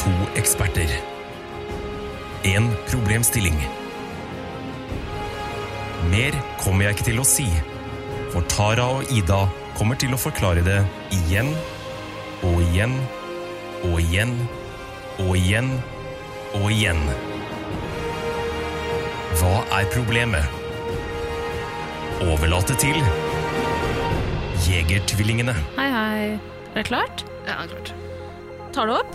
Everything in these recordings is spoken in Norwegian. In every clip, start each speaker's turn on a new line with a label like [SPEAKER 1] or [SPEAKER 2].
[SPEAKER 1] To eksperter. En problemstilling. Mer kommer jeg ikke til å si, for Tara og Ida kommer til å forklare det igjen og igjen og igjen og igjen og igjen. Hva er problemet? Overlate til Jegertvillingene.
[SPEAKER 2] Hei, hei. Er det klart?
[SPEAKER 3] Ja, klart.
[SPEAKER 2] Tar du opp?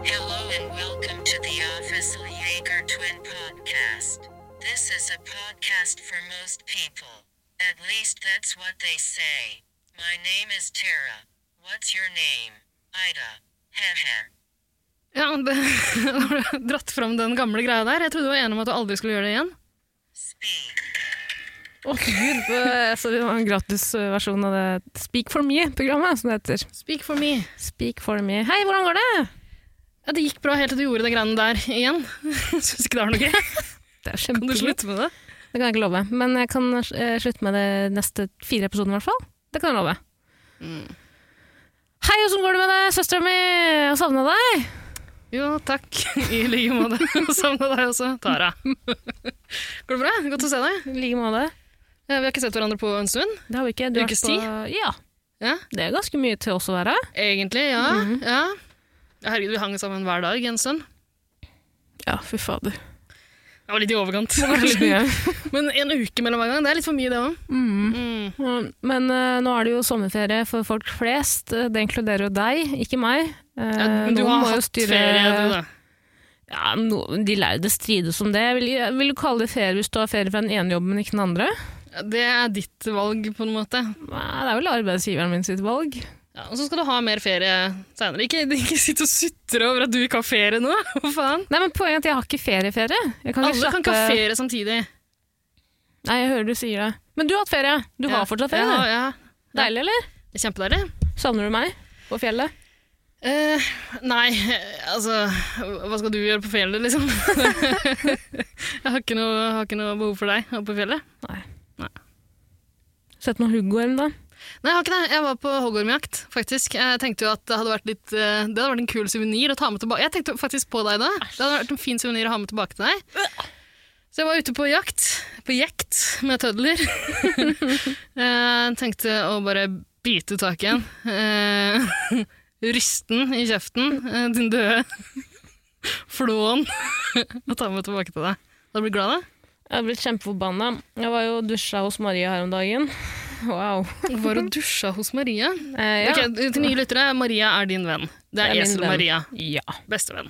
[SPEAKER 4] Hello and welcome to the Official Jaeger Twin Podcast. This is a podcast for most people. At least that's what they say. My name is Tara. What's your name? Ida. Haha.
[SPEAKER 3] Ja, det, har du dratt fram den gamle greia der. Jeg trodde du var enig om at du aldri skulle gjøre det igjen.
[SPEAKER 4] Speak.
[SPEAKER 3] Å, Gud.
[SPEAKER 5] Eh, Så det var en gratisversjon av det Speak for me-programmet, som det heter.
[SPEAKER 3] Speak for me.
[SPEAKER 5] Speak for me. Hei, hvordan går det?
[SPEAKER 3] Ja, det gikk bra helt til du gjorde de greiene der igjen. Syns ikke det var noe gøy.
[SPEAKER 5] Det er
[SPEAKER 3] Kan du
[SPEAKER 5] kjempegøy.
[SPEAKER 3] slutte med det?
[SPEAKER 5] Det kan jeg ikke love. Men jeg kan eh, slutte med det neste fire episoden, i hvert fall. Det kan jeg love. Mm. Hei, åssen går det med deg, søstera mi? Jeg har savna deg.
[SPEAKER 3] Jo, takk. I like måte. Savna deg også, Tara. Går det bra? Godt å se deg.
[SPEAKER 5] I like måte.
[SPEAKER 3] Ja, Vi har ikke sett hverandre på en stund.
[SPEAKER 5] Det har vi ikke. Du har vært
[SPEAKER 3] Ukes
[SPEAKER 5] på- Ja.
[SPEAKER 3] Ja,
[SPEAKER 5] Det er ganske mye til oss å være.
[SPEAKER 3] Egentlig, ja. ja. Herregud, vi hang sammen hver dag en stund.
[SPEAKER 5] Ja, fy fader.
[SPEAKER 3] Det var litt i overkant. Men en uke mellom hver gang, det er litt for mye, det òg. Mm.
[SPEAKER 5] Men eh, nå er det jo sommerferie for folk flest. Eh, Det inkluderer jo deg, ikke meg. Eh,
[SPEAKER 3] Ja, men du
[SPEAKER 5] noen
[SPEAKER 3] har
[SPEAKER 5] må jo
[SPEAKER 3] hatt
[SPEAKER 5] styre-
[SPEAKER 3] ferie, du, da.
[SPEAKER 5] Ja, no, de lærde strides om det. Vil, vil du kalle det ferie hvis du har ferie fra den ene jobben, men ikke den andre?
[SPEAKER 3] Ja, Det er ditt valg, på en måte.
[SPEAKER 5] Nei, det er vel arbeidsgiveren min sitt valg.
[SPEAKER 3] Ja, og så skal du ha mer ferie seinere. Ikke, ikke sitt og sutre over at du ikke har ferie nå! Hva faen?
[SPEAKER 5] Nei, men Poenget er at jeg har ikke ferieferie. Jeg kan ikke
[SPEAKER 3] Alle kan ikke ha
[SPEAKER 5] slappe-
[SPEAKER 3] ferie samtidig.
[SPEAKER 5] Nei, jeg hører du sier det. Men du har hatt ferie. Du
[SPEAKER 3] Ja.
[SPEAKER 5] har fortsatt ferie.
[SPEAKER 3] Ja,
[SPEAKER 5] du.
[SPEAKER 3] ja.
[SPEAKER 5] Deilig, eller?
[SPEAKER 3] Det er Kjempedeilig.
[SPEAKER 5] Savner du meg på fjellet?
[SPEAKER 3] Eh, nei, eh, altså Hva skal du gjøre på fjellet, liksom? jeg har ikke, noe, har ikke noe behov for deg oppe på fjellet.
[SPEAKER 5] Sett noen huggorm, da.
[SPEAKER 3] Nei, jeg har ikke det. Jeg var på hoggormjakt, faktisk. Jeg tenkte jo at Det hadde vært litt eh, Det hadde vært en kul suvenir å ta med tilbake. Jeg tenkte faktisk på deg da. Det hadde vært en fin suvenir å ha med tilbake til deg. Så jeg var ute på jakt, på jekt, med tødler. Jeg tenkte å bare bite tak i en. Eh, Ryste den i kjeften, eh, din døde flåen, og ta med tilbake til deg. Da blir du glad, da?
[SPEAKER 5] Jeg har blitt kjempeforbanna. Jeg var jo og dusja hos Maria her om dagen. Wow.
[SPEAKER 3] Var og dusja hos Maria.
[SPEAKER 5] Eh, ja.
[SPEAKER 3] Ok, til nye lyttere, Maria er din venn. Det
[SPEAKER 5] Det er
[SPEAKER 3] er,
[SPEAKER 5] min
[SPEAKER 3] Esel
[SPEAKER 5] venn.
[SPEAKER 3] Maria.
[SPEAKER 5] ja.
[SPEAKER 3] Bestevenn.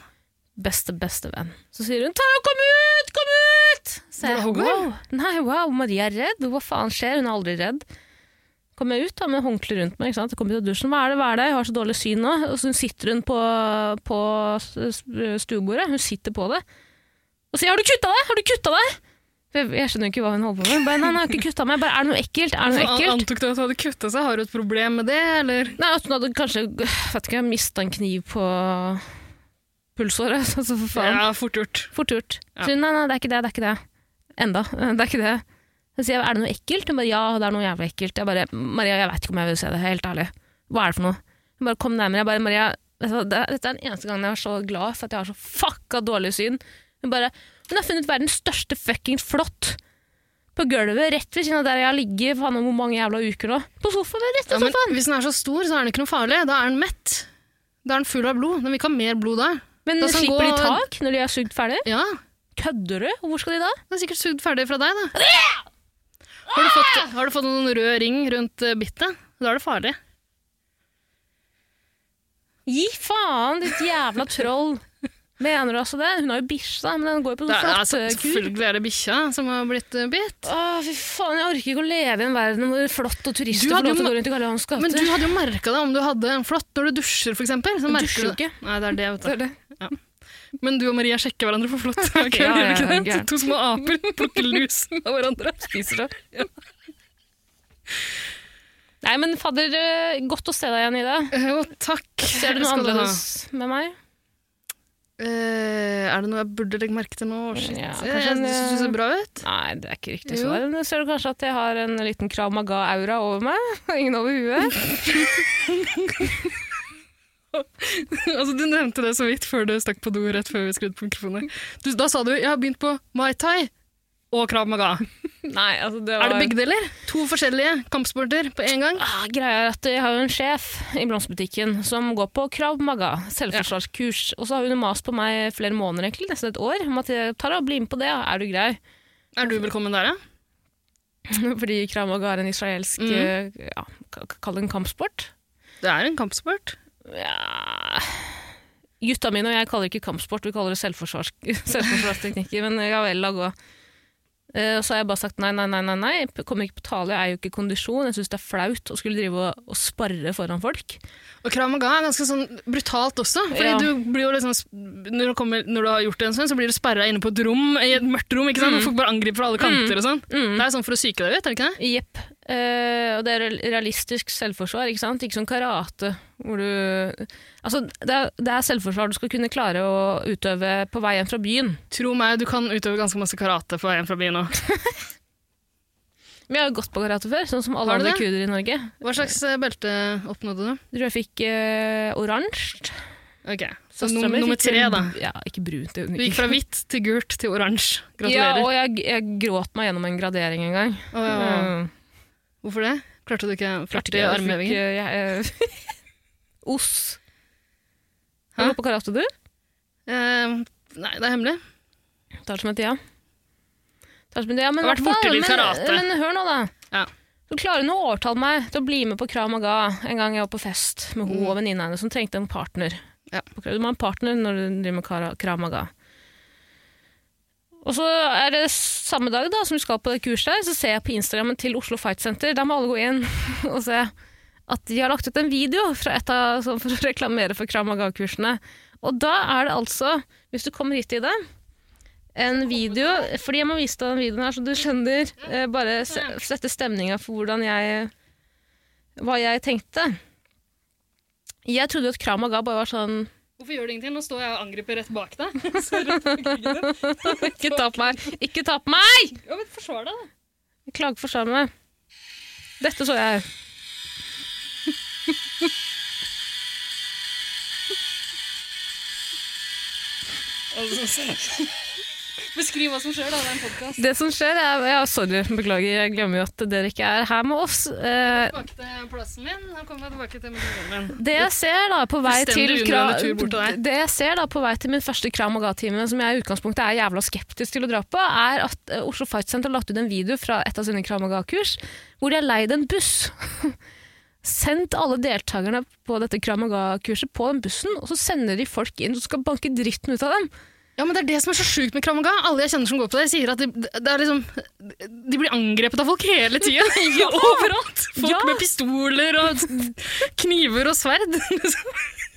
[SPEAKER 5] Beste, beste venn. Så sier hun 'Tara, kom ut! Kom ut!' Så
[SPEAKER 3] Var det
[SPEAKER 5] jeg,
[SPEAKER 3] hoggorm?
[SPEAKER 5] wow. Nei, wow, Maria er redd. Hva faen skjer? Hun er aldri redd. Kommer jeg ut da, med håndkle rundt meg. ikke sant? Jeg kommer ut av dusjen. Hva er det, hva er det? Jeg har så dårlig syn nå. Og så sitter hun på, på s- s- stuebordet. Hun sitter på det. Og sier 'Har du kutta deg?' Har du kutta deg? Jeg, jeg skjønner jo ikke hva hun holder på med. Bare, nei, nei, jeg har ikke kutta meg. Bare, er det noe ekkelt? Er det noe
[SPEAKER 3] Han
[SPEAKER 5] ekkelt?
[SPEAKER 3] antok du at hun hadde kutta seg? Har du et problem med det, eller?
[SPEAKER 5] Nei, at hun hadde kanskje vet ikke, mista en kniv på pulsåret. Altså, for faen.
[SPEAKER 3] Ja, fort gjort.
[SPEAKER 5] Fort gjort.
[SPEAKER 3] Ja.
[SPEAKER 5] Så hun, nei, nei, det er ikke det, det er ikke det. Enda. Det er ikke det. Så sier jeg, er det noe ekkelt? Hun bare, ja, det er noe jævlig ekkelt. Jeg bare, Maria, jeg vet ikke om jeg vil se det, helt ærlig. Hva er det for noe? Hun bare, kom nærmere. Jeg bare, Maria, vet du hva, det- dette er den eneste gangen jeg var så glad for at jeg har så fucka dårlig syn. Hun bare, hun har funnet verdens største fuckings flott. På gulvet, rett ved siden av der jeg har ligget faen om hvor mange jævla uker nå. På sofaen, rett
[SPEAKER 3] Ja,
[SPEAKER 5] ved
[SPEAKER 3] men
[SPEAKER 5] sofaen.
[SPEAKER 3] hvis den er så stor, så er den ikke noe farlig. Da er den mett. Da er den full av blod. Den vil ikke ha mer blod da.
[SPEAKER 5] Men,
[SPEAKER 3] da skal den
[SPEAKER 5] slipper
[SPEAKER 3] gå-
[SPEAKER 5] de tak når de har sugd ferdig?
[SPEAKER 3] Ja,
[SPEAKER 5] Kødder du? Hvor skal de da?
[SPEAKER 3] den er sikkert sugd ferdig fra deg, da. Har du fått, har du fått noen rød ring rundt eh, bittet? Da er det farlig.
[SPEAKER 5] Gi faen, ditt jævla troll! Mener du altså det? Hun har jo bikkja, men den går jo på
[SPEAKER 3] Det
[SPEAKER 5] sånn
[SPEAKER 3] er, altså,
[SPEAKER 5] flottekur.
[SPEAKER 3] selvfølgelig er det bikkja som har blitt eh, bitt.
[SPEAKER 5] Å, fy faen, jeg orker ikke å leve i en verden hvor flott og turister
[SPEAKER 3] Du
[SPEAKER 5] får
[SPEAKER 3] hadde
[SPEAKER 5] lov til å
[SPEAKER 3] jo
[SPEAKER 5] gå rundt i Karl Johans gate.
[SPEAKER 3] Men du hadde jo merka det om du hadde en flått når du dusjer, f.eks. Så merker
[SPEAKER 5] dusjer
[SPEAKER 3] du
[SPEAKER 5] jo
[SPEAKER 3] det. Nei, det er det, vet du.
[SPEAKER 5] Det er det.
[SPEAKER 3] Men du og Maria sjekker hverandre for flått. hver kveld,
[SPEAKER 5] Ja, ja,
[SPEAKER 3] gjør dere ikke det?
[SPEAKER 5] gærent.
[SPEAKER 3] To små aper plukker lus av hverandre.
[SPEAKER 5] Spiser det. Nei, men fadder, eh, godt å se deg igjen, Ida.
[SPEAKER 3] Eh, Jo, takk.
[SPEAKER 5] Ser du noe
[SPEAKER 3] Skal ha.
[SPEAKER 5] annerledes med meg?
[SPEAKER 3] Eh, er det noe jeg burde legge merke til nå? Shit.
[SPEAKER 5] Ja, kanskje
[SPEAKER 3] jeg
[SPEAKER 5] en, eh,
[SPEAKER 3] synes du ser bra ut.
[SPEAKER 5] Nei, det er ikke riktig
[SPEAKER 3] Jo.
[SPEAKER 5] svar. Men ser du kanskje at jeg har en liten Krav Maga-aura over meg? Ingen over huet?
[SPEAKER 3] altså, du nevnte det så vidt før du stakk på do rett før vi skrudde på mikrofonen. Du, da sa du 'jeg har begynt på Mai Tai' og Krav Maga.
[SPEAKER 5] Nei, altså det var...
[SPEAKER 3] Er det begge deler? To forskjellige kampsporter på én gang?
[SPEAKER 5] Ah, greia er at jeg har jo en sjef i blomsterbutikken som går på Krav Maga, selvforsvarskurs. Og så har hun mast på meg flere måneder, egentlig, nesten et år, om at jeg Tara, bli med på det, er du grei?
[SPEAKER 3] Er du velkommen der, ja?
[SPEAKER 5] Fordi Krav Maga er en israelsk
[SPEAKER 3] Mhm.
[SPEAKER 5] eh, ja, ka- Kall det en kampsport.
[SPEAKER 3] Det er en kampsport.
[SPEAKER 5] Ja. Gutta mine og jeg kaller det ikke kampsport, vi kaller det selvforsvars selvforsvarsteknikker. men ja vel, la gå. Eh, Og så har jeg bare sagt nei, nei, nei, nei, nei. jeg kommer ikke på tale, jeg er jo ikke i kondisjon. Jeg syns det er flaut å skulle drive og, og sparre foran folk.
[SPEAKER 3] Og Krav Maga er ganske sånn brutalt også. Fordi
[SPEAKER 5] Ja.
[SPEAKER 3] du blir jo liksom, når, du kommer, når du har gjort det en stund, så blir du sperra inne på et rom, i et mørkt rom. ikke sant? Folk bare angriper fra alle kanter og sånn.
[SPEAKER 5] Mm.
[SPEAKER 3] Det er sånn for å psyke deg ut, er det ikke det?
[SPEAKER 5] Jepp. Eh, og det er real- realistisk selvforsvar, ikke sant? Ikke som karate, hvor du Altså, det er, det er selvforsvar du skal kunne klare å utøve på vei hjem fra byen.
[SPEAKER 3] Tro meg, du kan utøve ganske masse karate på veien fra byen nå.
[SPEAKER 5] Men jeg har jo gått på karate før, sånn som alle
[SPEAKER 3] Har du
[SPEAKER 5] andre
[SPEAKER 3] det?
[SPEAKER 5] kurdere i Norge. Jeg
[SPEAKER 3] Hva slags eh, belte oppnådde du?
[SPEAKER 5] tror jeg fikk eh, oransje.
[SPEAKER 3] Ok, så
[SPEAKER 5] Søstera
[SPEAKER 3] num
[SPEAKER 5] mi
[SPEAKER 3] nummer
[SPEAKER 5] fikk vel-
[SPEAKER 3] tre, da.
[SPEAKER 5] Ja, ikke brunt. det er hun
[SPEAKER 3] Du gikk
[SPEAKER 5] ikke.
[SPEAKER 3] fra hvitt til gult til oransje.
[SPEAKER 5] Ja,
[SPEAKER 3] Gratulerer.
[SPEAKER 5] og jeg, jeg gråt meg gjennom en gradering en gang.
[SPEAKER 3] Å, ja, ja.
[SPEAKER 5] Mm.
[SPEAKER 3] Hvorfor det? Klarte du ikke
[SPEAKER 5] Klarte
[SPEAKER 3] 40
[SPEAKER 5] ikke, jeg fikk,
[SPEAKER 3] armhevinger?
[SPEAKER 5] eh, jeg, eh, Oss.
[SPEAKER 3] Hæ?
[SPEAKER 5] Har du gått på karate, du?
[SPEAKER 3] Eh, nei, det er hemmelig.
[SPEAKER 5] Tar det som et ja. Tar det som et ja, men,
[SPEAKER 3] Jeg har vært
[SPEAKER 5] i hvert
[SPEAKER 3] borti litt
[SPEAKER 5] men,
[SPEAKER 3] karate.
[SPEAKER 5] men hør nå, da.
[SPEAKER 3] Ja.
[SPEAKER 5] Du klarer nå å overtale meg til å bli med på Krav Maga en gang jeg var på fest med hun og venninna hennes som trengte en partner.
[SPEAKER 3] Mm. Ja.
[SPEAKER 5] På Krav- Du må ha en partner når du driver med kara- Krav Maga. Og så er det samme dag da, som du skal på det kurset, der, så ser jeg på Instagrammen til Oslo Fight Center. Der må alle gå inn og se at de har lagt ut en video fra et av, sånn, for å reklamere for Krav Maga-kursene. Og da er det altså, hvis du kommer hit i det, en video Fordi jeg må vise deg den videoen her, så du skjønner. Eh, bare se, sette stemninga for hvordan jeg Hva jeg tenkte. Jeg trodde jo at Krav Maga bare var sånn
[SPEAKER 3] Hvorfor gjør det ingenting? Nå står jeg og angriper rett bak deg.
[SPEAKER 5] Ikke ta på meg! Ikke ta på meg!
[SPEAKER 3] Ja, men forsvar deg, da.
[SPEAKER 5] Klage for sjarmen. Dette så jeg.
[SPEAKER 3] Beskriv hva som skjer, da. Det er en podkast.
[SPEAKER 5] Det som skjer, er Ja, sorry, beklager. Jeg glemmer jo at dere ikke er her med oss. Eh,
[SPEAKER 3] Tilbake til plassen min. Nå kommer jeg tilbake til mikrofonen min.
[SPEAKER 5] det jeg ser da på vei til
[SPEAKER 3] Fullstendig
[SPEAKER 5] Krav-
[SPEAKER 3] unødvendig tur bort til deg.
[SPEAKER 5] Det jeg ser da på vei til min første Krav Maga-time, som jeg i utgangspunktet er jævla skeptisk til å dra på, er at eh, Oslo Fight Center har lagt ut en video fra et av sine Krav Maga-kurs hvor de har leid en buss. Sendt alle deltakerne på dette Krav Maga-kurset på den bussen, og så sender de folk inn som skal banke dritten ut av dem.
[SPEAKER 3] Ja, men Det er det som er så sjukt med kramaga. Alle jeg kjenner som går på det, sier at de, det er liksom, de blir angrepet av folk hele tida. Overalt! Folk
[SPEAKER 5] Ja.
[SPEAKER 3] med pistoler og kniver og sverd.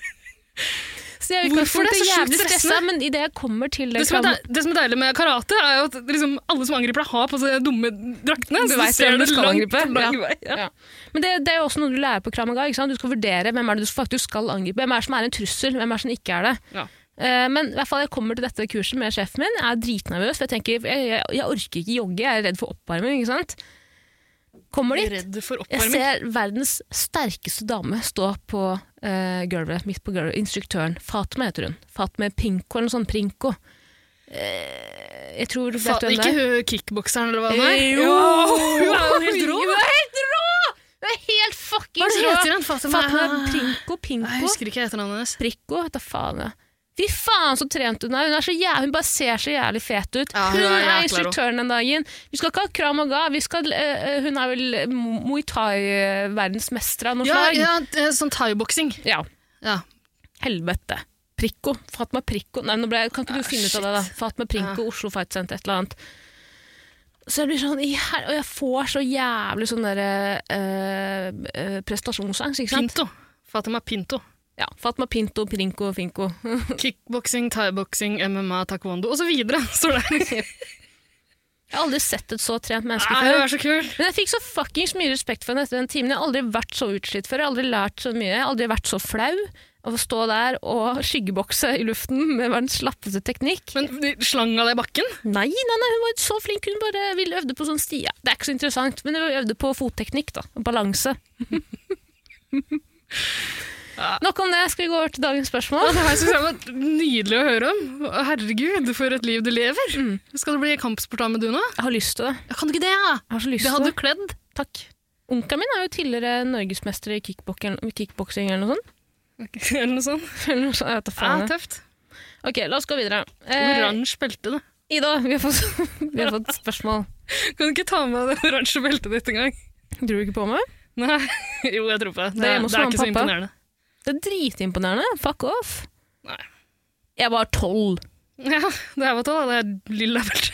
[SPEAKER 5] Så jeg er i
[SPEAKER 3] Hvorfor
[SPEAKER 5] utgangspunktet
[SPEAKER 3] det er så sjukt
[SPEAKER 5] jævlig
[SPEAKER 3] stressende?
[SPEAKER 5] stressa, men idet jeg kommer til
[SPEAKER 3] Det
[SPEAKER 5] det
[SPEAKER 3] som er,
[SPEAKER 5] Krav
[SPEAKER 3] deil- det som er deilig med karate, er jo at liksom, alle som angriper deg, har på seg de dumme draktene.
[SPEAKER 5] Du
[SPEAKER 3] så
[SPEAKER 5] vet
[SPEAKER 3] ser
[SPEAKER 5] hvem du
[SPEAKER 3] det
[SPEAKER 5] skal
[SPEAKER 3] langt,
[SPEAKER 5] angripe.
[SPEAKER 3] lang
[SPEAKER 5] Ja.
[SPEAKER 3] vei, ja.
[SPEAKER 5] Ja. Men det, det er jo også noe du lærer på Kramaga. Ikke sant? Du skal vurdere hvem er det du faktisk skal angripe. Hvem er det som er en trussel, hvem er det som ikke er det.
[SPEAKER 3] Ja.
[SPEAKER 5] Eh, men i hvert fall jeg kommer til dette kurset med sjefen min, jeg er dritnervøs. For jeg tenker, jeg, jeg, jeg orker ikke jogge, jeg er redd for oppvarming. ikke sant? Kommer
[SPEAKER 3] Jeg er
[SPEAKER 5] dit,
[SPEAKER 3] Redd for
[SPEAKER 5] jeg
[SPEAKER 3] oppvarming.
[SPEAKER 5] ser verdens sterkeste dame stå på eh, gulvet, midt på gulvet. Instruktøren. Fatme heter hun. Fatme Pinko eller noe sånt. Prinko. Eh, jeg tror
[SPEAKER 3] Fa-
[SPEAKER 5] vet du hvem det
[SPEAKER 3] ikke
[SPEAKER 5] er?
[SPEAKER 3] hun kickbokseren eller hva det
[SPEAKER 5] Nei. Hun er
[SPEAKER 3] er?
[SPEAKER 5] jo helt rå!
[SPEAKER 3] Hun
[SPEAKER 5] Hun er helt rå! Hun er helt
[SPEAKER 3] Hva
[SPEAKER 5] fuckings rå!
[SPEAKER 3] heter hun? Fatima?
[SPEAKER 5] Fatma Prinko
[SPEAKER 3] Nei,
[SPEAKER 5] Pinko
[SPEAKER 3] Jeg husker ikke etternavnet hennes.
[SPEAKER 5] Prikko, hva faen jeg. Fy faen så trent hun er! Hun, er så jæv- hun bare ser så jævlig fet ut.
[SPEAKER 3] Ja, hun
[SPEAKER 5] hun,
[SPEAKER 3] er
[SPEAKER 5] er,
[SPEAKER 3] jækla rå.
[SPEAKER 5] instruktøren den dagen. Vi skal ikke ha kram og ga. Vi skal, eh, eh, hun er vel eh, Muay Thai-verdensmester av noe
[SPEAKER 3] Ja,
[SPEAKER 5] slag.
[SPEAKER 3] ja, det er sånn thaiboksing.
[SPEAKER 5] Ja.
[SPEAKER 3] Ja.
[SPEAKER 5] Helvete. Prikko. Fatma Prikko. Nei, nå ble jeg, kan ikke
[SPEAKER 3] Ah,
[SPEAKER 5] du finne ut av det, da? Fatma Prikko, Oslo Fight Center, et eller annet. Så jeg blir sånn, i her, Og jeg får så jævlig sånn derre eh, eh, prestasjonsangst, ikke sant?
[SPEAKER 3] Pinto. Fatima Pinto.
[SPEAKER 5] Ja, Fatma Pinto, Prinko, Finko.
[SPEAKER 3] Kickboksing, thaiboksing, MMA, taekwondo osv. står det.
[SPEAKER 5] Jeg har aldri sett et så trent menneske
[SPEAKER 3] Nei,
[SPEAKER 5] før.
[SPEAKER 3] hun er så kul.
[SPEAKER 5] Men jeg fikk så fuckings mye respekt for henne etter den timen. Jeg har aldri vært så utslitt før. Jeg har aldri lært så mye. Jeg har aldri vært så flau av å stå der og skyggebokse i luften med verdens slappeste teknikk.
[SPEAKER 3] Men de slang av deg i bakken?
[SPEAKER 5] Nei, nei, nei, hun var så flink. Hun bare ville øvde på sånn stia. Det er ikke så interessant, men hun øvde på fotteknikk, da. og Balanse. Nok om det, skal vi gå over til dagens spørsmål?
[SPEAKER 3] Det her synes jeg var nydelig å høre om. Å, Herregud, for et liv du lever. Skal du bli kampsportar med du nå?
[SPEAKER 5] Jeg har lyst til det.
[SPEAKER 3] Mm. Ja, Kan du ikke det, ja?
[SPEAKER 5] Jeg har så lyst
[SPEAKER 3] Det
[SPEAKER 5] til
[SPEAKER 3] hadde
[SPEAKER 5] det.
[SPEAKER 3] du kledd.
[SPEAKER 5] Takk. Onkelen min er jo tidligere norgesmester i kickboken- kickboksing eller noe sånt.
[SPEAKER 3] Eller noe sånt.
[SPEAKER 5] Eller noe sånt, jeg vet da
[SPEAKER 3] Ja,
[SPEAKER 5] faen.
[SPEAKER 3] tøft.
[SPEAKER 5] ok, la oss gå videre. Eh,
[SPEAKER 3] Oransje belte, da.
[SPEAKER 5] Ida, vi har fått, vi har fått spørsmål.
[SPEAKER 3] Kan du ikke ta med deg det oransje beltet ditt en gang?
[SPEAKER 5] Tror du ikke på meg?
[SPEAKER 3] Nei. Jo, jeg tror på det.
[SPEAKER 5] Det er hjemme hos
[SPEAKER 3] det er
[SPEAKER 5] mamma og
[SPEAKER 3] ikke så
[SPEAKER 5] pappa.
[SPEAKER 3] imponerende.
[SPEAKER 5] Det er dritimponerende. Fuck off.
[SPEAKER 3] Nei.
[SPEAKER 5] Jeg var tolv.
[SPEAKER 3] Ja, det her var tolv. Det er lilla belte.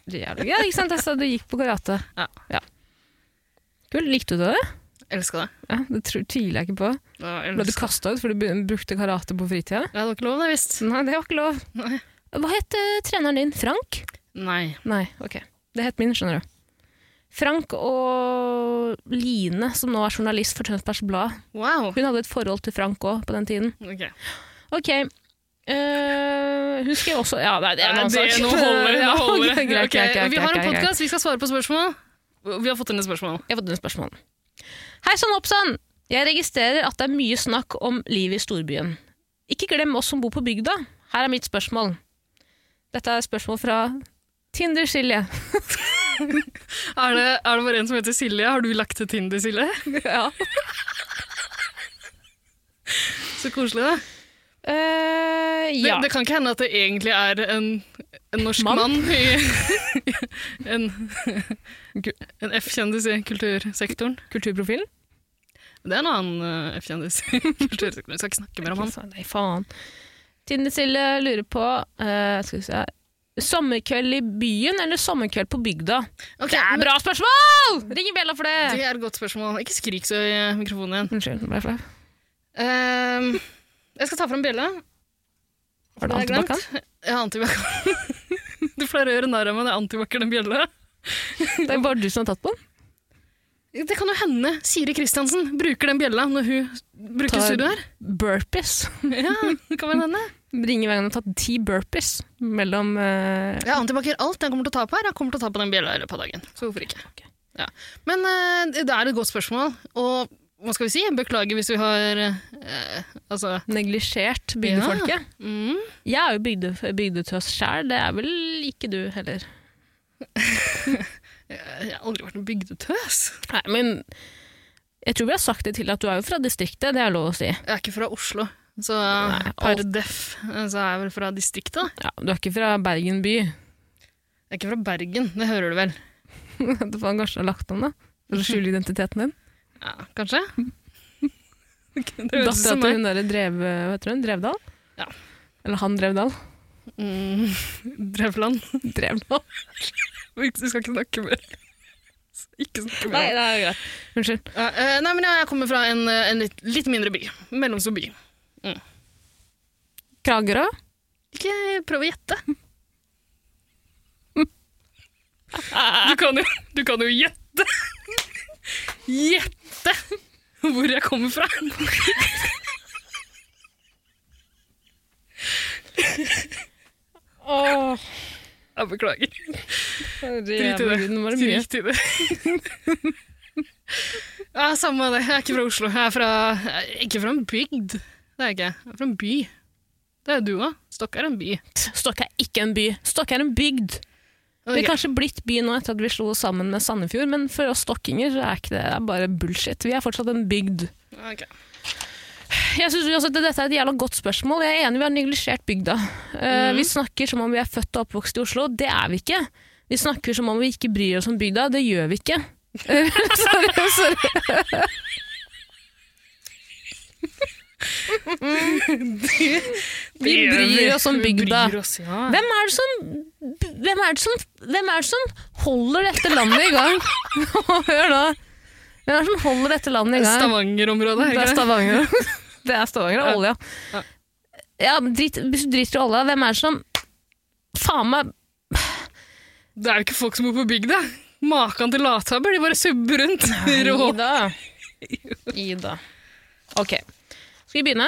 [SPEAKER 5] Herrejævlig. Ja, ikke sant? Jeg sa du gikk på karate.
[SPEAKER 3] Ja.
[SPEAKER 5] Kult. Likte du det?
[SPEAKER 3] Elska det.
[SPEAKER 5] Ja, det tror, tviler jeg ikke på.
[SPEAKER 3] Ja,
[SPEAKER 5] Ble du
[SPEAKER 3] elska.
[SPEAKER 5] kasta ut fordi du be- brukte karate på fritida?
[SPEAKER 3] Ja, det var ikke lov, det visst.
[SPEAKER 5] Nei, det var ikke lov.
[SPEAKER 3] Nei.
[SPEAKER 5] Hva het eh, treneren din? Frank?
[SPEAKER 3] Nei.
[SPEAKER 5] Nei, ok. Det het min, skjønner du. Frank og Line, som nå er journalist for Tønsbergs Blad.
[SPEAKER 3] Wow.
[SPEAKER 5] Hun hadde et forhold til Frank òg på den tiden.
[SPEAKER 3] Ok.
[SPEAKER 5] Ok. Eh, husker jeg også Ja, nei, det er en
[SPEAKER 3] Nei,
[SPEAKER 5] annen
[SPEAKER 3] det,
[SPEAKER 5] sak.
[SPEAKER 3] nå holder det.
[SPEAKER 5] Ja,
[SPEAKER 3] Nå holder det.
[SPEAKER 5] ok, greit,
[SPEAKER 3] Ok,
[SPEAKER 5] greit, greit,
[SPEAKER 3] vi har
[SPEAKER 5] greit,
[SPEAKER 3] en
[SPEAKER 5] greit.
[SPEAKER 3] podkast, vi skal svare på spørsmål. Vi har fått inn et spørsmål.
[SPEAKER 5] Jeg har fått et spørsmål. Hei sann, hopp sann! Jeg registrerer at det er mye snakk om livet i storbyen. Ikke glem oss som bor på bygda. Her er mitt spørsmål. Dette er et spørsmål fra Tinder-Silje.
[SPEAKER 3] Er det, er det bare en som heter Silje? Har du lagt til Tinder, Silje?
[SPEAKER 5] ja.
[SPEAKER 3] Så koselig, da.
[SPEAKER 5] Eh,
[SPEAKER 3] Det,
[SPEAKER 5] ja.
[SPEAKER 3] det kan ikke hende at det egentlig er en, en norsk
[SPEAKER 5] Mann.
[SPEAKER 3] mann, i en, en F-kjendis i kultursektoren.
[SPEAKER 5] Kulturprofilen?
[SPEAKER 3] Det er en annen eh, F-kjendis i kultursektoren. Vi skal ikke snakke mer om han.
[SPEAKER 5] Nei, faen. Tinder-Silje lurer på eh, Skal vi se Sommerkveld i byen eller sommerkveld på bygda?
[SPEAKER 3] Ok,
[SPEAKER 5] Det er
[SPEAKER 3] men
[SPEAKER 5] bra spørsmål! Ring Bella for det!
[SPEAKER 3] Det er et godt spørsmål. Ikke skrik så i eh, mikrofonen igjen.
[SPEAKER 5] Unnskyld, nå ble jeg flau.
[SPEAKER 3] Ehm, jeg skal ta fram bjella.
[SPEAKER 5] Var det
[SPEAKER 3] Det har jeg glemt.
[SPEAKER 5] antibac-en?
[SPEAKER 3] Ja, antibac. du pleier å gjøre narr av meg når antibac er den bjella.
[SPEAKER 5] Det er bare du som har tatt på den.
[SPEAKER 3] Det kan jo hende Siri Kristiansen bruker den bjella når hun bruker
[SPEAKER 5] Tar-
[SPEAKER 3] studio her.
[SPEAKER 5] Burpees.
[SPEAKER 3] Ja, det kan vel hende.
[SPEAKER 5] Ringer hver gang du har tatt ti burpees mellom eh,
[SPEAKER 3] Ja, Antibac gjør alt jeg kommer til å ta på her. Jeg kommer til å ta på den bjella i løpet av dagen. Så hvorfor ikke? Ja. Men eh, det er et godt spørsmål, og hva skal vi si? Beklager hvis vi har eh, Altså
[SPEAKER 5] neglisjert bygdefolket.
[SPEAKER 3] mm.
[SPEAKER 5] Jeg er jo bygde, bygdetøs sjæl, det er vel ikke du heller.
[SPEAKER 3] Jeg har aldri vært en bygdetøs.
[SPEAKER 5] Nei, men jeg tror vi har sagt det til at du er jo fra distriktet, det er lov å si.
[SPEAKER 3] Jeg er ikke fra Oslo, så
[SPEAKER 5] Nei,
[SPEAKER 3] per
[SPEAKER 5] alt-
[SPEAKER 3] def eh, så er jeg vel fra distriktet, da.
[SPEAKER 5] Ja, du er ikke fra Bergen by.
[SPEAKER 3] Jeg er ikke fra Bergen, det hører du vel?
[SPEAKER 5] du faen kanskje har lagt om, da. For å skjule identiteten din.
[SPEAKER 3] Ja, kanskje? det høres ut
[SPEAKER 5] Dattera
[SPEAKER 3] som
[SPEAKER 5] til
[SPEAKER 3] meg.
[SPEAKER 5] hun derre drev, hva heter hun, Drevdal?
[SPEAKER 3] Ja.
[SPEAKER 5] Eller han Drevdal.
[SPEAKER 3] Mm, Drevland.
[SPEAKER 5] Drevdal.
[SPEAKER 3] Vi skal ikke snakke mer. Ikke snakke mer. om
[SPEAKER 5] Nei, det er greit. Unnskyld.
[SPEAKER 3] Ja, eh, nei, men jeg kommer fra en, eh, en litt, litt mindre by. Mellomstor by.
[SPEAKER 5] Kragerø?
[SPEAKER 3] Ikke prøv å gjette. Du kan jo, du kan jo gjette! Gjette hvor jeg kommer fra!
[SPEAKER 5] Åh,
[SPEAKER 3] Jeg beklager.
[SPEAKER 5] Drit Var det mye.
[SPEAKER 3] Drit i det. Ja, samme det. Jeg er ikke fra Oslo. Jeg er fra, jeg er ikke fra en bygd. Det er jeg ikke. Jeg er fra en by. Det er du òg. Stokk er en by.
[SPEAKER 5] Stokke er ikke en by. Stokke er en bygd. Vi
[SPEAKER 3] Ok.
[SPEAKER 5] er kanskje blitt by nå etter at vi slo oss sammen med Sandefjord, men for oss stokkinger så er ikke det, det er bare bullshit. Vi er fortsatt en bygd.
[SPEAKER 3] Ok.
[SPEAKER 5] Jeg synes også at Dette er et jævla godt spørsmål. Jeg er enig vi har neglisjert bygda. Eh,
[SPEAKER 3] Mhm.
[SPEAKER 5] Vi snakker som om vi er født og oppvokst i Oslo. Det er vi ikke. Vi snakker som om vi ikke bryr oss om bygda. Det gjør vi ikke. Eh, sorry, sorry. Vi
[SPEAKER 3] Det gjør
[SPEAKER 5] bryr oss om
[SPEAKER 3] Vi
[SPEAKER 5] bygda.
[SPEAKER 3] bryr oss, ja.
[SPEAKER 5] Hvem er, det som, hvem, er det som, hvem er det som holder dette landet i gang? Hør nå. Hvem er det som holder dette landet i gang?
[SPEAKER 3] Stavanger-området.
[SPEAKER 5] Det er
[SPEAKER 3] ikke det?
[SPEAKER 5] Stavanger. Det er Stavanger og olja.
[SPEAKER 3] Ja.
[SPEAKER 5] Ja, men drit, hvis du driter i olja, hvem er det som Faen meg
[SPEAKER 3] Det er jo ikke folk som bor på bygda. Makan til latabber, de bare subber rundt. Rå.
[SPEAKER 5] Ida. Ida. Ok. Skal vi begynne?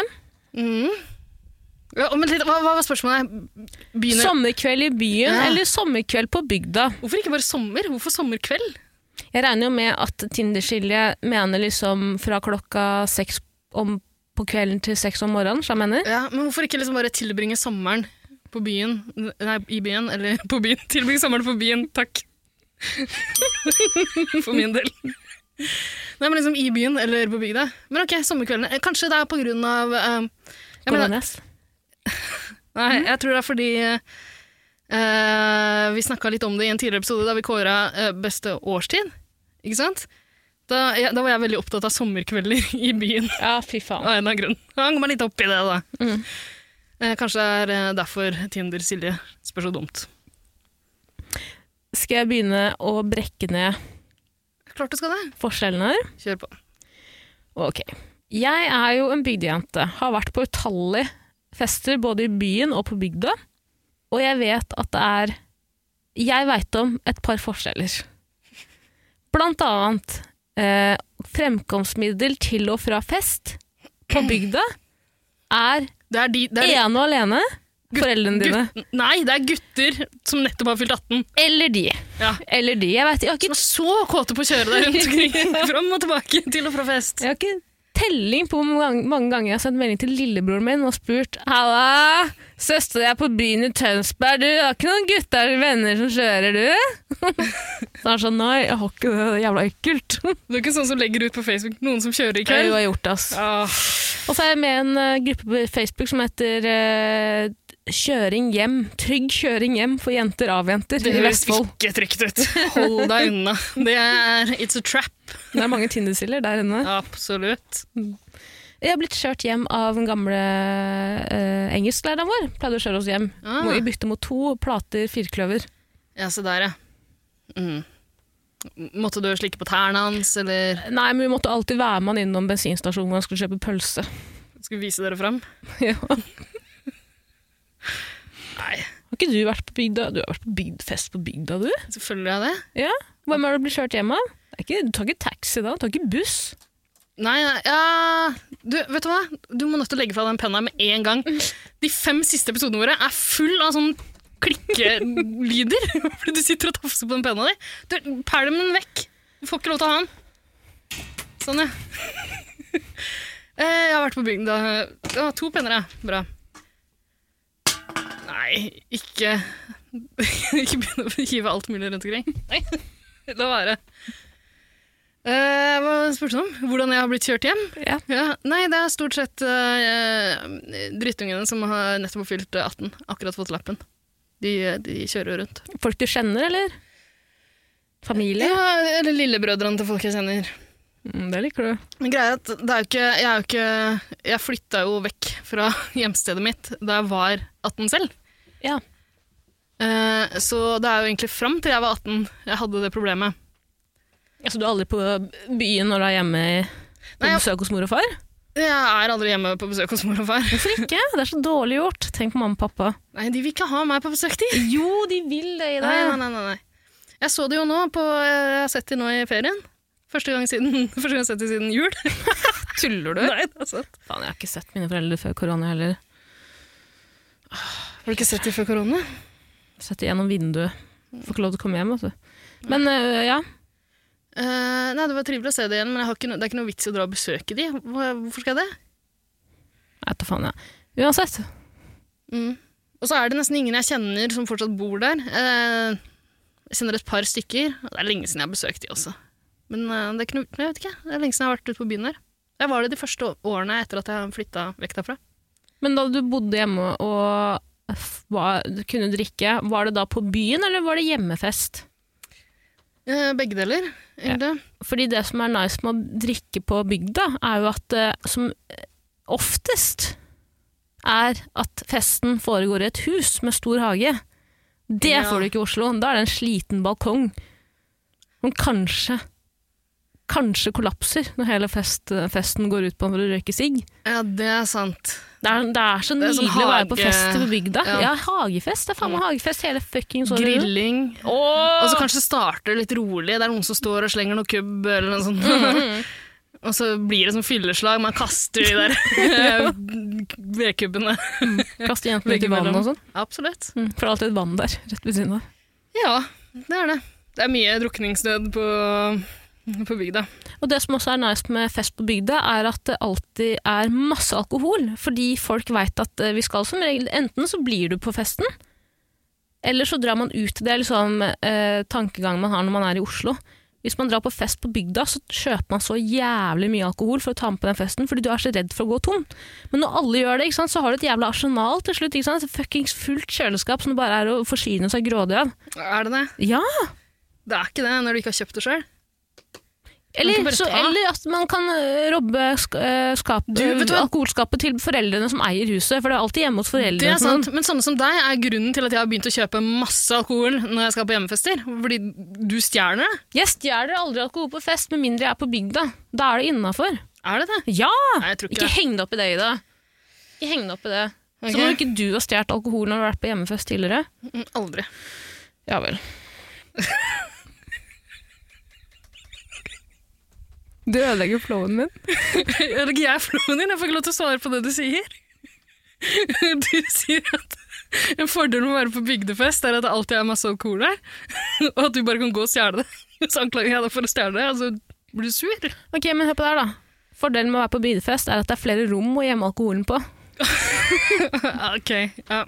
[SPEAKER 3] Ja, men litt, hva, hva var spørsmålet? Begynner.
[SPEAKER 5] Sommerkveld i byen
[SPEAKER 3] Ja.
[SPEAKER 5] eller sommerkveld på bygda?
[SPEAKER 3] Hvorfor ikke bare sommer? Hvorfor sommerkveld?
[SPEAKER 5] Jeg regner jo med at Tinder-skillet mener liksom fra klokka seks om på kvelden til seks om morgenen, som jeg mener.
[SPEAKER 3] Ja, men hvorfor ikke liksom bare tilbringe sommeren på byen? Nei, i byen, eller på byen. Tilbringe sommeren på byen, takk. For min del. Nei, men liksom i byen eller på bygda. Men ok, sommerkveldene. Eh, Kanskje det er på grunn av eh, jeg mener-
[SPEAKER 5] Kolonias.
[SPEAKER 3] Nei, jeg tror det er fordi eh, vi snakka litt om det i en tidligere episode da vi kåra eh, beste årstid. Ikke sant? Da, ja, da var jeg veldig opptatt av sommerkvelder i byen.
[SPEAKER 5] Ja, fy faen.
[SPEAKER 3] Av en eller annen grunn. Jeg Hang meg litt opp i det, da. Eh, kanskje det er eh, derfor Tinder-Silje spør så dumt.
[SPEAKER 5] Skal jeg begynne å brekke ned
[SPEAKER 3] Klart du skal det.
[SPEAKER 5] forskjellene her?
[SPEAKER 3] Kjør på.
[SPEAKER 5] Ok. Jeg er jo en bygdejente. Har vært på utallige fester, både i byen og på bygda. Og jeg vet at det er Jeg veit om et par forskjeller. Blant annet eh, fremkomstmiddel til og fra fest på bygda er
[SPEAKER 3] Det er de, det er de
[SPEAKER 5] ene og alene
[SPEAKER 3] Gutt-
[SPEAKER 5] foreldrene dine.
[SPEAKER 3] gutt- Nei, det er gutter som nettopp har fylt 18.
[SPEAKER 5] Eller de.
[SPEAKER 3] Ja.
[SPEAKER 5] Eller de. Jeg, vet, jeg, har
[SPEAKER 3] Som
[SPEAKER 5] ikke,
[SPEAKER 3] er så kåte på å kjøre deg rundt omkring. Fram og tilbake, til og fra fest.
[SPEAKER 5] jeg har ikke telling på hvor mange- mange ganger jeg har sendt melding til lillebroren min og spurt Halla! Søster, jeg er på byen i Tønsberg. Du, har ikke noen gutter eller venner som kjører, du? Så han er sånn Nei, jeg har ikke det. Det er jævla ekkelt.
[SPEAKER 3] Du er ikke sånn som legger ut på Facebook noen som kjører i
[SPEAKER 5] Jeg har
[SPEAKER 3] kveld?
[SPEAKER 5] jo gjort det, ass.
[SPEAKER 3] Ah,
[SPEAKER 5] Og så er jeg med i en eh, gruppe på Facebook som heter eh, Kjøring hjem. Trygg kjøring hjem for jenter av jenter
[SPEAKER 3] det
[SPEAKER 5] i
[SPEAKER 3] høres
[SPEAKER 5] Vestfold.
[SPEAKER 3] ikke trygt ut. Hold deg unna. Det er It's a trap.
[SPEAKER 5] Det er mange Tinder-stiller der inne.
[SPEAKER 3] Absolutt.
[SPEAKER 5] Jeg har blitt kjørt hjem av den gamle uh, engelsklæreren vår. Pleide å kjøre oss hjem.
[SPEAKER 3] Ah.
[SPEAKER 5] Må vi bytte mot to plater firkløver.
[SPEAKER 3] Ja, se der, ja. Mm. Måtte du slikke på tærne hans, eller
[SPEAKER 5] Nei, men vi måtte alltid være med han innom bensinstasjonen hvor han skulle kjøpe pølse.
[SPEAKER 3] skulle vise dere fram?
[SPEAKER 5] Ja. har
[SPEAKER 3] Nei,
[SPEAKER 5] ikke du vært på bygda? Du har vært på bygdfest på bygda, du?
[SPEAKER 3] selvfølgelig har jeg det.
[SPEAKER 5] Ja. Hvem er det du blir kjørt hjem av? Det er ikke, du tar ikke taxi da, du tar ikke buss.
[SPEAKER 3] Nei, nei, ja du, Vet du hva? Du må nødt til å legge fra den penna med en gang. De fem siste episodene våre er full av sånn klikkelyder. Fordi du sitter og tafser på den penna di. Du, Pæl dem den vekk. Du får ikke lov til å ha den. Sånn, ja. Eh, Jeg har vært på bygda. Det var to penner, ja. Bra. Nei, ikke Ikke begynne å hive alt mulig rundt omkring. Nei, la være. Eh, hva spurte du om? Hvordan jeg har blitt kjørt hjem?
[SPEAKER 5] Ja.
[SPEAKER 3] Nei, det er stort sett eh, drittungene som har nettopp fylt 18, akkurat fått lappen. De, de kjører rundt.
[SPEAKER 5] Folk du kjenner, eller? Familie?
[SPEAKER 3] Ja, eller lillebrødrene til folk jeg kjenner.
[SPEAKER 5] Mm, det liker du.
[SPEAKER 3] Men Greia er at det er jo ikke, jeg er jo ikke Jeg flytta jo vekk fra hjemstedet mitt da jeg var 18 selv.
[SPEAKER 5] Ja.
[SPEAKER 3] Eh, så det er jo egentlig fram til jeg var 18 jeg hadde det problemet.
[SPEAKER 5] Altså, du er aldri på byen når du er hjemme i- på
[SPEAKER 3] Nei, jeg-
[SPEAKER 5] besøk hos mor og far?
[SPEAKER 3] Jeg er aldri hjemme på besøk hos mor og far.
[SPEAKER 5] Hvorfor ikke? Det er så dårlig gjort. Tenk på mamma og pappa.
[SPEAKER 3] Nei, de vil ikke ha meg på besøk, de.
[SPEAKER 5] Jo, de vil det i
[SPEAKER 3] Nei, nei, nei, nei, nei. Jeg så det jo nå på eh, Jeg har sett det nå i ferien. Første gang, siden, første gang jeg har sett det siden jul.
[SPEAKER 5] Tuller
[SPEAKER 3] Nei, det er sant.
[SPEAKER 5] Faen, jeg har ikke sett mine foreldre før korona heller.
[SPEAKER 3] Har du ikke sett det før korona?
[SPEAKER 5] Sett det gjennom vinduet. Får ikke lov til å komme hjem, altså. Men øh, ja,
[SPEAKER 3] Eh, nei, Det var trivelig å se det igjen, men jeg har ikke no, det er ikke noe vits i å dra og besøke de. Hva- Hvorfor skal jeg det?
[SPEAKER 5] jeg vet da faen, jeg. Uansett.
[SPEAKER 3] Mm. Og så er det nesten ingen jeg kjenner som fortsatt bor der. Eh, jeg kjenner et par stykker. og Det er lenge siden jeg har besøkt de også. Men eh, det er ikke noe, jeg vet ikke, det er lenge siden jeg har vært ute på byen der. Jeg var det de første å- årene etter at jeg flytta vekk derfra.
[SPEAKER 5] Men da du bodde hjemme og f- var, du kunne drikke, var det da på byen, eller var det hjemmefest?
[SPEAKER 3] Eh, begge deler, egentlig.
[SPEAKER 5] Fordi det som er nice med å drikke på bygda, er jo at øh, som øh, oftest er at festen foregår i et hus med stor hage. Det
[SPEAKER 3] Ja.
[SPEAKER 5] får du ikke i Oslo. Da er det en sliten balkong som kanskje kanskje kollapser når hele fest, festen går ut på å røyke sigg.
[SPEAKER 3] Ja, det er sant.
[SPEAKER 5] Det er, det er så
[SPEAKER 3] Det er sånn
[SPEAKER 5] nydelig å være på
[SPEAKER 3] hage-
[SPEAKER 5] fest på bygda.
[SPEAKER 3] ja.
[SPEAKER 5] Ja. hagefest. Det er faen meg hagefest hele fuckings året. rundt.
[SPEAKER 3] Grilling. Og så kanskje starter det litt rolig. Det er noen som står og slenger noe kubb eller noe sånt. og så blir det sånn fylleslag. Man kaster de der eh, vedkubbene.
[SPEAKER 5] Kaste jentene ut i
[SPEAKER 3] Veggimellom.
[SPEAKER 5] vannet og sånn.
[SPEAKER 3] Absolutt.
[SPEAKER 5] Mm, for det er alltid et vann der, rett ved siden av.
[SPEAKER 3] Ja, det er det. Det er mye drukningsdød på på bygda.
[SPEAKER 5] Og det som også er nice med fest på bygda, er at det alltid er masse alkohol. Fordi folk veit at eh, vi skal som regel Enten så blir du på festen, eller så drar man ut. Det er liksom eh, tankegangen man har når man er i Oslo. Hvis man drar på fest på bygda, så kjøper man så jævlig mye alkohol for å ta med på den festen, fordi du er så redd for å gå tom. Men når alle gjør det, ikke sant, så har du et jævla arsenal til slutt. Ikke sant? Et Fuckings fullt kjøleskap som det bare er å forsyne seg grådig av.
[SPEAKER 3] Er det det?
[SPEAKER 5] Ja!
[SPEAKER 3] Det er ikke det når du ikke har kjøpt det sjøl. Man kan
[SPEAKER 5] Eller,
[SPEAKER 3] bare
[SPEAKER 5] så,
[SPEAKER 3] ta.
[SPEAKER 5] eller at man kan øh, robbe sk øh, skap,
[SPEAKER 3] Du, vet du hva?
[SPEAKER 5] alkoholskapet til foreldrene som eier huset, for det er sånn. alltid hjemme hos foreldrene.
[SPEAKER 3] Det er
[SPEAKER 5] til noen.
[SPEAKER 3] sant, men sånne som deg er grunnen til at jeg har begynt å kjøpe masse alkohol når jeg skal på hjemmefester. Fordi du stjeler det.
[SPEAKER 5] Jeg stjeler aldri alkohol på fest, med mindre jeg er på bygda. Da er det innafor.
[SPEAKER 3] Er det det?
[SPEAKER 5] Ja!
[SPEAKER 3] Nei, jeg tror ikke
[SPEAKER 5] Ikke
[SPEAKER 3] det.
[SPEAKER 5] heng deg opp i det, Ida. Ikke heng deg opp i det.
[SPEAKER 3] Ok.
[SPEAKER 5] Så må ikke du ha stjålet alkohol når du har vært på hjemmefest tidligere.
[SPEAKER 3] Mm, Aldri.
[SPEAKER 5] Ja vel. Du ødelegger flowen min.
[SPEAKER 3] Eller jeg er floen din, jeg får ikke lov til å svare på det du sier. Du sier at en fordel med å være på bygdefest er at det alltid er masse alkohol der, og at du bare kan gå og stjele det. Så anklager jeg deg for å stjele det, og så blir du sur.
[SPEAKER 5] Ok, men hør på det her, da. Fordelen med å være på bygdefest er at det er flere rom å gjemme alkoholen på.
[SPEAKER 3] Ja, Ok, ja.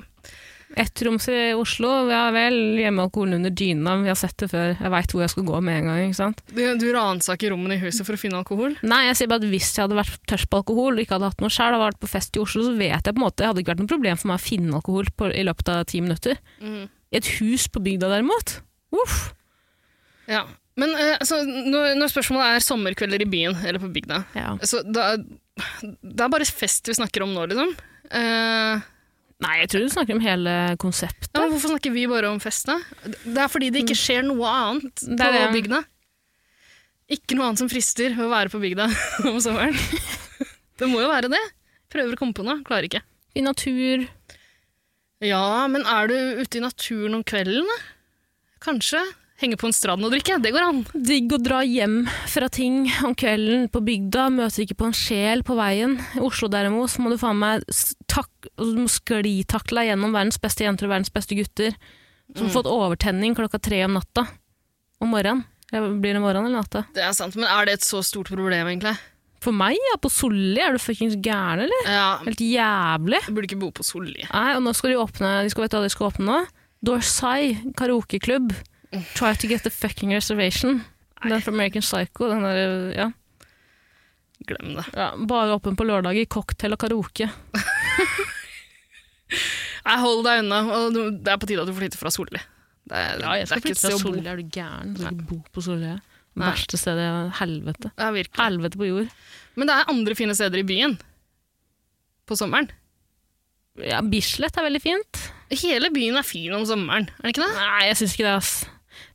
[SPEAKER 5] Ettroms i Oslo, ja vel, hjemmealkoholen under dyna, vi har sett det før, jeg veit hvor jeg skal gå med en gang, ikke sant?
[SPEAKER 3] Du, du ransaker rommene i huset for å finne alkohol.
[SPEAKER 5] Nei, jeg sier bare at hvis jeg hadde vært tørst på alkohol, og ikke hadde hatt noe sjæl, og vært på fest i Oslo, så vet jeg på en måte, det hadde ikke vært noe problem for meg å finne alkohol på, i løpet av ti minutter. I et hus på bygda derimot, uff.
[SPEAKER 3] Ja. Men eh, så, når, når spørsmålet er sommerkvelder i byen eller på bygda,
[SPEAKER 5] Ja.
[SPEAKER 3] så da, det er bare fest vi snakker om nå, liksom. Eh,
[SPEAKER 5] Nei, jeg tror du snakker om hele konseptet.
[SPEAKER 3] ja, men hvorfor snakker vi bare om fest, da? Det er fordi det ikke skjer noe annet
[SPEAKER 5] Mm. Det
[SPEAKER 3] på
[SPEAKER 5] er det.
[SPEAKER 3] bygda. Ikke noe annet som frister ved å være på bygda om sommeren. Det må jo være det. Prøver å komme på noe, klarer ikke.
[SPEAKER 5] I natur,
[SPEAKER 3] Ja, men er du ute i naturen om kvelden, da? Kanskje. Henge på en strand og drikke, det går an.
[SPEAKER 5] digg å dra hjem fra ting om kvelden på bygda, møter ikke på en sjel på veien. I Oslo derimot, så må du faen meg s- tak altså, du må sklitakle deg gjennom verdens beste jenter og verdens beste gutter, som har fått overtenning klokka tre om natta. Om morgenen. Eller Blir det morgen eller natta?
[SPEAKER 3] Det er sant, men er det et så stort problem, egentlig?
[SPEAKER 5] For meg, ja, på Solli, er du fuckings gæren, eller?
[SPEAKER 3] Ja,
[SPEAKER 5] Helt jævlig.
[SPEAKER 3] Jeg burde ikke bo på Solli.
[SPEAKER 5] Nei, og nå skal de åpne, de skal vet du hva de skal åpne nå? Dorsai karaokeklubb. Try to get the fucking reservation. Den fra American Psycho, den der, ja.
[SPEAKER 3] Glem det.
[SPEAKER 5] Ja, bare åpen på lørdager, cocktail og karaoke.
[SPEAKER 3] Nei, hold deg unna. og du- Det er på tide at du flytter fra Solli. Det, er- det er ikke et sted å bo.
[SPEAKER 5] Solli, er du gæren? Jeg skal ikke bo på Solli. Det
[SPEAKER 3] Nei.
[SPEAKER 5] verste stedet i helvete.
[SPEAKER 3] Ja, virkelig.
[SPEAKER 5] Helvete på jord.
[SPEAKER 3] Men det er andre fine steder i byen. På sommeren.
[SPEAKER 5] Ja, Bislett er veldig fint.
[SPEAKER 3] Hele byen er fin om sommeren, er det ikke det?
[SPEAKER 5] Nei, jeg syns ikke det, ass.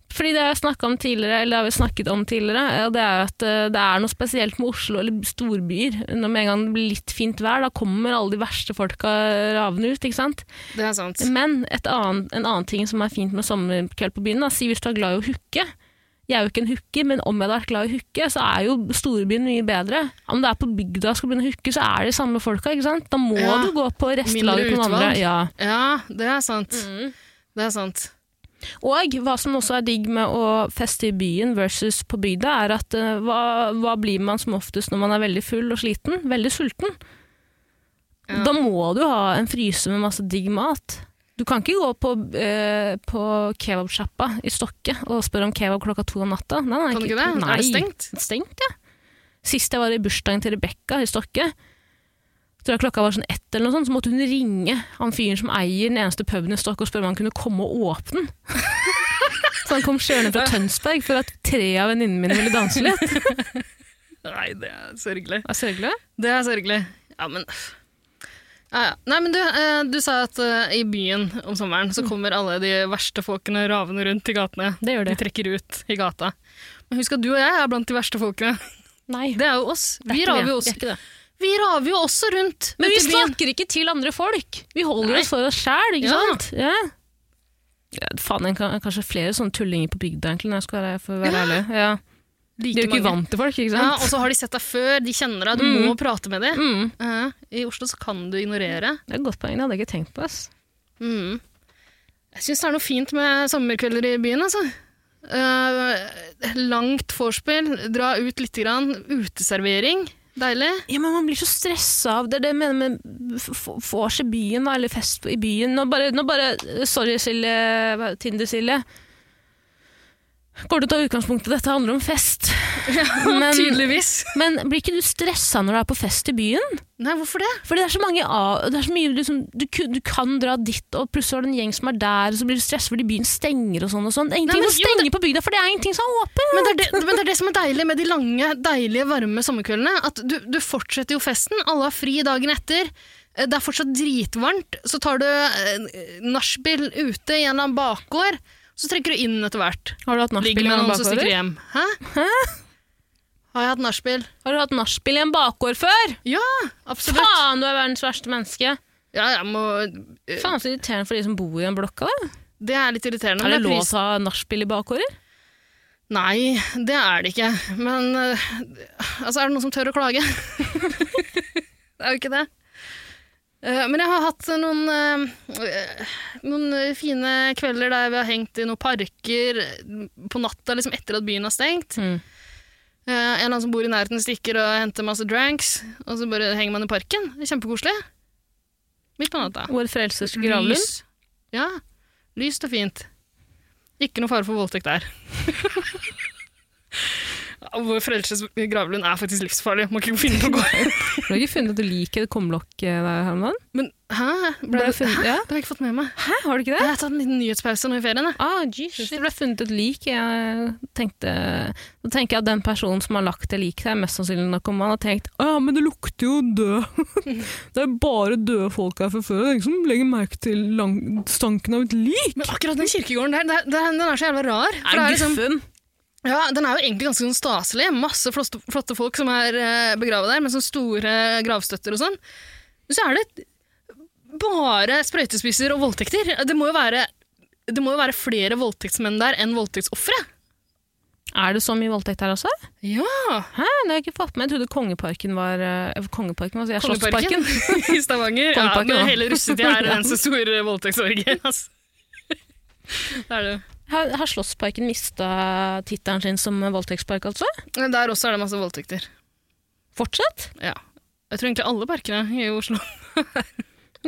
[SPEAKER 5] Fordi det har jeg snakket om tidligere, eller det har vi snakket om tidligere, ja, det er jo at eh, det er noe spesielt med Oslo eller storbyer. Når med en gang det blir litt fint vær, da kommer alle de verste folka ravende ut, ikke sant.
[SPEAKER 3] Det er sant.
[SPEAKER 5] Men et annen- en annen ting som er fint med sommerkveld på byen, da, si hvis du er glad i å hooke. Jeg er jo ikke en hooker, men om jeg hadde vært glad i å hooke, så er jo storbyen mye bedre. Om det er på bygda og skal begynne å hooke, så er det de samme folka, ikke sant? Da må
[SPEAKER 3] Ja.
[SPEAKER 5] du gå på restelaget på noen
[SPEAKER 3] utvalg.
[SPEAKER 5] andre. Ja.
[SPEAKER 3] Ja, det er sant. Det er sant.
[SPEAKER 5] Og hva som også er digg med å feste i byen versus på bygda, er at eh, hva, hva blir man som oftest når man er veldig full og sliten? Veldig sulten. Da må du ha en fryse med masse digg mat. Du kan ikke gå på, eh, på kebabsjappa i Stokke og spørre om kebab klokka to om natta. Nei, nei,
[SPEAKER 3] Kan du ikke det?
[SPEAKER 5] Nei.
[SPEAKER 3] Er det stengt?
[SPEAKER 5] Stengt, ja. Sist jeg var i bursdagen til Rebekka i Stokke, tror jeg klokka var sånn ett eller noe sånt, så måtte hun ringe han fyren som eier den eneste puben i Stokke og spørre om han kunne komme og åpne den. Så han kom kjørende fra Tønsberg for at tre av venninnene mine ville danse litt.
[SPEAKER 3] Nei, det er sørgelig.
[SPEAKER 5] Er sørgelig?
[SPEAKER 3] Det er sørgelig. Ja, men ja, ja. Nei, men du, eh, du sa at eh, i byen om sommeren så kommer alle de verste folkene ravende rundt i gatene.
[SPEAKER 5] Det gjør
[SPEAKER 3] De
[SPEAKER 5] det.
[SPEAKER 3] trekker ut i gata. Men husk at du og jeg er blant de verste folkene.
[SPEAKER 5] Nei.
[SPEAKER 3] Det er jo oss.
[SPEAKER 5] er
[SPEAKER 3] Vi
[SPEAKER 5] ikke
[SPEAKER 3] raver
[SPEAKER 5] det.
[SPEAKER 3] jo
[SPEAKER 5] Det
[SPEAKER 3] også,
[SPEAKER 5] er ikke det.
[SPEAKER 3] vi raver jo også rundt.
[SPEAKER 5] Men vi
[SPEAKER 3] ute i byen.
[SPEAKER 5] snakker ikke til andre folk. Vi holder
[SPEAKER 3] Nei.
[SPEAKER 5] oss for oss sjæl, ikke
[SPEAKER 3] Ja.
[SPEAKER 5] sant? Ja. Ja, faen, jeg kan, kanskje flere sånne tullinger på bygda, egentlig, når jeg skal være, for å være ærlig. Ja. De
[SPEAKER 3] Like
[SPEAKER 5] er jo ikke
[SPEAKER 3] mange.
[SPEAKER 5] vant til folk, ikke
[SPEAKER 3] Ja,
[SPEAKER 5] sant?
[SPEAKER 3] og så har de sett deg før, de kjenner deg, du
[SPEAKER 5] Mm.
[SPEAKER 3] må prate med dem.
[SPEAKER 5] mm.
[SPEAKER 3] Ja, I Oslo så kan du ignorere.
[SPEAKER 5] Det er et godt poeng, det hadde jeg ikke tenkt på. Ass.
[SPEAKER 3] Mm. Jeg syns det er noe fint med sommerkvelder i byen, altså. Eh, langt vorspiel, dra ut lite grann. Uteservering, deilig.
[SPEAKER 5] Ja, men man blir så stressa av det. Det er det jeg mener med f- f- vors i byen, da, eller fest i byen. Nå bare, nå bare Sorry, Silje. hva- Tinder-Silje. Går du til å ta utgangspunkt i dette handler om fest? men,
[SPEAKER 3] Tydeligvis.
[SPEAKER 5] men blir ikke du stressa når du er på fest i byen?
[SPEAKER 3] Nei, hvorfor det?
[SPEAKER 5] Fordi det er så mange av, det er så mye liksom, du, ku- du kan dra dit, og plutselig har du en gjeng som er der, og så blir du stressa fordi byen stenger og sånn. Og sånn. Det er ingenting
[SPEAKER 3] Nei, men
[SPEAKER 5] som
[SPEAKER 3] jo,
[SPEAKER 5] stenger på bygda, for det er ingenting som er åpent!
[SPEAKER 3] Men det, er det, men det er det som er deilig med de lange, deilige, varme sommerkveldene. At du, du fortsetter jo festen. Alle har fri dagen etter. Eh, Det er fortsatt dritvarmt. Så tar du eh, nachspiel ute i en eller annen bakgård. Så trekker du inn etter hvert.
[SPEAKER 5] Har du hatt nachspiel
[SPEAKER 3] Ligger
[SPEAKER 5] i
[SPEAKER 3] med
[SPEAKER 5] en
[SPEAKER 3] noen som
[SPEAKER 5] bakgård?
[SPEAKER 3] stikker
[SPEAKER 5] eller?
[SPEAKER 3] hjem. Hæ? Har jeg hatt nachspiel?
[SPEAKER 5] Har du hatt nachspiel i en bakgård før?
[SPEAKER 3] Ja, absolutt.
[SPEAKER 5] Faen, du er verdens verste menneske!
[SPEAKER 3] Ja, jeg må, eh,
[SPEAKER 5] Faen så irriterende for de som bor i den blokka. Da.
[SPEAKER 3] det er litt irriterende. men
[SPEAKER 5] Er det
[SPEAKER 3] er
[SPEAKER 5] lov å
[SPEAKER 3] pris-
[SPEAKER 5] ta nachspiel i bakgårder?
[SPEAKER 3] Nei, det er det ikke. Men eh, altså, er det noen som tør å klage? det er jo ikke det. Eh, men jeg har hatt noen, eh, noen fine kvelder der vi har hengt i noen parker på natta liksom etter at byen har stengt.
[SPEAKER 5] Mm.
[SPEAKER 3] Eh, en eller annen som bor i nærheten stikker og henter masse dranks, og så bare henger man i parken. Det er kjempekoselig. Midt på natta.
[SPEAKER 5] Vår frelsers gravlund?
[SPEAKER 3] Lys. Ja. Lyst og fint. Ikke noe fare for voldtekt der. Ja, Vår frelses gravlund er faktisk livsfarlig. Må ikke finne på å gå
[SPEAKER 5] Du har ikke funnet at du liker det kumlokket der, Herman?
[SPEAKER 3] Men hæ? Ble
[SPEAKER 5] Ble
[SPEAKER 3] det,
[SPEAKER 5] funnet-
[SPEAKER 3] hæ?
[SPEAKER 5] ja.
[SPEAKER 3] Det har jeg ikke fått med meg.
[SPEAKER 5] Hæ, har du ikke
[SPEAKER 3] Jeg har tatt en liten nyhetspause nå i ferien. jeg.
[SPEAKER 5] Ah, Jesus. Det ble funnet et lik. Jeg tenkte, da tenker jeg at den personen som har lagt det liket der, mest sannsynlig narkoman, har tenkt «Ah, ja, men det lukter jo død. det er bare døde folk her fra før. Det er ingen som legger merke til lang, stanken av et lik.
[SPEAKER 3] Men akkurat den kirkegården der, det- det- den er så jævla rar. For det er liksom, ja, den er jo egentlig ganske sånn staselig. Masse flotte, flotte folk som er eh, begravet der, med sånne store gravstøtter og sånn. Men så er det bare sprøytespisser og voldtekter. Det må jo være, det må jo være flere voldtektsmenn der enn voldtektsofre.
[SPEAKER 5] Er det så mye voldtekt her også?
[SPEAKER 3] Ja!
[SPEAKER 5] Hæ, det har jeg ikke fått med. Jeg trodde Kongeparken var eh, Kongeparken, hva sier jeg? Slottsparken.
[SPEAKER 3] Kongeparken i Stavanger. Ja,
[SPEAKER 5] Kongeparken, ja.
[SPEAKER 3] men hele russetida er en så stor voldtektsorgie. Altså. Det er det.
[SPEAKER 5] Har, har Slottsparken mista tittelen sin som voldtektspark, altså?
[SPEAKER 3] Men Der også er det masse voldtekter.
[SPEAKER 5] Fortsatt?
[SPEAKER 3] Ja. Jeg tror egentlig alle parkene i Oslo.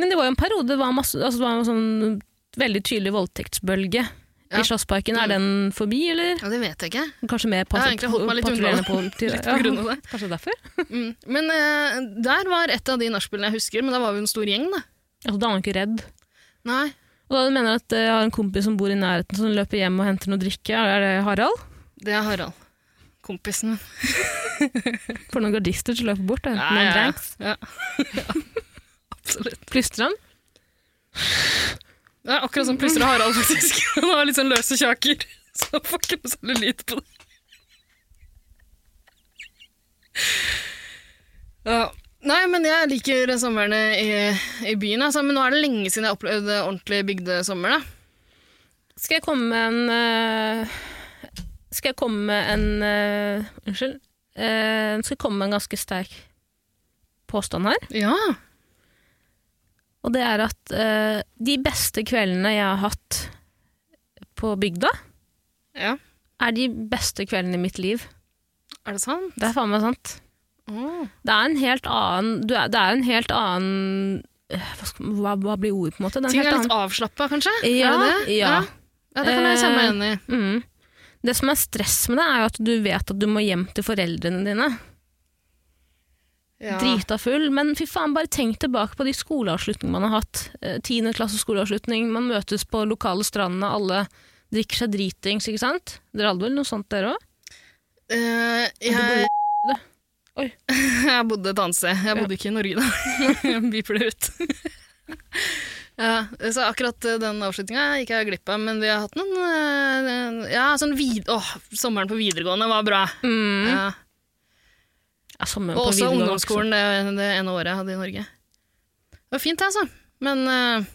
[SPEAKER 5] Men det var jo en periode det var, masse, altså det var en sånn veldig tydelig voldtektsbølge
[SPEAKER 3] Ja.
[SPEAKER 5] i Slottsparken. Er den forbi, eller?
[SPEAKER 3] Ja, Det vet jeg ikke.
[SPEAKER 5] Kanskje mer
[SPEAKER 3] Jeg har
[SPEAKER 5] patruljerende
[SPEAKER 3] egentlig holdt meg litt unna det.
[SPEAKER 5] politi?
[SPEAKER 3] Litt på grunn av det.
[SPEAKER 5] Ja, Kanskje derfor?
[SPEAKER 3] Mm. Men eh, der var et av de nachspielene jeg husker, men da var vi en stor gjeng, da.
[SPEAKER 5] Altså, da er man ikke redd.
[SPEAKER 3] Nei.
[SPEAKER 5] Og da du mener at eh, jeg har en kompis som bor i nærheten, som løper hjem og henter noe drikke. Er det Harald?
[SPEAKER 3] Det er Harald. Kompisen min.
[SPEAKER 5] For noen gardister som løper bort og henter
[SPEAKER 3] Ja,
[SPEAKER 5] noen
[SPEAKER 3] ja, ja.
[SPEAKER 5] drinks.
[SPEAKER 3] Ja. Absolutt.
[SPEAKER 5] Plystrer han?
[SPEAKER 3] Det er akkurat som plystrer Harald, faktisk. Han har litt sånn løse kjaker. Så han får ikke noe cellulitt på det. Ja. Nei, men jeg liker somrene i, i byen, altså. Men nå er det lenge siden jeg har opplevd ordentlig bygdesommer, da.
[SPEAKER 5] Skal jeg komme med en eh, Skal jeg komme med en eh, Unnskyld. Eh, skal jeg komme med en ganske sterk påstand her.
[SPEAKER 3] Ja.
[SPEAKER 5] Og det er at eh, de beste kveldene jeg har hatt på bygda,
[SPEAKER 3] ja.
[SPEAKER 5] er de beste kveldene i mitt liv.
[SPEAKER 3] Er det sant?
[SPEAKER 5] Det er faen meg sant.
[SPEAKER 3] Åh.
[SPEAKER 5] Det er en helt annen du er, Det er en helt annen øh, hva, skal, hva, hva blir ordet, på en måte? Det er en
[SPEAKER 3] Ting
[SPEAKER 5] helt
[SPEAKER 3] er litt
[SPEAKER 5] annen,
[SPEAKER 3] avslappa, kanskje?
[SPEAKER 5] Ja,
[SPEAKER 3] er det det?
[SPEAKER 5] ja.
[SPEAKER 3] Ja, det kan jeg kjenne meg igjen i.
[SPEAKER 5] mm. Det som er stress med det, er jo at du vet at du må hjem til foreldrene dine.
[SPEAKER 3] Ja.
[SPEAKER 5] Drita full. Men fy faen, bare tenk tilbake på de skoleavslutningene man har hatt. Eh, Tiende klasse skoleavslutning, man møtes på lokale strandene, alle drikker seg dritings, ikke sant? Dere hadde vel noe sånt, dere òg?
[SPEAKER 3] Eh, jeg, jeg bodde et annet sted. Jeg bodde ikke i Norge, da. Jeg Biper det ut. ja, så akkurat eh, den avslutninga gikk jeg glipp av, men vi har hatt noen eh, Ja, sånn vid... Åh, sommeren på videregående var bra.
[SPEAKER 5] Mm.
[SPEAKER 3] Ja.
[SPEAKER 5] Ja, sommeren på
[SPEAKER 3] Og også
[SPEAKER 5] videregående
[SPEAKER 3] ungdomsskolen det, det ene året jeg hadde i Norge. Det var fint, det, altså. Men, eh,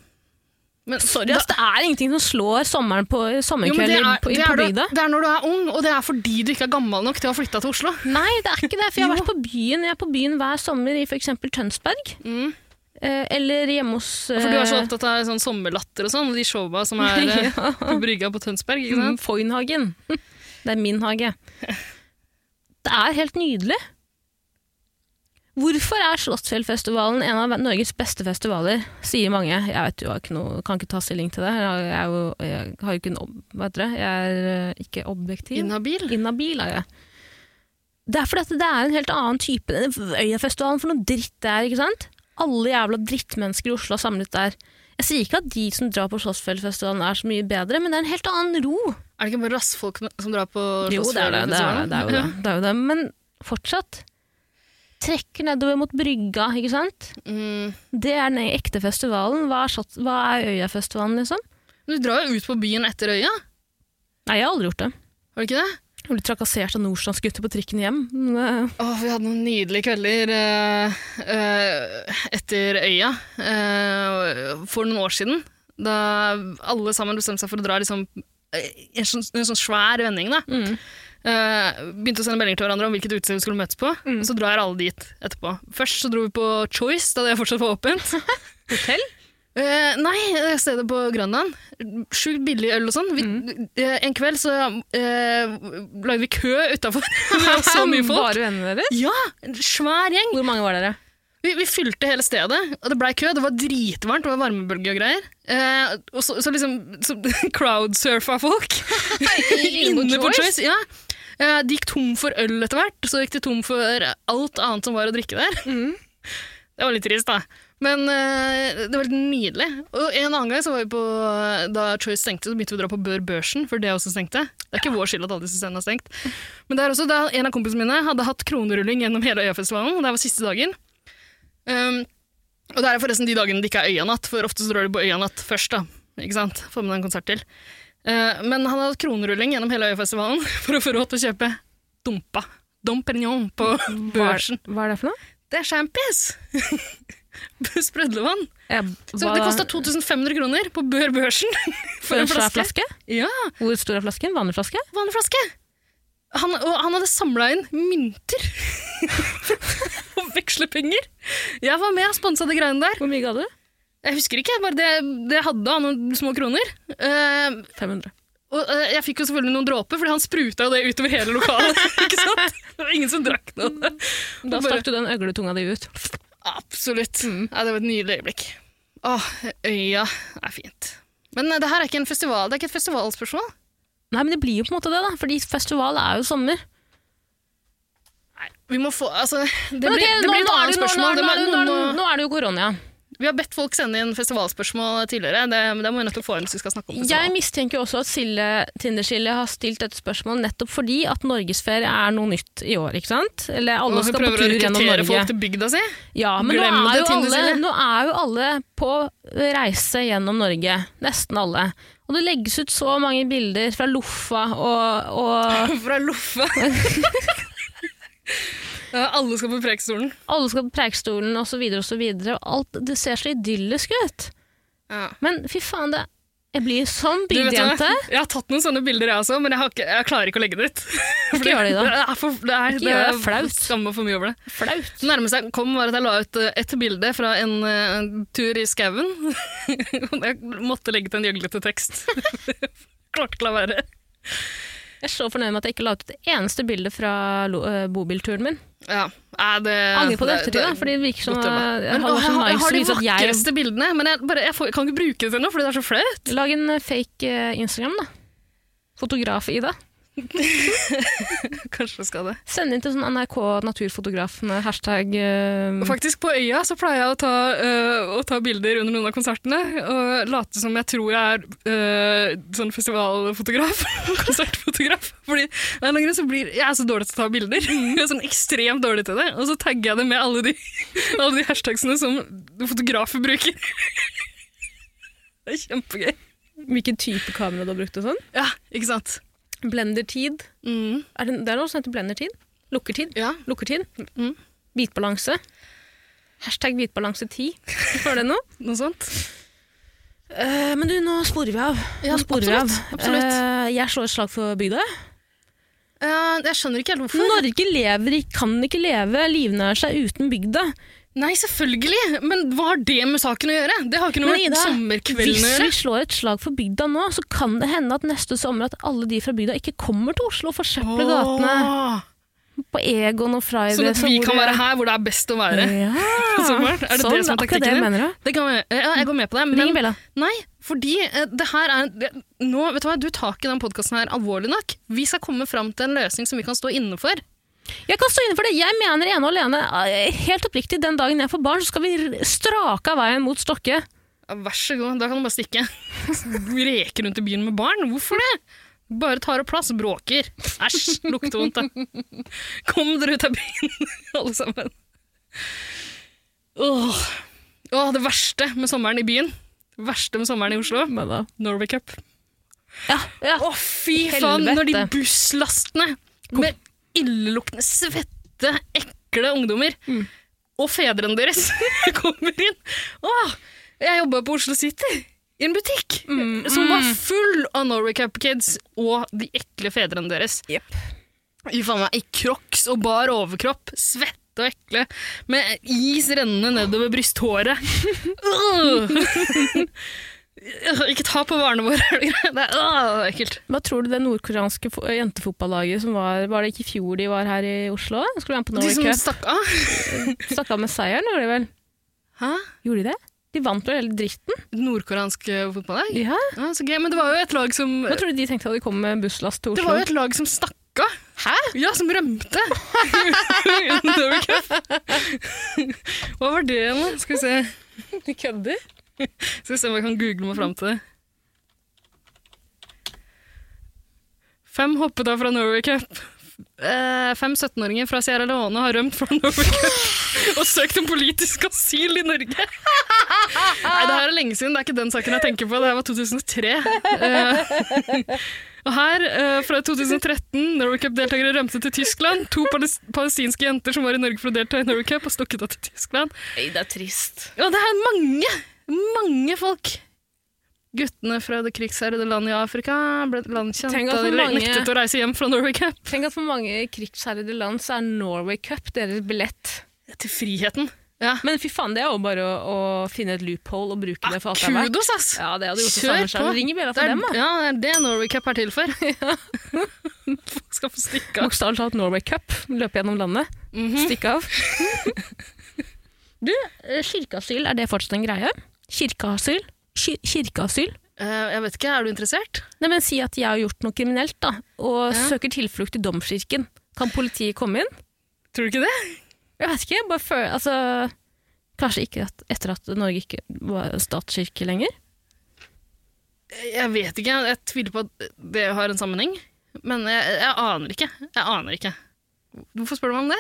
[SPEAKER 3] men
[SPEAKER 5] Sorry, ass, det er ingenting som slår sommeren på
[SPEAKER 3] jo, men det,
[SPEAKER 5] sommerkvelder
[SPEAKER 3] er,
[SPEAKER 5] på, i-
[SPEAKER 3] det,
[SPEAKER 5] på
[SPEAKER 3] er du,
[SPEAKER 5] bygda.
[SPEAKER 3] det er når du er ung, og det er fordi du ikke er gammel nok til å ha flytta til Oslo.
[SPEAKER 5] Nei, det er ikke det. For jeg har vært på byen Jeg er på byen hver sommer i f.eks. Tønsberg.
[SPEAKER 3] Mm.
[SPEAKER 5] Eh, eller hjemme hos eh,
[SPEAKER 3] For du er så opptatt av sånn sommerlatter og sånn, og de showa som er eh, på brygga på Tønsberg. ikke
[SPEAKER 5] Mm.
[SPEAKER 3] sant?
[SPEAKER 5] Foynhagen. Det er min hage. Det er helt nydelig. Hvorfor er Slottsfjellfestivalen en av Norges beste festivaler, sier mange. Jeg vet jo, jeg har ikke noe, kan ikke ta stilling til det. Jeg, er jo- jeg har jo ikke en ob, hva heter det? Jeg er eh, ikke objektiv.
[SPEAKER 3] Inhabil.
[SPEAKER 5] Inhabil er jeg. Det er fordi at det er en helt annen type. Øyafestivalen for noe dritt det er, ikke sant? Alle jævla drittmennesker i Oslo er samlet der. Jeg sier ikke at de som drar på Slottsfjellfestivalen er så mye bedre, men det er en helt annen ro.
[SPEAKER 3] Er det ikke bare rassfolk som drar på
[SPEAKER 5] Jo, det er det. det, er det, det, er jo det. det, er jo det. Men fortsatt. Trekker nedover mot brygga, ikke sant?
[SPEAKER 3] Mm.
[SPEAKER 5] Det er den ekte festivalen. Hva er, Slotts- hva er Øyafestivalen, liksom?
[SPEAKER 3] Men Du drar jo ut på byen etter øya,
[SPEAKER 5] Nei, jeg har aldri gjort det.
[SPEAKER 3] har du ikke det?
[SPEAKER 5] Jeg ble trakassert av nordstrandsgutter på trikken hjem. Men, eh,
[SPEAKER 3] Å, vi hadde noen nydelige kvelder eh, eh, etter øya eh, for noen år siden. Da alle sammen bestemte seg for å dra liksom, eh, en, sånn, en sånn svær vending. Da. Eh, begynte å sende meldinger til hverandre om hvilket utested vi skulle møtes på. Og så drar alle dit etterpå. Først så dro vi på Choice, da det fortsatt var åpent.
[SPEAKER 5] Hotell?
[SPEAKER 3] Eh, nei, det er stedet på Grønland. Sjukt billig øl og sånn. Vi, eh, en kveld så eh, lagde vi kø utafor. Det var så mye folk.
[SPEAKER 5] Bare vennene deres?
[SPEAKER 3] Ja, en svær gjeng.
[SPEAKER 5] Hvor mange var dere?
[SPEAKER 3] Vi, vi fylte hele stedet, og det blei kø. Det var dritvarmt, det var varmebølge og greier. Eh, og så, så liksom så crowdsurfa folk
[SPEAKER 5] på
[SPEAKER 3] inne på
[SPEAKER 5] Choice?
[SPEAKER 3] Choice. Ja. Eh, de gikk tom for øl etter hvert, så gikk de tom for alt annet som var å drikke der. Det var litt trist, da. Men eh, det var litt nydelig. Og en annen gang så var vi på, da Choice stengte, så begynte vi å dra på Bør Børsen, for det også stengte. Det er ikke vår skyld at alle disse stedene har stengt. Men der også, da en av kompisene mine hadde hatt kronerulling gjennom hele Øyafestivalen, og det var siste dagen. Um, og det er forresten de dagene det ikke er Øyanatt, for ofte så drar de på Øyanatt først, da. Ikke sant? Får med deg en konsert til. Eh, men han hadde hatt kronerulling gjennom hele Øyafestivalen for å få råd til å kjøpe Dumpa. Dom Perignon på
[SPEAKER 5] Hva
[SPEAKER 3] børsen.
[SPEAKER 5] er, hva er det for noe?
[SPEAKER 3] Det er champis! Sprødlevann.
[SPEAKER 5] Jeg,
[SPEAKER 3] Så
[SPEAKER 5] hva-
[SPEAKER 3] det kosta 2500 kroner på Bør Børsen for en
[SPEAKER 5] svær
[SPEAKER 3] flaske. Ja,
[SPEAKER 5] Hvor stor er flasken? Vanlig flaske?
[SPEAKER 3] vanlig flaske. Han, og han hadde samla inn mynter og vekslepenger. Jeg var med og sponsa de greiene der.
[SPEAKER 5] Hvor mye ga du?
[SPEAKER 3] Jeg husker ikke, bare det, det hadde av noen små kroner. Eh,
[SPEAKER 5] 500.
[SPEAKER 3] og eh, jeg fikk jo selvfølgelig noen dråper, fordi han spruta jo det utover hele lokalet. ikke sant? Det var ingen som drakk noe.
[SPEAKER 5] Mm. Da Mm.
[SPEAKER 3] Bare-
[SPEAKER 5] stakk du den øgletunga di ut.
[SPEAKER 3] Absolutt. Ja, det var et nydelig øyeblikk. Åh, øya er fint. Men eh, det her er ikke en festival, det er ikke et festivalspørsmål.
[SPEAKER 5] Nei, men det blir jo på en måte det, da. Fordi festival er jo sommer.
[SPEAKER 3] Vi må få, altså, det
[SPEAKER 5] Men
[SPEAKER 3] blir,
[SPEAKER 5] ok,
[SPEAKER 3] det
[SPEAKER 5] nå-
[SPEAKER 3] blir et
[SPEAKER 5] nå er det
[SPEAKER 3] annet
[SPEAKER 5] jo- nå er
[SPEAKER 3] spørsmål.
[SPEAKER 5] det-
[SPEAKER 3] Det må-
[SPEAKER 5] nå er det- nå er det-
[SPEAKER 3] noen må-
[SPEAKER 5] Nå er det jo korona.
[SPEAKER 3] Vi har bedt folk sende inn festivalspørsmål tidligere, det, men det må vi nødt til å få inn hvis vi skal snakke om festival.
[SPEAKER 5] Jeg mistenker jo også at Silje Tinderskille har stilt dette spørsmålet nettopp fordi at norgesferie er noe nytt i år, ikke sant? Eller alle
[SPEAKER 3] Og vi
[SPEAKER 5] skal på
[SPEAKER 3] prøver å
[SPEAKER 5] tur gjennom
[SPEAKER 3] rekruttere folk
[SPEAKER 5] Norge.
[SPEAKER 3] til bygda si.
[SPEAKER 5] Ja, men nå
[SPEAKER 3] Glem
[SPEAKER 5] er,
[SPEAKER 3] det,
[SPEAKER 5] jo alle,
[SPEAKER 3] Tinder-Silje.
[SPEAKER 5] nå er jo alle på reise gjennom Norge. Nesten alle. Og det legges ut så mange bilder fra Loffa og, og
[SPEAKER 3] Fra Loffe. Ja, Alle skal på Preikestolen.
[SPEAKER 5] alle skal på Preikestolen osv. Og, så videre, og, så videre, og alt det ser så idyllisk ut.
[SPEAKER 3] Ja.
[SPEAKER 5] Men fy faen, det, jeg blir sånn
[SPEAKER 3] Du, vet du hva?
[SPEAKER 5] bygdejente.
[SPEAKER 3] Jeg har tatt noen sånne bilder, jeg også, men jeg, har ikke, jeg klarer ikke å legge det ut. Fordi
[SPEAKER 5] gjør det, da.
[SPEAKER 3] er for, det er,
[SPEAKER 5] Ikke gjør det,
[SPEAKER 3] er
[SPEAKER 5] flaut.
[SPEAKER 3] Skammer for mye over det.
[SPEAKER 5] Flaut.
[SPEAKER 3] Det nærmeste jeg kom, var at jeg la ut eh, et bilde fra en eh, en tur i skauen. Og jeg måtte legge til en gjøglete tekst. Klarte ikke la være.
[SPEAKER 5] Jeg er så fornøyd med at jeg ikke la ut et eneste bilde fra lo- øh, bobilturen min.
[SPEAKER 3] Ja, nei, det,
[SPEAKER 5] Angrer på det ettertid, da, fordi det virker som
[SPEAKER 3] godt
[SPEAKER 5] øh,
[SPEAKER 3] jobba.
[SPEAKER 5] jeg har
[SPEAKER 3] Men, å,
[SPEAKER 5] vært
[SPEAKER 3] jeg,
[SPEAKER 5] så
[SPEAKER 3] har,
[SPEAKER 5] nice
[SPEAKER 3] jeg har
[SPEAKER 5] til å
[SPEAKER 3] de
[SPEAKER 5] vise at jeg
[SPEAKER 3] vakreste bildene, men jeg, bare, jeg, får, jeg kan ikke bruke det til noe, fordi det er så flaut.
[SPEAKER 5] Lag en øh, fake øh, Instagram, da. Fotograf i det.
[SPEAKER 3] Kanskje jeg skal det.
[SPEAKER 5] Send inn til sånn NRK Naturfotografen, øh, hashtag øh,
[SPEAKER 3] Og Faktisk På øya så pleier jeg å ta, øh, å ta bilder under noen av konsertene og late som jeg tror jeg er øh, sånn festivalfotograf. konsertfotograf. Fordi av en eller annen grunn så blir jeg er så dårlig til å ta bilder. Jeg er sånn ekstremt dårlig til det. Og så tagger jeg det med alle de, alle de hashtagsene som fotografer bruker. det er kjempegøy.
[SPEAKER 5] Hvilken type kamera du har brukt og sånn.
[SPEAKER 3] Ja, ikke sant?
[SPEAKER 5] Blendertid.
[SPEAKER 3] Mm,
[SPEAKER 5] Er det, det er noe som heter blendertid. Lukkertid.
[SPEAKER 3] ja.
[SPEAKER 5] Lukkertid.
[SPEAKER 3] Mm.
[SPEAKER 5] Hvitbalanse. Hashtag hvitbalanse 10. Var det noe?
[SPEAKER 3] Noe sånt.
[SPEAKER 5] Eh, men du, nå sporer vi av.
[SPEAKER 3] Ja,
[SPEAKER 5] nå sporer vi
[SPEAKER 3] absolutt,
[SPEAKER 5] av.
[SPEAKER 3] absolutt.
[SPEAKER 5] Eh, jeg slår et slag for bygda. jeg.
[SPEAKER 3] Eh, jeg skjønner ikke helt hvorfor.
[SPEAKER 5] Norge lever, i- kan ikke leve, livnære seg uten bygda.
[SPEAKER 3] Nei, selvfølgelig! Men hva har det med saken å gjøre? Det har ikke noe
[SPEAKER 5] Men
[SPEAKER 3] med
[SPEAKER 5] Ida,
[SPEAKER 3] sommerkvelden
[SPEAKER 5] Hvis
[SPEAKER 3] å
[SPEAKER 5] vi
[SPEAKER 3] gjøre.
[SPEAKER 5] slår et slag for bygda nå, så kan det hende at neste sommer at alle de fra bygda ikke kommer til Oslo og forsøpler gatene
[SPEAKER 3] Åh,
[SPEAKER 5] på Egon og Fridays.
[SPEAKER 3] Sånn at
[SPEAKER 5] og
[SPEAKER 3] vi
[SPEAKER 5] hvor
[SPEAKER 3] kan
[SPEAKER 5] det-
[SPEAKER 3] være her hvor det er best å være.
[SPEAKER 5] Ja.
[SPEAKER 3] Sommeren? Er det
[SPEAKER 5] sånn,
[SPEAKER 3] det som er
[SPEAKER 5] akkurat det
[SPEAKER 3] taktikken din?
[SPEAKER 5] mener du?
[SPEAKER 3] Det kan være. Ja, jeg går med på det.
[SPEAKER 5] Ring
[SPEAKER 3] Men
[SPEAKER 5] Bella.
[SPEAKER 3] nei, fordi eh, det her er det, Nå, vet du hva, du tar ikke den podkasten her alvorlig nok. Vi skal komme fram til en løsning som vi kan stå inne for.
[SPEAKER 5] Jeg kan stå inne for det. Jeg mener ene og alene, eh, helt oppriktig, den dagen jeg får barn, så skal vi r- strake av veien mot Stokke.
[SPEAKER 3] Ja, Vær så god, da kan du bare stikke. Reke rundt i byen med barn, hvorfor det? Bare tar opp plass og bråker. Æsj, lukter vondt, da. Kom dere ut av byen, alle sammen. Åh. Åh, det verste med sommeren i byen. Det verste med sommeren i Oslo. Norway Cup.
[SPEAKER 5] Ja, ja.
[SPEAKER 3] Å, fy faen,
[SPEAKER 5] Helvete.
[SPEAKER 3] når de busslastene med illeluktende, svette, ekle ungdommer og fedrene deres kommer inn. Å, jeg jobba på Oslo City. I en butikk som var full av Norway Cup Kids og de ekle fedrene deres.
[SPEAKER 5] Jep.
[SPEAKER 3] I faen meg, I crocs og bar overkropp, svette og ekle, med is rennende nedover brysthåret. Åh! Ikke ta på varene våre, er det greit? Det er åh, ekkelt.
[SPEAKER 5] Hva tror du det nordkoreanske fo- jentefotballaget som var Var det ikke i fjor de var her i Oslo? Skulle være med på
[SPEAKER 3] De
[SPEAKER 5] Norway
[SPEAKER 3] som
[SPEAKER 5] Cup.
[SPEAKER 3] stakk av?
[SPEAKER 5] Stakk av med seieren, gjorde de vel?
[SPEAKER 3] Hæ?
[SPEAKER 5] Gjorde de det? De vant vel hele dritten?
[SPEAKER 3] Nordkoreansk eh, fotballag?
[SPEAKER 5] Ja.
[SPEAKER 3] Ja, så gøy. Men det var jo et lag som
[SPEAKER 5] Hva tror du de tenkte da de kom med busslast til
[SPEAKER 3] Det var
[SPEAKER 5] Oslo?
[SPEAKER 3] jo et lag som stakk av.
[SPEAKER 5] Hæ?
[SPEAKER 3] Ja, som rømte. Under cup. Hva var det, da? Skal vi se
[SPEAKER 5] Du kødder?
[SPEAKER 3] Skal vi se om jeg kan google meg fram til det. Fem hoppet av fra Norway Cup. Eh, Fem 17-åringer fra Sierra Leone har rømt fra Norway Cup og søkt om politisk asyl i Norge. Nei, det her er lenge siden. Det er ikke den saken jeg tenker på. Det her var 2003. Eh, og her, eh, fra 2013, Norway Cup-deltakere rømte til Tyskland. To palis- palestinske jenter som var i Norge for å delta i Norway Cup, har stukket av til Tyskland.
[SPEAKER 5] Det er trist.
[SPEAKER 3] Ja, det er mange, mange folk. Guttene fra det krigsherrede landet i Afrika ble
[SPEAKER 5] Tenk
[SPEAKER 3] landkjent
[SPEAKER 5] at
[SPEAKER 3] da de
[SPEAKER 5] hvor mange-
[SPEAKER 3] nektet å reise hjem fra Norway Cup.
[SPEAKER 5] Tenk at for mange krigsherrede land så er Norway Cup deres billett.
[SPEAKER 3] Til friheten. Ja.
[SPEAKER 5] Men fy faen, det er jo bare å, å finne et loophole og bruke det for alt det er verdt.
[SPEAKER 3] Kudos, ass!
[SPEAKER 5] Ja, det hadde gjort det
[SPEAKER 3] Kjør
[SPEAKER 5] samme selv.
[SPEAKER 3] på.
[SPEAKER 5] Ring i bjella
[SPEAKER 3] Det
[SPEAKER 5] for
[SPEAKER 3] er,
[SPEAKER 5] dem, da.
[SPEAKER 3] ja, det er det Norway Cup er til for. Folk skal få stikke av.
[SPEAKER 5] Bokstavelig talt Norway Cup. Løpe gjennom landet. Stikke av. Mhm. du, eh, kirkeasyl, er det fortsatt en greie? Kirkeasyl? Ki- kirkeasyl?
[SPEAKER 3] Eh, jeg vet ikke, er du interessert?
[SPEAKER 5] Nei, men Si at jeg har gjort noe kriminelt, da, og søker tilflukt i domkirken. Kan politiet komme inn?
[SPEAKER 3] Tror du ikke det?
[SPEAKER 5] Jeg vet ikke. jeg bare føler, altså, Kanskje ikke at, etter at Norge ikke var statskirke lenger?
[SPEAKER 3] Jeg vet ikke, jeg tviler på at det har en sammenheng. Men jeg, jeg aner ikke. Jeg aner ikke. Hvorfor spør du meg om det?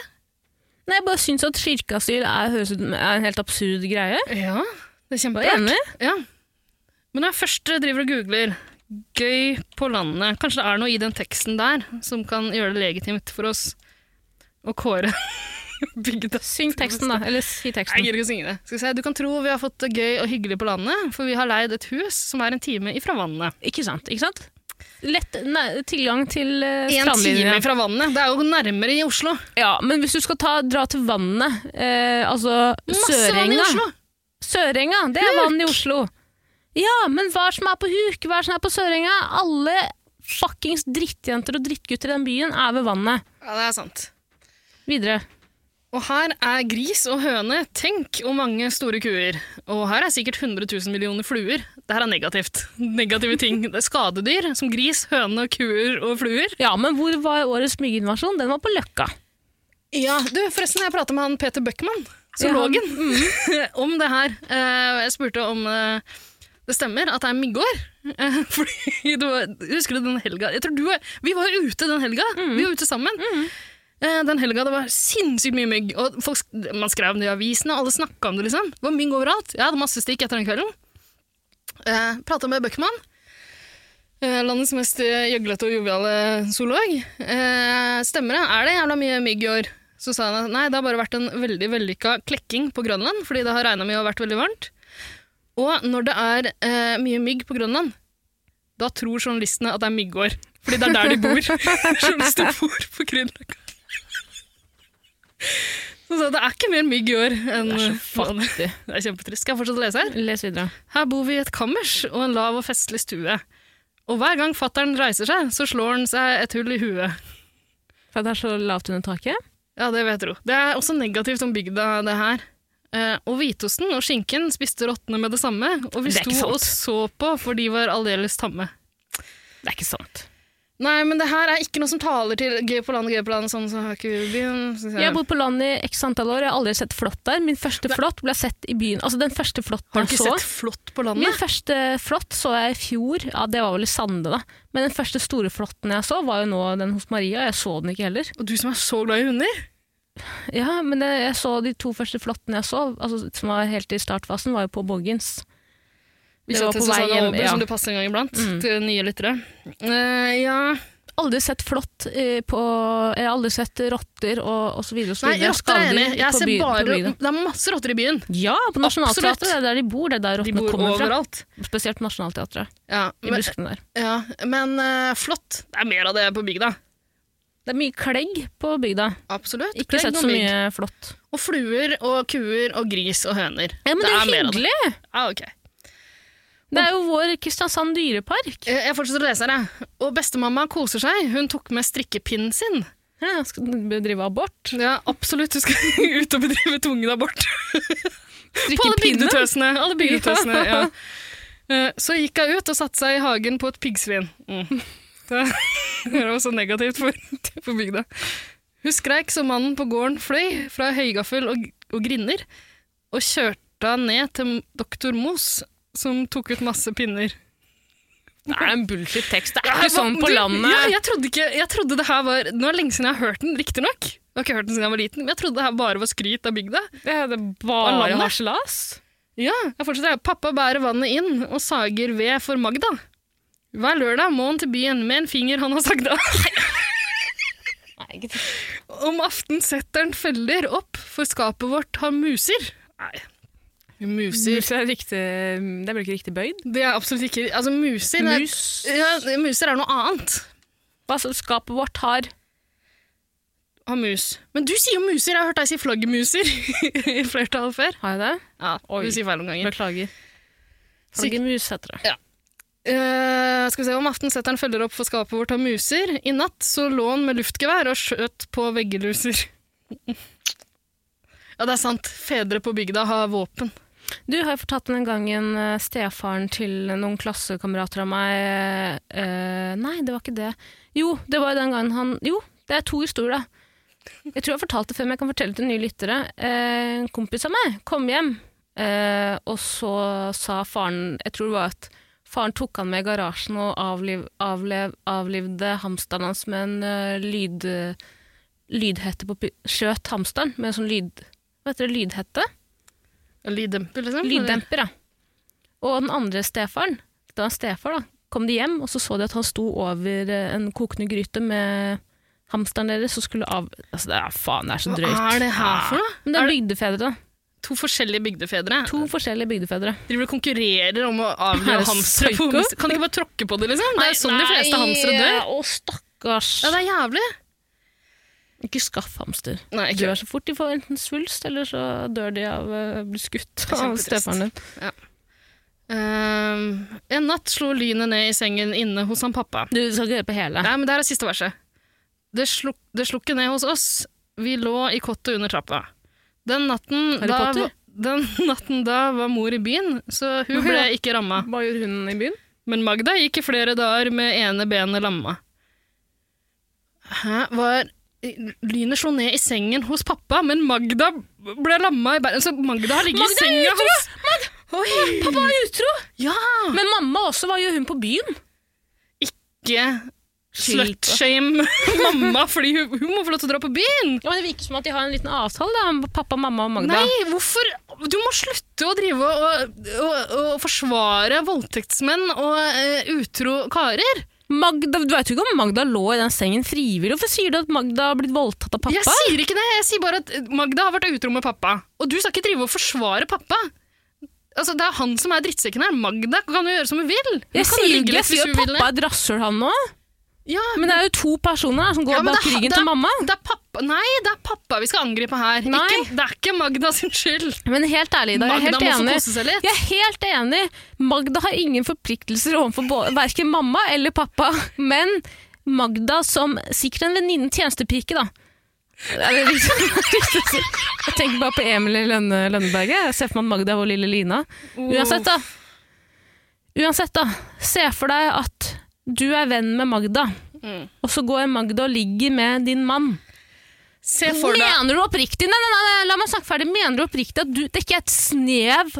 [SPEAKER 5] Nei, Jeg bare syns at kirkeasyl er, høres ut, som- er en helt absurd greie.
[SPEAKER 3] Ja, det er
[SPEAKER 5] Jeg er enig.
[SPEAKER 3] Ja. Men når jeg først driver og googler 'gøy på landet', kanskje det er noe i den teksten der som kan gjøre det legitimt for oss å kåre bygda.
[SPEAKER 5] Syng teksten, da. Eller si
[SPEAKER 3] Jeg
[SPEAKER 5] teksten.
[SPEAKER 3] gidder ikke å synge det. Skal vi se. Du kan tro vi har fått det gøy og hyggelig på landet, for vi har leid et hus som er en time ifra vannet.
[SPEAKER 5] Ikke sant? ikke sant? Lett nei, tilgang til uh,
[SPEAKER 3] En time
[SPEAKER 5] strandlinja.
[SPEAKER 3] ifra vannet! Det er jo nærmere i Oslo.
[SPEAKER 5] Ja, men hvis du skal ta, dra til vannet, eh, altså
[SPEAKER 3] Masse vann i
[SPEAKER 5] Sørenga
[SPEAKER 3] Oslo!
[SPEAKER 5] Sørenga, det er vann i Oslo. Ja, men hva er det som er på Huk, hva er det som er på Sørenga? Alle fuckings drittjenter og drittgutter i den byen er ved vannet.
[SPEAKER 3] Ja, det er sant.
[SPEAKER 5] Videre.
[SPEAKER 3] Og her er gris og høne, tenk, og mange store kuer. Og her er sikkert 100 000 millioner fluer. Dette er negativt. Negative ting. Det er skadedyr, som gris, høne, kuer og fluer.
[SPEAKER 5] Ja, men hvor var årets mygginvasjon? Den var på Løkka.
[SPEAKER 3] Ja, du, forresten, jeg pratet med han Peter Bøckmann, zoologen, om det her. Eh, Jeg spurte om eh, det stemmer at det er myggår. Eh, Fordi det var, husker du den helga? Jeg tror du, var- vi var jo ute den helga. Vi var ute sammen. Eh, Den helga det var sinnssykt mye mygg. Og folk, sk- man skrev om det i avisene, og alle snakka om det. liksom. Det var mygg overalt. Jeg hadde masse stikk etter den kvelden. Eh, Prata med Bøckmann. Eh, landets mest eh, gjøglete og joviale zoolog. Eh, stemmer det? Er det jævla mye mygg i år? Så sa han at nei, det har bare vært en veldig vellykka klekking på Grønland, fordi det har regna mye og vært veldig varmt. Og når det er eh, mye mygg på Grønland, da tror journalistene at det er myggår. Fordi det er der de bor. Journalister bor på Grønland. Så det er ikke mer mygg i år enn
[SPEAKER 5] Det er så fattig.
[SPEAKER 3] Det er kjempetrist. Skal jeg fortsette å lese her?
[SPEAKER 5] Les videre.
[SPEAKER 3] Her bor vi i et kammers og en lav og festlig stue. Og hver gang fattern reiser seg, så slår han seg et hull i huet.
[SPEAKER 5] For det er så lavt under taket.
[SPEAKER 3] Ja, det vet du. Det er også negativt om bygda, det her. Eh, og hvitosten og skinken spiste rottene med det samme, og vi
[SPEAKER 5] Det er ikke
[SPEAKER 3] sto
[SPEAKER 5] sant.
[SPEAKER 3] og så på, for de var aldeles tamme.
[SPEAKER 5] Det er ikke sant.
[SPEAKER 3] Nei, men det her er ikke noe som taler til gøy på landet, gøy på landet, sånn som har ikke vi i byen. synes jeg.
[SPEAKER 5] Jeg har bodd på landet i x antall år, jeg har aldri sett flått der. Min første flått ble sett i byen. Altså, den første flåtten
[SPEAKER 3] har du
[SPEAKER 5] jeg
[SPEAKER 3] ikke
[SPEAKER 5] så
[SPEAKER 3] sett flott på
[SPEAKER 5] Min
[SPEAKER 3] landet?
[SPEAKER 5] første flått så jeg i fjor, ja, det var vel i Sande, da. Men den første store flåtten jeg så, var jo nå den hos Maria, jeg så den ikke heller.
[SPEAKER 3] Og du som er så glad i hunder?
[SPEAKER 5] Ja, men det, jeg så de to første flåttene jeg så, altså, som var helt i startfasen, var jo på Boggins.
[SPEAKER 3] Vi
[SPEAKER 5] Det
[SPEAKER 3] skal
[SPEAKER 5] var
[SPEAKER 3] til
[SPEAKER 5] på vei
[SPEAKER 3] Susanne
[SPEAKER 5] hjem,
[SPEAKER 3] Aaber,
[SPEAKER 5] ja. Mm.
[SPEAKER 3] som du sånn passer en gang iblant, til nye lyttere. Eh, ja
[SPEAKER 5] Aldri sett flått eh, på Jeg har aldri sett rotter og, og så videre. Og så
[SPEAKER 3] Nei,
[SPEAKER 5] videre.
[SPEAKER 3] rotter er jeg enig. i. Jeg
[SPEAKER 5] på
[SPEAKER 3] ser
[SPEAKER 5] by- på
[SPEAKER 3] bare
[SPEAKER 5] bygda.
[SPEAKER 3] Det er masse rotter i byen.
[SPEAKER 5] Ja, på Nationaltheatret. Det er der de bor. Det er der
[SPEAKER 3] De
[SPEAKER 5] rottene
[SPEAKER 3] bor
[SPEAKER 5] kommer
[SPEAKER 3] overalt.
[SPEAKER 5] fra. Spesielt på Nationaltheatret.
[SPEAKER 3] Ja,
[SPEAKER 5] I
[SPEAKER 3] men,
[SPEAKER 5] buskene der.
[SPEAKER 3] ja, men eh, flott. Det er mer av det på bygda.
[SPEAKER 5] Det er mye klegg på bygda.
[SPEAKER 3] Absolutt.
[SPEAKER 5] Ikke
[SPEAKER 3] Plegg
[SPEAKER 5] sett
[SPEAKER 3] og
[SPEAKER 5] så
[SPEAKER 3] mygg.
[SPEAKER 5] mye flått.
[SPEAKER 3] Og fluer og kuer og gris og høner.
[SPEAKER 5] Ja, men det er,
[SPEAKER 3] mer av det.
[SPEAKER 5] hyggelig!
[SPEAKER 3] Ja, ok.
[SPEAKER 5] Det er jo vår Kristiansand dyrepark.
[SPEAKER 3] Eh, Jeg fortsetter å lese her, jeg. Og bestemamma koser seg. Hun tok med strikkepinnen sin.
[SPEAKER 5] Ja, skal den bedrive abort?
[SPEAKER 3] Ja, absolutt. Hun skal ut og bedrive tvungen abort. På alle
[SPEAKER 5] pinnen?
[SPEAKER 3] bygdetøsene. Alle bygdetøsene ja. Eh, Så gikk hun ut og satte seg i hagen på et piggsvin. Mm. Det det var så negativt for, for bygda. Hun skreik så mannen på gården fløy fra høygaffel og, og grinner, og kjørte han ned til doktor Mos, som tok ut masse pinner.
[SPEAKER 5] Det er en bullshit-tekst. Det er
[SPEAKER 3] Nei,
[SPEAKER 5] ikke sånn
[SPEAKER 3] hva-
[SPEAKER 5] på
[SPEAKER 3] du,
[SPEAKER 5] landet.
[SPEAKER 3] Ja, jeg trodde ikke jeg trodde det her var, Nå er det lenge siden jeg har hørt den, riktignok. Jeg har ikke hørt den siden jeg var liten, men jeg trodde det her bare var skryt av bygda.
[SPEAKER 5] Det er
[SPEAKER 3] På
[SPEAKER 5] bare
[SPEAKER 3] landet?
[SPEAKER 5] harselas.
[SPEAKER 3] Ja, jeg fortsetter. jeg. Pappa bærer vannet inn og sager ved for Magda. Hver lørdag må han til byen med en finger han har sagd av. Om aften setter han feller opp, for skapet vårt har muser. Nei, muser
[SPEAKER 5] Mus er riktig, det blir ikke riktig bøyd.
[SPEAKER 3] Det er absolutt ikke Altså, muser er-
[SPEAKER 5] Mus.
[SPEAKER 3] Ja, muser er noe annet.
[SPEAKER 5] Hva så skapet vårt har
[SPEAKER 3] Har mus. Men du sier jo muser. Jeg har hørt deg si flaggermuser i flertall før.
[SPEAKER 5] Har jeg det?
[SPEAKER 3] Ja,
[SPEAKER 5] Oi.
[SPEAKER 3] Du sier feil om gangen.
[SPEAKER 5] Beklager. Flaggermus heter det.
[SPEAKER 3] Eh, skal vi se, Om aften setter han feller opp for skapet vårt av muser. I natt så lå han med luftgevær og skjøt på veggeluser. ja, det er sant. Fedre på bygda har våpen.
[SPEAKER 5] Du har jo fortalt den gangen eh, stefaren til noen klassekamerater av meg eh, Nei, det var ikke det. Jo, det var jo den gangen han Jo, det er to historier, da. Jeg tror jeg har fortalt det før, men jeg kan fortelle til nye lyttere. Eh, En kompis av meg kom hjem, eh, og så sa faren Jeg tror det var at faren tok han med i garasjen og avliv, avlev, avlivde hamsteren hans med en eh, lyd, lydhette på pi- Skjøt hamsteren med en sånn lyd... Hva heter det? Lydhette?
[SPEAKER 3] Lyddemper,
[SPEAKER 5] Mm,
[SPEAKER 3] liksom.
[SPEAKER 5] Lyddemper, ja. Og den andre stefaren, det var en stefar, da, kom de hjem, og så så de at han sto over eh, en kokende gryte med hamsteren deres og skulle av... Altså, det er, faen, det er så
[SPEAKER 3] Hva
[SPEAKER 5] drøyt.
[SPEAKER 3] er det her for noe?
[SPEAKER 5] Men det
[SPEAKER 3] Er
[SPEAKER 5] er bygdefedre, da.
[SPEAKER 3] To forskjellige bygdefedre.
[SPEAKER 5] To forskjellige bygdefedre.
[SPEAKER 3] Driver og konkurrerer om å
[SPEAKER 5] Er
[SPEAKER 3] avlive
[SPEAKER 5] det
[SPEAKER 3] hamstere. på-
[SPEAKER 5] psyko?
[SPEAKER 3] Kan de ikke bare tråkke på det, liksom? Det er jo sånn de fleste hamstere dør.
[SPEAKER 5] Å, stakkars.
[SPEAKER 3] Ja, det er jævlig.
[SPEAKER 5] Ikke skaff hamster.
[SPEAKER 3] Nei,
[SPEAKER 5] De
[SPEAKER 3] ikke
[SPEAKER 5] dør så fort de får enten svulst, eller så dør de av å bli skutt
[SPEAKER 3] er
[SPEAKER 5] av
[SPEAKER 3] kjempetrist.
[SPEAKER 5] stefaren din.
[SPEAKER 3] Ehm, En natt slo lynet ned i sengen inne hos han pappa.
[SPEAKER 5] Du skal ikke høre på hele.
[SPEAKER 3] Nei, men det her er siste verset. Det sluk, det slukk ikke ned hos oss. Vi lå i kottet under trappa. Den natten,
[SPEAKER 5] Harry
[SPEAKER 3] da,
[SPEAKER 5] Potter?
[SPEAKER 3] den natten da var mor i byen, så hun
[SPEAKER 5] Hvorfor
[SPEAKER 3] ble
[SPEAKER 5] det?
[SPEAKER 3] ikke ramma.
[SPEAKER 5] Hva gjorde hunden i byen?
[SPEAKER 3] Men Magda gikk i flere dager med ene benet lamma. Hæ, var Lynet slo ned i sengen hos pappa, men Magda ble lamma i bæren. Så Magda har ligget i
[SPEAKER 5] Magda er
[SPEAKER 3] senga
[SPEAKER 5] utro!
[SPEAKER 3] hos Oi!
[SPEAKER 5] Pappa var utro!
[SPEAKER 3] Ja!
[SPEAKER 5] Men mamma også, hva gjør hun på byen?
[SPEAKER 3] Ikke
[SPEAKER 5] Skyld på.
[SPEAKER 3] slutshame mamma, fordi hun, hun må få lov til å dra på byen!
[SPEAKER 5] Ja, men det virker som at de har en liten avtale da, med pappa, mamma og Magda.
[SPEAKER 3] Nei, hvorfor? Du må slutte å drive og, og, og forsvare voldtektsmenn og eh, utro karer.
[SPEAKER 5] Magda, du vet jo ikke om Magda lå i den sengen frivillig. Hvorfor sier du at Magda har blitt voldtatt av
[SPEAKER 3] Jeg
[SPEAKER 5] pappa?
[SPEAKER 3] sier ikke det, jeg sier bare at Magda har vært utro med pappa. Og du skal ikke drive og forsvare pappa. Altså, Det er han som er drittsekken her. Magda kan jo gjøre som hun vil. Hun
[SPEAKER 5] Jeg
[SPEAKER 3] kan jo
[SPEAKER 5] sier
[SPEAKER 3] ligge
[SPEAKER 5] ikke
[SPEAKER 3] litt
[SPEAKER 5] jeg sier at
[SPEAKER 3] hvis hun vil
[SPEAKER 5] pappa er et rasshøl, han nå.
[SPEAKER 3] Ja,
[SPEAKER 5] Men det er jo to personer da, som går
[SPEAKER 3] Ja, men
[SPEAKER 5] bak
[SPEAKER 3] det er-
[SPEAKER 5] ryggen
[SPEAKER 3] det er-
[SPEAKER 5] til mamma.
[SPEAKER 3] det er pappa Nei, det er pappa vi skal angripe her.
[SPEAKER 5] Nei.
[SPEAKER 3] Ikke, det er ikke Magda sin skyld.
[SPEAKER 5] Men helt ærlig, da, jeg er
[SPEAKER 3] Magda
[SPEAKER 5] helt
[SPEAKER 3] må få
[SPEAKER 5] enig.
[SPEAKER 3] kose seg litt.
[SPEAKER 5] Jeg er helt enig. Magda har ingen forpliktelser overfor bå- verken mamma eller pappa. Men Magda som sikkert en venninne tjenestepike, da. Er det riktig? riktig å si? Jeg tenker bare på Emil i Lønne, Lønneberget. Jeg ser for meg at Magda er vår lille Lina. Uansett, da. Uansett, da. Se for deg at du er venn med Magda,
[SPEAKER 3] Mm.
[SPEAKER 5] og så går Magda og ligger med din mann.
[SPEAKER 3] Se for deg
[SPEAKER 5] Mener du oppriktig nei, nei, nei, nei, la meg snakke ferdig. Mener du oppriktig at du, det ikke er et snev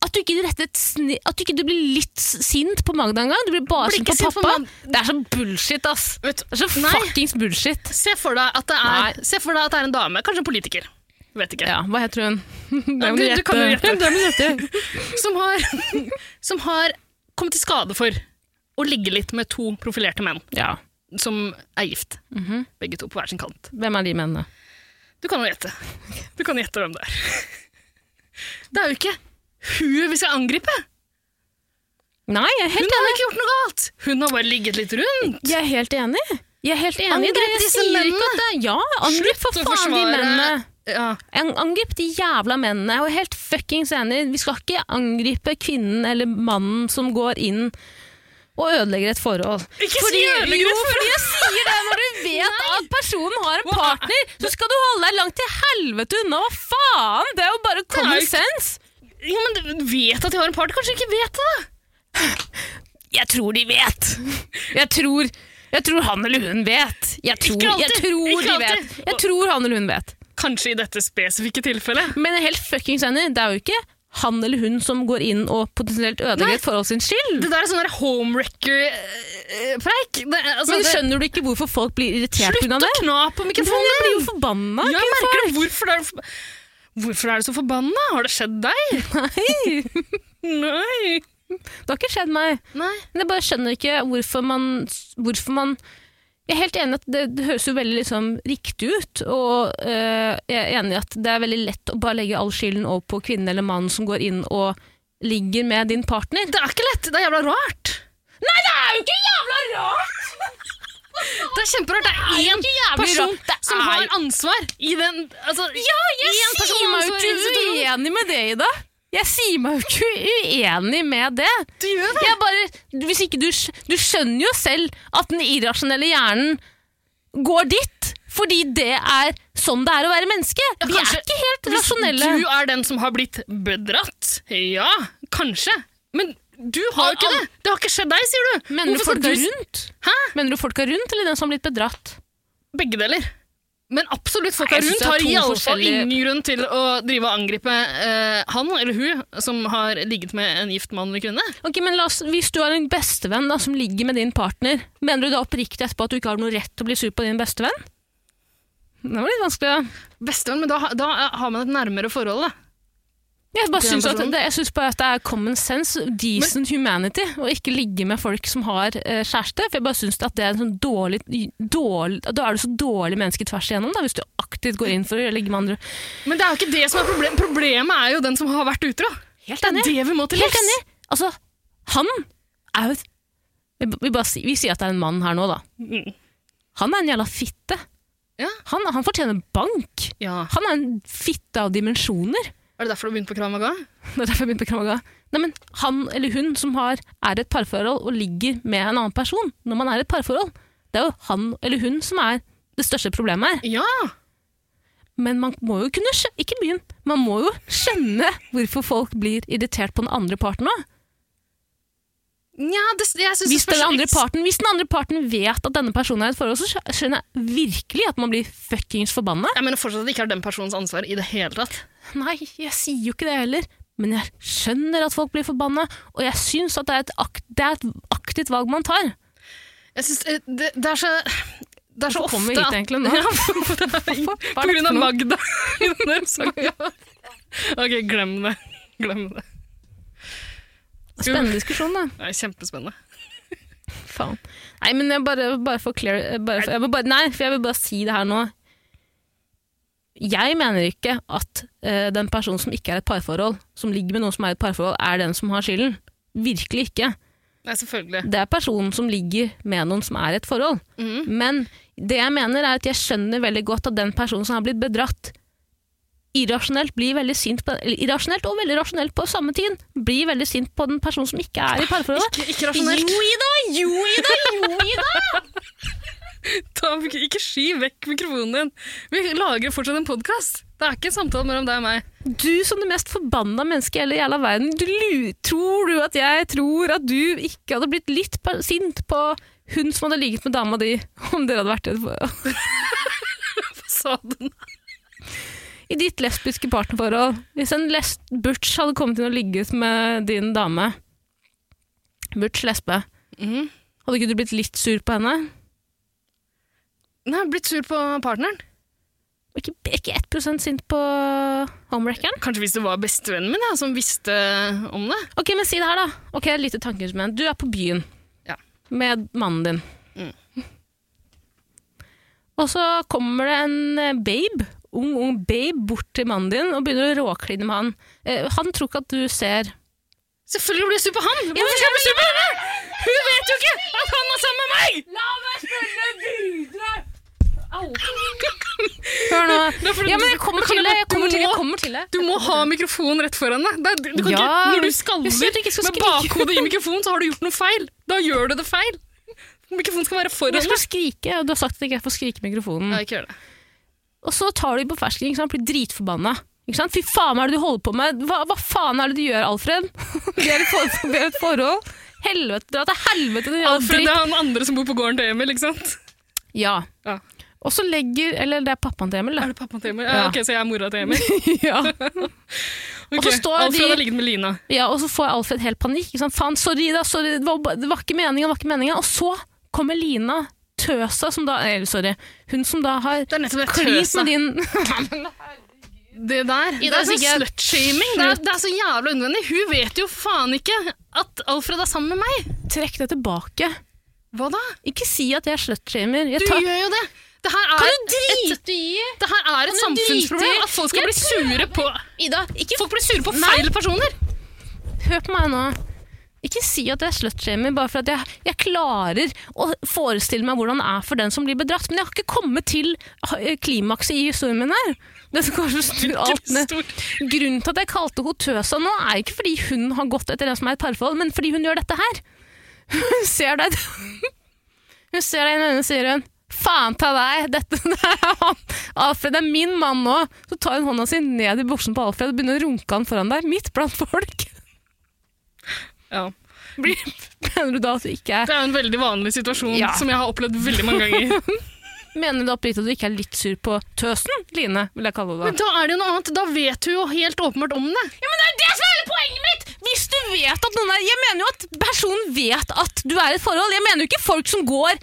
[SPEAKER 5] At du ikke retter et snev At du ikke du blir litt sint på Magda engang? Du blir bare
[SPEAKER 3] Blir
[SPEAKER 5] sint
[SPEAKER 3] ikke
[SPEAKER 5] på
[SPEAKER 3] sint på
[SPEAKER 5] pappa?
[SPEAKER 3] Mag-
[SPEAKER 5] det er så bullshit, ass.
[SPEAKER 3] Vet du-
[SPEAKER 5] Det er så
[SPEAKER 3] Nei.
[SPEAKER 5] fuckings bullshit.
[SPEAKER 3] Se for deg at det
[SPEAKER 5] Nei.
[SPEAKER 3] er, se for deg at det er en dame, kanskje en politiker, vet ikke,
[SPEAKER 5] Ja, hva heter hun? Det
[SPEAKER 3] Ja,
[SPEAKER 5] må
[SPEAKER 3] du- du kan jo gjette.
[SPEAKER 5] Det må du gjette.
[SPEAKER 3] som, har, som har kommet til skade for å ligge litt med to profilerte menn
[SPEAKER 5] Ja.
[SPEAKER 3] som er gift.
[SPEAKER 5] Mhm.
[SPEAKER 3] Begge to på hver sin kant.
[SPEAKER 5] Hvem er de mennene?
[SPEAKER 3] Du kan jo gjette. Du kan gjette hvem det er. Det er jo ikke hun vi skal angripe.
[SPEAKER 5] Nei, jeg er
[SPEAKER 3] Hun
[SPEAKER 5] helt,
[SPEAKER 3] har ikke gjort noe galt. Hun har bare ligget litt rundt.
[SPEAKER 5] jeg er helt enig. Jeg er helt enig.
[SPEAKER 3] Angrip
[SPEAKER 5] Det- jeg
[SPEAKER 3] disse
[SPEAKER 5] sier ikke
[SPEAKER 3] mennene.
[SPEAKER 5] at det- Ja, angrip for
[SPEAKER 3] Slutt å
[SPEAKER 5] faen de
[SPEAKER 3] forsvare-
[SPEAKER 5] mennene.
[SPEAKER 3] Ja.
[SPEAKER 5] Ang- Angrip de jævla mennene. Jeg er helt fuckings enig. Vi skal ikke angripe kvinnen eller mannen som går inn og ødelegger et forhold.
[SPEAKER 3] Ikke si ødelegger
[SPEAKER 5] jo,
[SPEAKER 3] et forhold.
[SPEAKER 5] fordi jeg sier det når du vet at personen har en partner, så skal du holde deg langt til helvete unna. Hva faen? Det er jo bare
[SPEAKER 3] Nei.
[SPEAKER 5] common sense.
[SPEAKER 3] Jo, men du vet at de har en partner, kanskje ikke vet det.
[SPEAKER 5] Jeg tror de vet. Jeg tror, jeg tror han eller hun vet. Jeg tror, jeg
[SPEAKER 3] alltid.
[SPEAKER 5] tror
[SPEAKER 3] Ikke
[SPEAKER 5] de
[SPEAKER 3] alltid.
[SPEAKER 5] vet. Jeg tror han eller hun vet.
[SPEAKER 3] Kanskje i dette spesifikke tilfellet.
[SPEAKER 5] Men jeg er helt fuckings enig. Det er jo ikke han eller hun som går inn og potensielt ødelegger et forhold sin skyld.
[SPEAKER 3] Det der er sånn der homewrecker-preik. Altså,
[SPEAKER 5] Men
[SPEAKER 3] eh, det-
[SPEAKER 5] skjønner du ikke hvorfor folk blir irritert
[SPEAKER 3] Slutt
[SPEAKER 5] pga.
[SPEAKER 3] å
[SPEAKER 5] det?
[SPEAKER 3] kna på
[SPEAKER 5] Hvorfor
[SPEAKER 3] mikrofonen!
[SPEAKER 5] jeg blir jo forbanna.
[SPEAKER 3] Jeg
[SPEAKER 5] ikke
[SPEAKER 3] merker det. Hvorfor er du, hvorfor er du så forbanna? Har det skjedd deg?
[SPEAKER 5] sant? Nei,
[SPEAKER 3] Nei.
[SPEAKER 5] det har ikke skjedd meg.
[SPEAKER 3] Nei.
[SPEAKER 5] Men jeg bare skjønner ikke hvorfor man, hvorfor man Jeg er helt enig at det, det høres jo veldig liksom riktig ut, og eh, jeg er enig i at det er veldig lett å bare legge all skylden over på kvinnen eller mannen som går inn og ligger med din partner.
[SPEAKER 3] Det er ikke lett. Det er jævla rart.
[SPEAKER 5] Nei, det er jo ikke jævla rart!
[SPEAKER 3] Det er kjemperart. Det er én
[SPEAKER 5] jævlig
[SPEAKER 3] person
[SPEAKER 5] rart. Det er
[SPEAKER 3] som har
[SPEAKER 5] jo-
[SPEAKER 3] ansvar i den altså,
[SPEAKER 5] Ja, jeg
[SPEAKER 3] én person
[SPEAKER 5] sier meg
[SPEAKER 3] som er
[SPEAKER 5] jo
[SPEAKER 3] i
[SPEAKER 5] ikke
[SPEAKER 3] institusjon.
[SPEAKER 5] uenig med det, Ida. Jeg sier meg jo ikke uenig med det.
[SPEAKER 3] Du gjør det!
[SPEAKER 5] Jeg bare, hvis ikke du, skj- du skjønner jo selv at den irrasjonelle hjernen går dit, fordi det er sånn det er å være menneske. Vi er
[SPEAKER 3] kanskje-
[SPEAKER 5] ikke helt
[SPEAKER 3] Hvis
[SPEAKER 5] rasjonelle.
[SPEAKER 3] du er den som har blitt bedratt, ja, kanskje. Men du har jo ikke det! Det har ikke skjedd deg, sier du!
[SPEAKER 5] Mener du
[SPEAKER 3] Hvorfor skal
[SPEAKER 5] folka
[SPEAKER 3] du-
[SPEAKER 5] rundt?
[SPEAKER 3] Hæ?
[SPEAKER 5] Mener du folka rundt, eller den som har blitt bedratt?
[SPEAKER 3] Begge deler. Men absolutt folka
[SPEAKER 5] Nei, jeg synes
[SPEAKER 3] rundt
[SPEAKER 5] det er
[SPEAKER 3] har
[SPEAKER 5] to
[SPEAKER 3] iallfall
[SPEAKER 5] forskjellige-
[SPEAKER 3] ingen grunn til å drive og angripe eh, han eller hun som har ligget med en gift mann eller kvinne.
[SPEAKER 5] Ok, men la oss, Hvis du har en bestevenn da, som ligger med din partner, mener du da oppriktig etterpå at du ikke har noe rett til å bli sur på din bestevenn? Det var litt vanskelig. da.
[SPEAKER 3] Bestevenn, men da, ha- da har man et nærmere forhold, da.
[SPEAKER 5] Jeg bare
[SPEAKER 3] Til den
[SPEAKER 5] syns at,
[SPEAKER 3] personen.
[SPEAKER 5] det, jeg synes bare at det er common sense, decent humanity, å ikke ligge med folk som har eh, kjæreste. For jeg bare syns at det er en sånn dårlig, dårlig Da er du så dårlig menneske tvers igjennom, da, hvis du aktivt går inn for å ligge med andre.
[SPEAKER 3] Men det er jo ikke det som er problemet. Problemet er jo den som har vært utro.
[SPEAKER 5] Helt
[SPEAKER 3] Det er det vi må til
[SPEAKER 5] Helt enig!
[SPEAKER 3] livs.
[SPEAKER 5] Altså, han er jo et vi, b- vi, bare, si- vi sier at det er en mann her nå, da.
[SPEAKER 3] Mm.
[SPEAKER 5] Han er en jævla fitte.
[SPEAKER 3] Ja.
[SPEAKER 5] Han, han fortjener bank.
[SPEAKER 3] Ja.
[SPEAKER 5] Han er en fitte av dimensjoner.
[SPEAKER 3] Er det derfor du har begynt på Krav Maga?
[SPEAKER 5] Det er derfor jeg begynte på Kramaga. Nei, men han eller hun som har, er i et parforhold og ligger med en annen person når man er i et parforhold, det er jo han eller hun som er det største problemet her.
[SPEAKER 3] Ja!
[SPEAKER 5] Men man må jo kunne skj- ikke begynn, man må jo skjønne hvorfor folk blir irritert på den andre parten òg.
[SPEAKER 3] Nja, det, jeg synes
[SPEAKER 5] Hvis,
[SPEAKER 3] det
[SPEAKER 5] den
[SPEAKER 3] spørs-
[SPEAKER 5] andre parten- hvis den andre parten vet at denne personen er i et forhold, så skj- skjønner jeg virkelig at man blir fuckings forbanna.
[SPEAKER 3] Jeg mener fortsatt at det ikke er den personens ansvar i det hele tatt.
[SPEAKER 5] Nei, jeg sier jo ikke det heller. Men jeg skjønner at folk blir forbanna, og jeg syns at det er, et akt, det er et aktivt valg man tar.
[SPEAKER 3] Jeg synes, eh, det, det er så... Det er så
[SPEAKER 5] Hvorfor
[SPEAKER 3] ofte
[SPEAKER 5] kom vi hit
[SPEAKER 3] at-
[SPEAKER 5] egentlig nå?
[SPEAKER 3] Ja, for det er
[SPEAKER 5] Hva er
[SPEAKER 3] På
[SPEAKER 5] dette
[SPEAKER 3] grunn av
[SPEAKER 5] for noe?
[SPEAKER 3] Magda. i denne saken. ok, glem det. Glem det.
[SPEAKER 5] Spennende diskusjon, da.
[SPEAKER 3] Det er kjempespennende.
[SPEAKER 5] Faen. Nei, men jeg bare, bare for clear eh, bare for, jeg vil bare, Nei, for jeg vil bare si det her nå. Jeg mener ikke at eh, den personen som ikke er i et parforhold, som ligger med noen som er i et parforhold, er den som har skylden. Virkelig ikke.
[SPEAKER 3] Nei, selvfølgelig.
[SPEAKER 5] Det er personen som ligger med noen som er i et forhold.
[SPEAKER 3] Mhm.
[SPEAKER 5] Men det jeg mener er at jeg skjønner veldig godt at den personen som har blitt bedratt, irrasjonelt blir veldig sint på, eller irrasjonelt og veldig rasjonelt på samme tid, blir veldig sint på den personen som ikke er i parforholdet.
[SPEAKER 3] Ikke, ikke rasjonelt.
[SPEAKER 5] Jo, Ida! Jo, Ida! Jo, Ida!
[SPEAKER 3] Ta, ikke sky vekk mikrofonen din. Vi lager fortsatt en podkast. Det er ikke en samtale mellom deg og meg.
[SPEAKER 5] Du som det mest forbanna mennesket i hele jævla verden, du, lu- tror du at jeg tror at du ikke hadde blitt litt pa- sint på hun som hadde ligget med dama di, om dere hadde vært i et for-
[SPEAKER 3] Sa du den?
[SPEAKER 5] i ditt lesbiske partnerforhold? Hvis en les butch hadde kommet inn og ligget med din dame, butch lesbe,
[SPEAKER 3] Mhm.
[SPEAKER 5] hadde ikke du blitt litt sur på henne?
[SPEAKER 3] Nei, blitt sur på partneren.
[SPEAKER 5] Ikke, ikke 1 sint på homewreckeren?
[SPEAKER 3] Kanskje hvis det var bestevennen min ja, som visste om det.
[SPEAKER 5] Ok, men si det her, da. Ok, et lite tankeinstrument. Du er på byen
[SPEAKER 3] Ja. Mm.
[SPEAKER 5] med mannen din. Og så kommer det en eh, babe, ung, ung babe, bort til mannen din og begynner å råkline med han. Eh, han tror ikke at du ser
[SPEAKER 3] Selvfølgelig blir jeg sur på han!
[SPEAKER 5] Ja,
[SPEAKER 3] Hvorfor skal jeg bli sur på henne?! Hun vet jo ikke at han er sammen med meg!
[SPEAKER 5] La meg spille videre! Hør nå.
[SPEAKER 3] Da får du-
[SPEAKER 5] Ja, men jeg kommer
[SPEAKER 3] da kan
[SPEAKER 5] til
[SPEAKER 3] du
[SPEAKER 5] det.
[SPEAKER 3] bare-
[SPEAKER 5] Jeg kommer til det.
[SPEAKER 3] du må-
[SPEAKER 5] Jeg kommer til det.
[SPEAKER 3] Du må ha mikrofonen rett foran deg. Det er- Du kan
[SPEAKER 5] Ja,
[SPEAKER 3] ikke, når du
[SPEAKER 5] jeg sier at du ikke skal
[SPEAKER 3] skaldrer med
[SPEAKER 5] skrike.
[SPEAKER 3] bakhodet i mikrofonen, så har du gjort noe feil. Da gjør du det feil. Mikrofonen skal være foran
[SPEAKER 5] Jeg
[SPEAKER 3] deg.
[SPEAKER 5] skal skrike, og du har sagt at jeg ikke får skrike i mikrofonen.
[SPEAKER 3] Ja, ikke gjør det.
[SPEAKER 5] Og så tar du på fersken, ikke sant? blir dritforbanna. Ikke sant? Fy faen, hva er det du holder på med? Hva, hva faen er det du gjør, Alfred? Vi er i for- vi er i et forhold. Helvete, dra til helvete. Du gjør
[SPEAKER 3] Alfred det
[SPEAKER 5] dritt.
[SPEAKER 3] er han andre som bor på gården til Emil, ikke sant?
[SPEAKER 5] Ja.
[SPEAKER 3] Ja.
[SPEAKER 5] Og så legger Eller det er pappaen til Emil,
[SPEAKER 3] Er
[SPEAKER 5] da.
[SPEAKER 3] det pappaen til Emil? Ja,
[SPEAKER 5] Ja.
[SPEAKER 3] ok, Så jeg er mora til Emil?
[SPEAKER 5] ja.
[SPEAKER 3] Ok,
[SPEAKER 5] så står
[SPEAKER 3] Alfred
[SPEAKER 5] de-
[SPEAKER 3] har ligget med Lina.
[SPEAKER 5] ja, og så får Alfred helt panikk. Ikke sant? Faen, sorry, da. Sorry. Det, var, ba- det var ikke meninga, det var ikke meninga. Og så kommer Lina, tøsa som da Eller, sorry. Hun som da har
[SPEAKER 3] Det er nettopp det
[SPEAKER 5] klint med
[SPEAKER 3] tøsa.
[SPEAKER 5] din
[SPEAKER 3] Det der, det
[SPEAKER 5] dag
[SPEAKER 3] er sånn
[SPEAKER 5] sikkert-
[SPEAKER 3] slutshaming. Det, er- det er så jævla unødvendig. Hun vet jo faen ikke at Alfred er sammen med meg.
[SPEAKER 5] Trekk det tilbake.
[SPEAKER 3] Hva da?
[SPEAKER 5] Ikke si at jeg slutshamer. Jeg
[SPEAKER 3] Du
[SPEAKER 5] tar-
[SPEAKER 3] gjør jo det. Det her er
[SPEAKER 5] Kan du drite i
[SPEAKER 3] Det her er et
[SPEAKER 5] Kan du drite
[SPEAKER 3] samfunnsproblem
[SPEAKER 5] i-
[SPEAKER 3] at folk skal
[SPEAKER 5] Jeg
[SPEAKER 3] bli sure på
[SPEAKER 5] Ida, ikke
[SPEAKER 3] Folk blir sure på
[SPEAKER 5] Nei.
[SPEAKER 3] feil personer!
[SPEAKER 5] Hør på meg nå. Ikke si at jeg er slutshamer bare for at jeg, jeg klarer å forestille meg hvordan det er for den som blir bedratt. Men jeg har ikke kommet til eh, klimakset i historien min her. Det som kanskje snur alt ned. Grunnen til at jeg kalte henne tøsa nå, er ikke fordi hun har gått etter den som er i et parforhold, men fordi hun gjør dette her. Hun ser deg Hun ser deg inn i øynene og sier hun Faen ta deg! Dette der er han! Alfred er min mann nå! Så tar hun hånda si ned i buksen på Alfred og begynner å runke han foran deg, midt blant folk.
[SPEAKER 3] Ja.
[SPEAKER 5] Blir, mener du da at du ikke er
[SPEAKER 3] Det er jo en veldig vanlig situasjon
[SPEAKER 5] Ja.
[SPEAKER 3] som jeg har opplevd veldig mange ganger.
[SPEAKER 5] Mener du oppriktig at du ikke er litt sur på tøsen, Line, vil jeg kalle det.
[SPEAKER 3] Men da er det jo noe annet. Da vet hun jo helt åpenbart om det.
[SPEAKER 5] Ja, men det er det som er hele poenget mitt! Hvis du vet at noen er Jeg mener jo at personen vet at du er i et forhold. Jeg mener jo ikke folk som går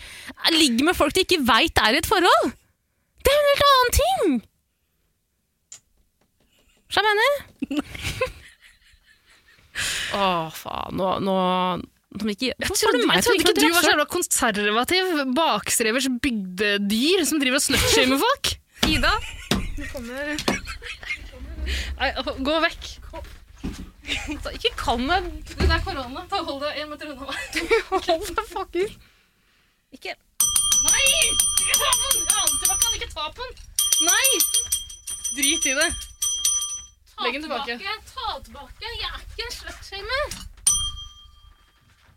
[SPEAKER 5] ligger med folk de ikke veit er i et forhold. Det er jo en helt annen ting! Skjønner du hva jeg mener? Å, faen. Nå, nå nå ikke,
[SPEAKER 3] Jeg
[SPEAKER 5] Hvorfor var
[SPEAKER 3] trodde,
[SPEAKER 5] det meg
[SPEAKER 3] jeg
[SPEAKER 5] som
[SPEAKER 3] trodde ikke
[SPEAKER 5] gikk
[SPEAKER 3] du
[SPEAKER 5] til
[SPEAKER 3] var så
[SPEAKER 5] rasshøl?
[SPEAKER 3] jævla konservativ bakstrevers bygdedyr som driver og slutshamer folk. Ida? Nei, å, gå vekk.
[SPEAKER 5] Ikke kall meg
[SPEAKER 3] Du, det er korona. Ta Hold deg en meter unna meg.
[SPEAKER 5] Hold deg fucker Ikke
[SPEAKER 3] Nei! Ikke ta på den! Jeg ante meg kan ikke ta på den. Nei! Drit i det.
[SPEAKER 5] ta
[SPEAKER 3] Legg den tilbake.
[SPEAKER 5] Ta tilbake. Jeg er ikke en slutshamer.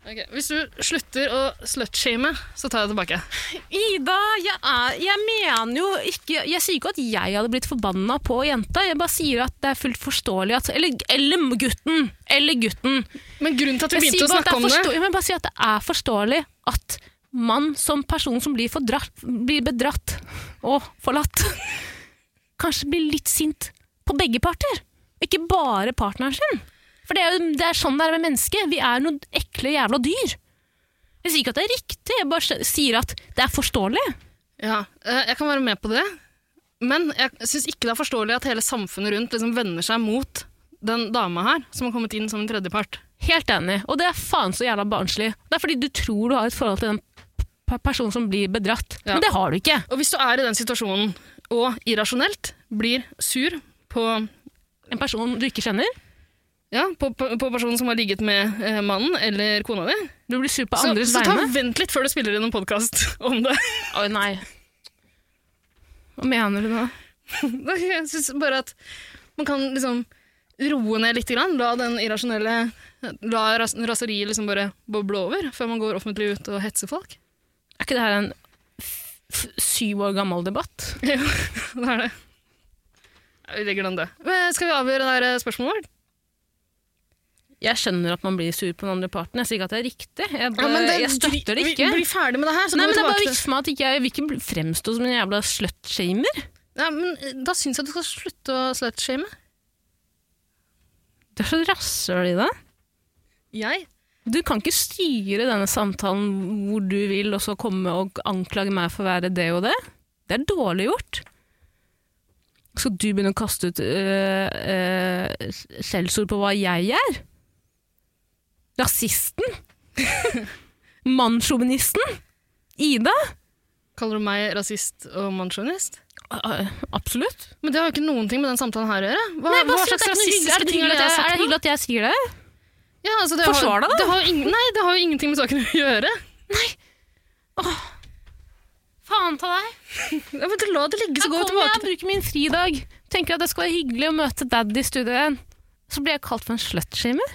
[SPEAKER 3] Ok, Hvis du slutter å slutshame, så tar jeg det tilbake.
[SPEAKER 5] Ida, jeg, er, jeg mener jo ikke Jeg sier ikke at jeg hadde blitt forbanna på jenta. Jeg bare sier at det er fullt forståelig at Eller, eller gutten! Eller gutten.
[SPEAKER 3] Men grunnen til at vi
[SPEAKER 5] Jeg
[SPEAKER 3] begynte
[SPEAKER 5] sier
[SPEAKER 3] å
[SPEAKER 5] bare at det
[SPEAKER 3] snakke
[SPEAKER 5] er
[SPEAKER 3] om det
[SPEAKER 5] forstå- Jeg må bare si at det er forståelig at man som person som blir, fordratt, blir bedratt og forlatt, kanskje blir litt sint på begge parter. Ikke bare partneren sin. For det er jo det er sånn det er med mennesker. Vi er noen ekle jævla dyr. Jeg sier ikke at det er riktig, jeg bare sier at det er forståelig.
[SPEAKER 3] Ja, eh, Jeg kan være med på det, men jeg syns ikke det er forståelig at hele samfunnet rundt liksom vender seg mot den dama her som har kommet inn som en tredjepart.
[SPEAKER 5] Helt enig. Og det er faen så jævla barnslig. Det er fordi du tror du har et forhold til den p- personen som blir bedratt.
[SPEAKER 3] Ja.
[SPEAKER 5] Men det har du ikke.
[SPEAKER 3] Og hvis du er i den situasjonen og irrasjonelt blir sur på
[SPEAKER 5] En person du ikke kjenner.
[SPEAKER 3] Ja, på, på, på personen som har ligget med eh, mannen eller kona di.
[SPEAKER 5] Du blir sur på
[SPEAKER 3] Så,
[SPEAKER 5] andres
[SPEAKER 3] så ta,
[SPEAKER 5] vegne.
[SPEAKER 3] vent litt før du spiller inn en podkast om det.
[SPEAKER 5] Oi, nei. Hva mener du nå?
[SPEAKER 3] Jeg syns bare at man kan liksom roe ned litt. Grann. La den irrasjonelle La ras raseriet liksom bare boble over før man går offentlig ut og hetser folk.
[SPEAKER 5] Er ikke det her en f f syv år gammel debatt?
[SPEAKER 3] Jo, det er det. Ja, Vi legger den død. Men skal vi avgjøre det her eh, spørsmålet vårt?
[SPEAKER 5] Jeg skjønner at man blir sur på den andre parten. Jeg sier ikke at det er riktig. Jeg, bare, Eh, jeg støtter det ikke.
[SPEAKER 3] Vi blir ferdig med det her, så
[SPEAKER 5] Nei,
[SPEAKER 3] går
[SPEAKER 5] men
[SPEAKER 3] vi
[SPEAKER 5] Det er bare
[SPEAKER 3] tilbake til
[SPEAKER 5] viktig for meg at ikke jeg jeg vil ikke bli- fremstå som en jævla slutshamer.
[SPEAKER 3] ja, men eh, Da syns jeg du skal slutte å slutshame.
[SPEAKER 5] Det er så rasshøl i det.
[SPEAKER 3] Jeg?
[SPEAKER 5] Du kan ikke styre denne samtalen hvor du vil, og så komme og anklage meg for å være det og det. Det er dårlig gjort. Skal du begynne å kaste ut øh, øh, skjellsord på hva jeg er? Rasisten? Mannssjåvinisten? Ida?
[SPEAKER 3] Kaller du meg rasist og mannssjåvinist?
[SPEAKER 5] Øh, absolutt.
[SPEAKER 3] Men det har jo ikke noen ting med den samtalen her å gjøre. Hva,
[SPEAKER 5] Nei, hva
[SPEAKER 3] hva
[SPEAKER 5] synes jeg
[SPEAKER 3] slags
[SPEAKER 5] ikke hyggelig? Er
[SPEAKER 3] rasistiske
[SPEAKER 5] det
[SPEAKER 3] ting
[SPEAKER 5] hyggelig
[SPEAKER 3] er det
[SPEAKER 5] at jeg-
[SPEAKER 3] jeg har
[SPEAKER 5] er
[SPEAKER 3] sagt?
[SPEAKER 5] det
[SPEAKER 3] nå?
[SPEAKER 5] hyggelig at jeg sier det?
[SPEAKER 3] Ja, altså, det
[SPEAKER 5] Forsvar
[SPEAKER 3] har,
[SPEAKER 5] deg, da.
[SPEAKER 3] Det har jo ingen, nei, det har jo ingenting med saken å gjøre.
[SPEAKER 5] Faen ta deg.
[SPEAKER 3] Ja, men La det
[SPEAKER 5] Så
[SPEAKER 3] ligge, så
[SPEAKER 5] går
[SPEAKER 3] gå
[SPEAKER 5] jeg
[SPEAKER 3] tilbake
[SPEAKER 5] og bruker min fridag. Tenker at det skal være hyggelig å møte daddy i studioen. Så blir jeg kalt for en slutshamer.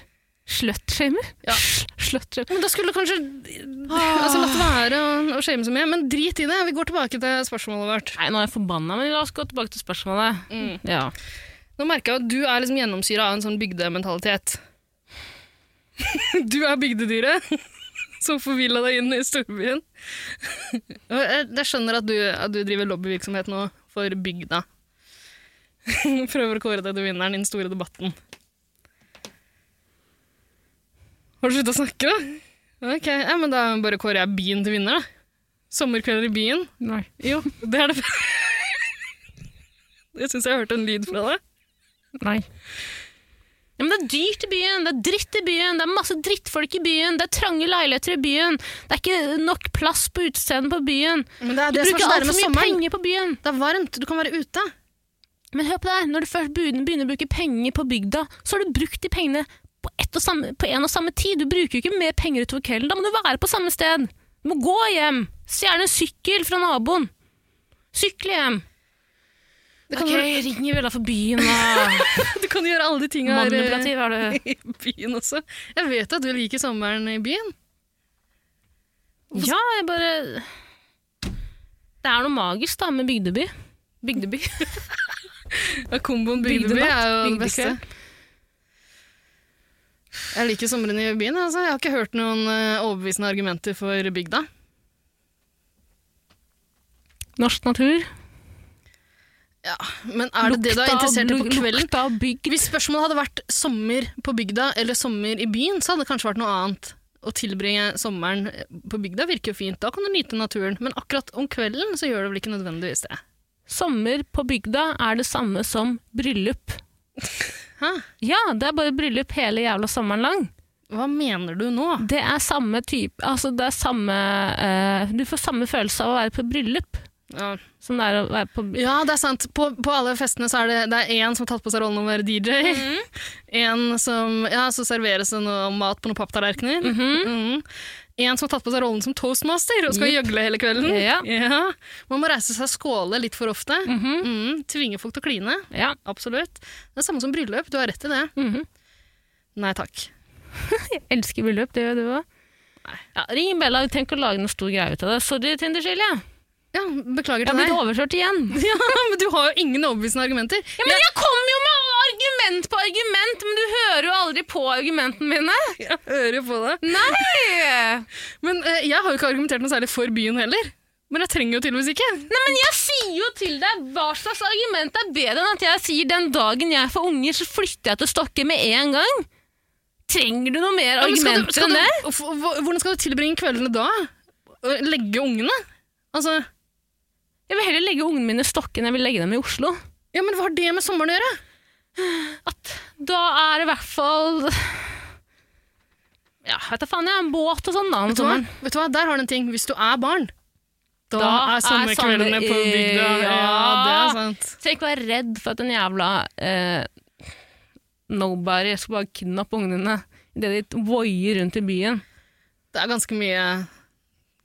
[SPEAKER 5] Slutshamer?
[SPEAKER 3] Ja.
[SPEAKER 5] Sl- Slutshamer.
[SPEAKER 3] Men da skulle du kanskje
[SPEAKER 5] Ah.
[SPEAKER 3] altså, latt være å- å shame så mye. Men drit i det. Vi går tilbake til spørsmålet vårt.
[SPEAKER 5] Nei, nå er jeg forbanna, men la oss gå tilbake til spørsmålet.
[SPEAKER 3] Mm.
[SPEAKER 5] Ja.
[SPEAKER 3] Nå merker jeg at du er liksom gjennomsyra av en sånn bygdementalitet. Du er bygdedyret som forvilla deg inn i storbyen. Og Jeg jeg skjønner at du, at du driver lobbyvirksomhet nå for bygda. Prøver å kåre deg til vinneren i den store debatten. Har du slutta å snakke, da? Ok, ja, men Da bare kårer jeg byen til vinner, da. Sommerkvelder i byen.
[SPEAKER 5] Nei.
[SPEAKER 3] Jo, det er det. Jeg syns jeg hørte en lyd fra deg.
[SPEAKER 5] Nei. Ja, men det er dyrt i byen, det er dritt i byen, det er masse drittfolk i byen, det er trange leiligheter i byen, det er ikke nok plass på utestedene på byen.
[SPEAKER 3] Men det er
[SPEAKER 5] Du
[SPEAKER 3] det som er
[SPEAKER 5] bruker
[SPEAKER 3] så deilig
[SPEAKER 5] altfor
[SPEAKER 3] med
[SPEAKER 5] mye
[SPEAKER 3] sommeren.
[SPEAKER 5] penger på byen.
[SPEAKER 3] Det er varmt, du kan være ute.
[SPEAKER 5] Men hør på det her, når du først begynner, begynner å bruke penger på bygda, så har du brukt de pengene på, ett og samme, på en og samme tid. Du bruker jo ikke mer penger utover kvelden, da må du være på samme sted. Du må gå hjem. Stjele en sykkel fra naboen. Sykle hjem.
[SPEAKER 3] Du kan,
[SPEAKER 5] Ok, ring i Vella for byen, da.
[SPEAKER 3] du kan gjøre alle de tinga her eh,
[SPEAKER 5] Manipulativ er du.
[SPEAKER 3] i byen også. Jeg vet at du liker sommeren i byen.
[SPEAKER 5] Ja, jeg bare Det er noe magisk, da, med bygdeby. Bygdeby.
[SPEAKER 3] Ja, Komboen bygdeby
[SPEAKER 5] Bygdenatt,
[SPEAKER 3] er jo den beste.
[SPEAKER 5] bygdekveld.
[SPEAKER 3] Jeg liker sommeren i byen. Altså. Jeg har ikke hørt noen eh, overbevisende argumenter for bygda.
[SPEAKER 5] Norsk natur.
[SPEAKER 3] Men er det det du er interessert i på kvelden?
[SPEAKER 5] Lukta av bygd.
[SPEAKER 3] Hvis spørsmålet hadde vært sommer på bygda eller sommer i byen, så hadde det kanskje vært noe annet. Å tilbringe sommeren eh, på bygda virker jo fint. Da kan du nyte naturen. Men akkurat om kvelden så gjør det vel ikke nødvendigvis det.
[SPEAKER 5] Sommer på bygda er det samme som bryllup.
[SPEAKER 3] Hæ?
[SPEAKER 5] Ja, det er bare bryllup hele jævla sommeren lang.
[SPEAKER 3] Hva mener du nå?
[SPEAKER 5] Det er samme type Altså, det er samme eh, Du får samme følelse av å være på bryllup
[SPEAKER 3] Ja,
[SPEAKER 5] som det er å være på
[SPEAKER 3] ja det er sant. På, på alle festene så er det, det er én som har tatt på seg rollen å være DJ.
[SPEAKER 5] Mhm.
[SPEAKER 3] En som Ja, så serveres det noe mat på noen papptallerkener. Mhm. En som har tatt på seg rollen som toastmaster og skal gjøgle hele kvelden.
[SPEAKER 5] Mhm. Ja.
[SPEAKER 3] Ja. Man må reise seg og skåle litt for ofte. Mhm. Tvinge folk til å kline.
[SPEAKER 5] Ja.
[SPEAKER 3] Absolutt. Det er samme som bryllup, du har rett i det.
[SPEAKER 5] Mhm.
[SPEAKER 3] Nei takk.
[SPEAKER 5] Jeg elsker bryllup, det gjør du òg. Ja, ring Bella, vi trenger ikke å lage noe stor greie ut av det. Sorry, Tinderskilje.
[SPEAKER 3] Ja, Beklager
[SPEAKER 5] Jeg
[SPEAKER 3] til
[SPEAKER 5] har
[SPEAKER 3] deg.
[SPEAKER 5] blitt overkjørt igjen.
[SPEAKER 3] Ja, men du har jo ingen overbevisende argumenter.
[SPEAKER 5] Ja, men jeg kommer jo med argument på argument, men du hører jo aldri på argumentene mine.
[SPEAKER 3] Jeg hører jo på det.
[SPEAKER 5] Nei!
[SPEAKER 3] Men eh, jeg har jo ikke argumentert noe særlig for byen heller. Men jeg trenger jo tydeligvis ikke.
[SPEAKER 5] Nei, men jeg sier jo til deg hva slags argument er bedre enn at jeg sier den dagen jeg får unger, så flytter jeg til Stokke med en gang. Trenger du noe mer
[SPEAKER 3] Ja, men skal
[SPEAKER 5] argumenter
[SPEAKER 3] du- skal
[SPEAKER 5] enn det?
[SPEAKER 3] du- f- hv- Hvordan skal du tilbringe kveldene da? Å Legge ungene? Altså,
[SPEAKER 5] Jeg vil heller legge ungene mine i Stokke enn jeg vil legge dem i Oslo.
[SPEAKER 3] ja, men hva har det med sommeren å gjøre?
[SPEAKER 5] At da er det i hvert fall Ja, vet da faen, jeg har en båt og sånn da om
[SPEAKER 3] Vet du, hva?
[SPEAKER 5] sommeren.
[SPEAKER 3] Vet du hva? Der har du en ting. Hvis du er barn, da,
[SPEAKER 5] Da
[SPEAKER 3] er
[SPEAKER 5] er
[SPEAKER 3] sommerkveldene
[SPEAKER 5] sommer-
[SPEAKER 3] på bygda. Ja, det
[SPEAKER 5] Ja.
[SPEAKER 3] er sant.
[SPEAKER 5] Trenger ikke være redd for at en jævla eh, nobody. Jeg skal bare kidnappe ungene dine idet de voier rundt i byen.
[SPEAKER 3] Det er ganske mye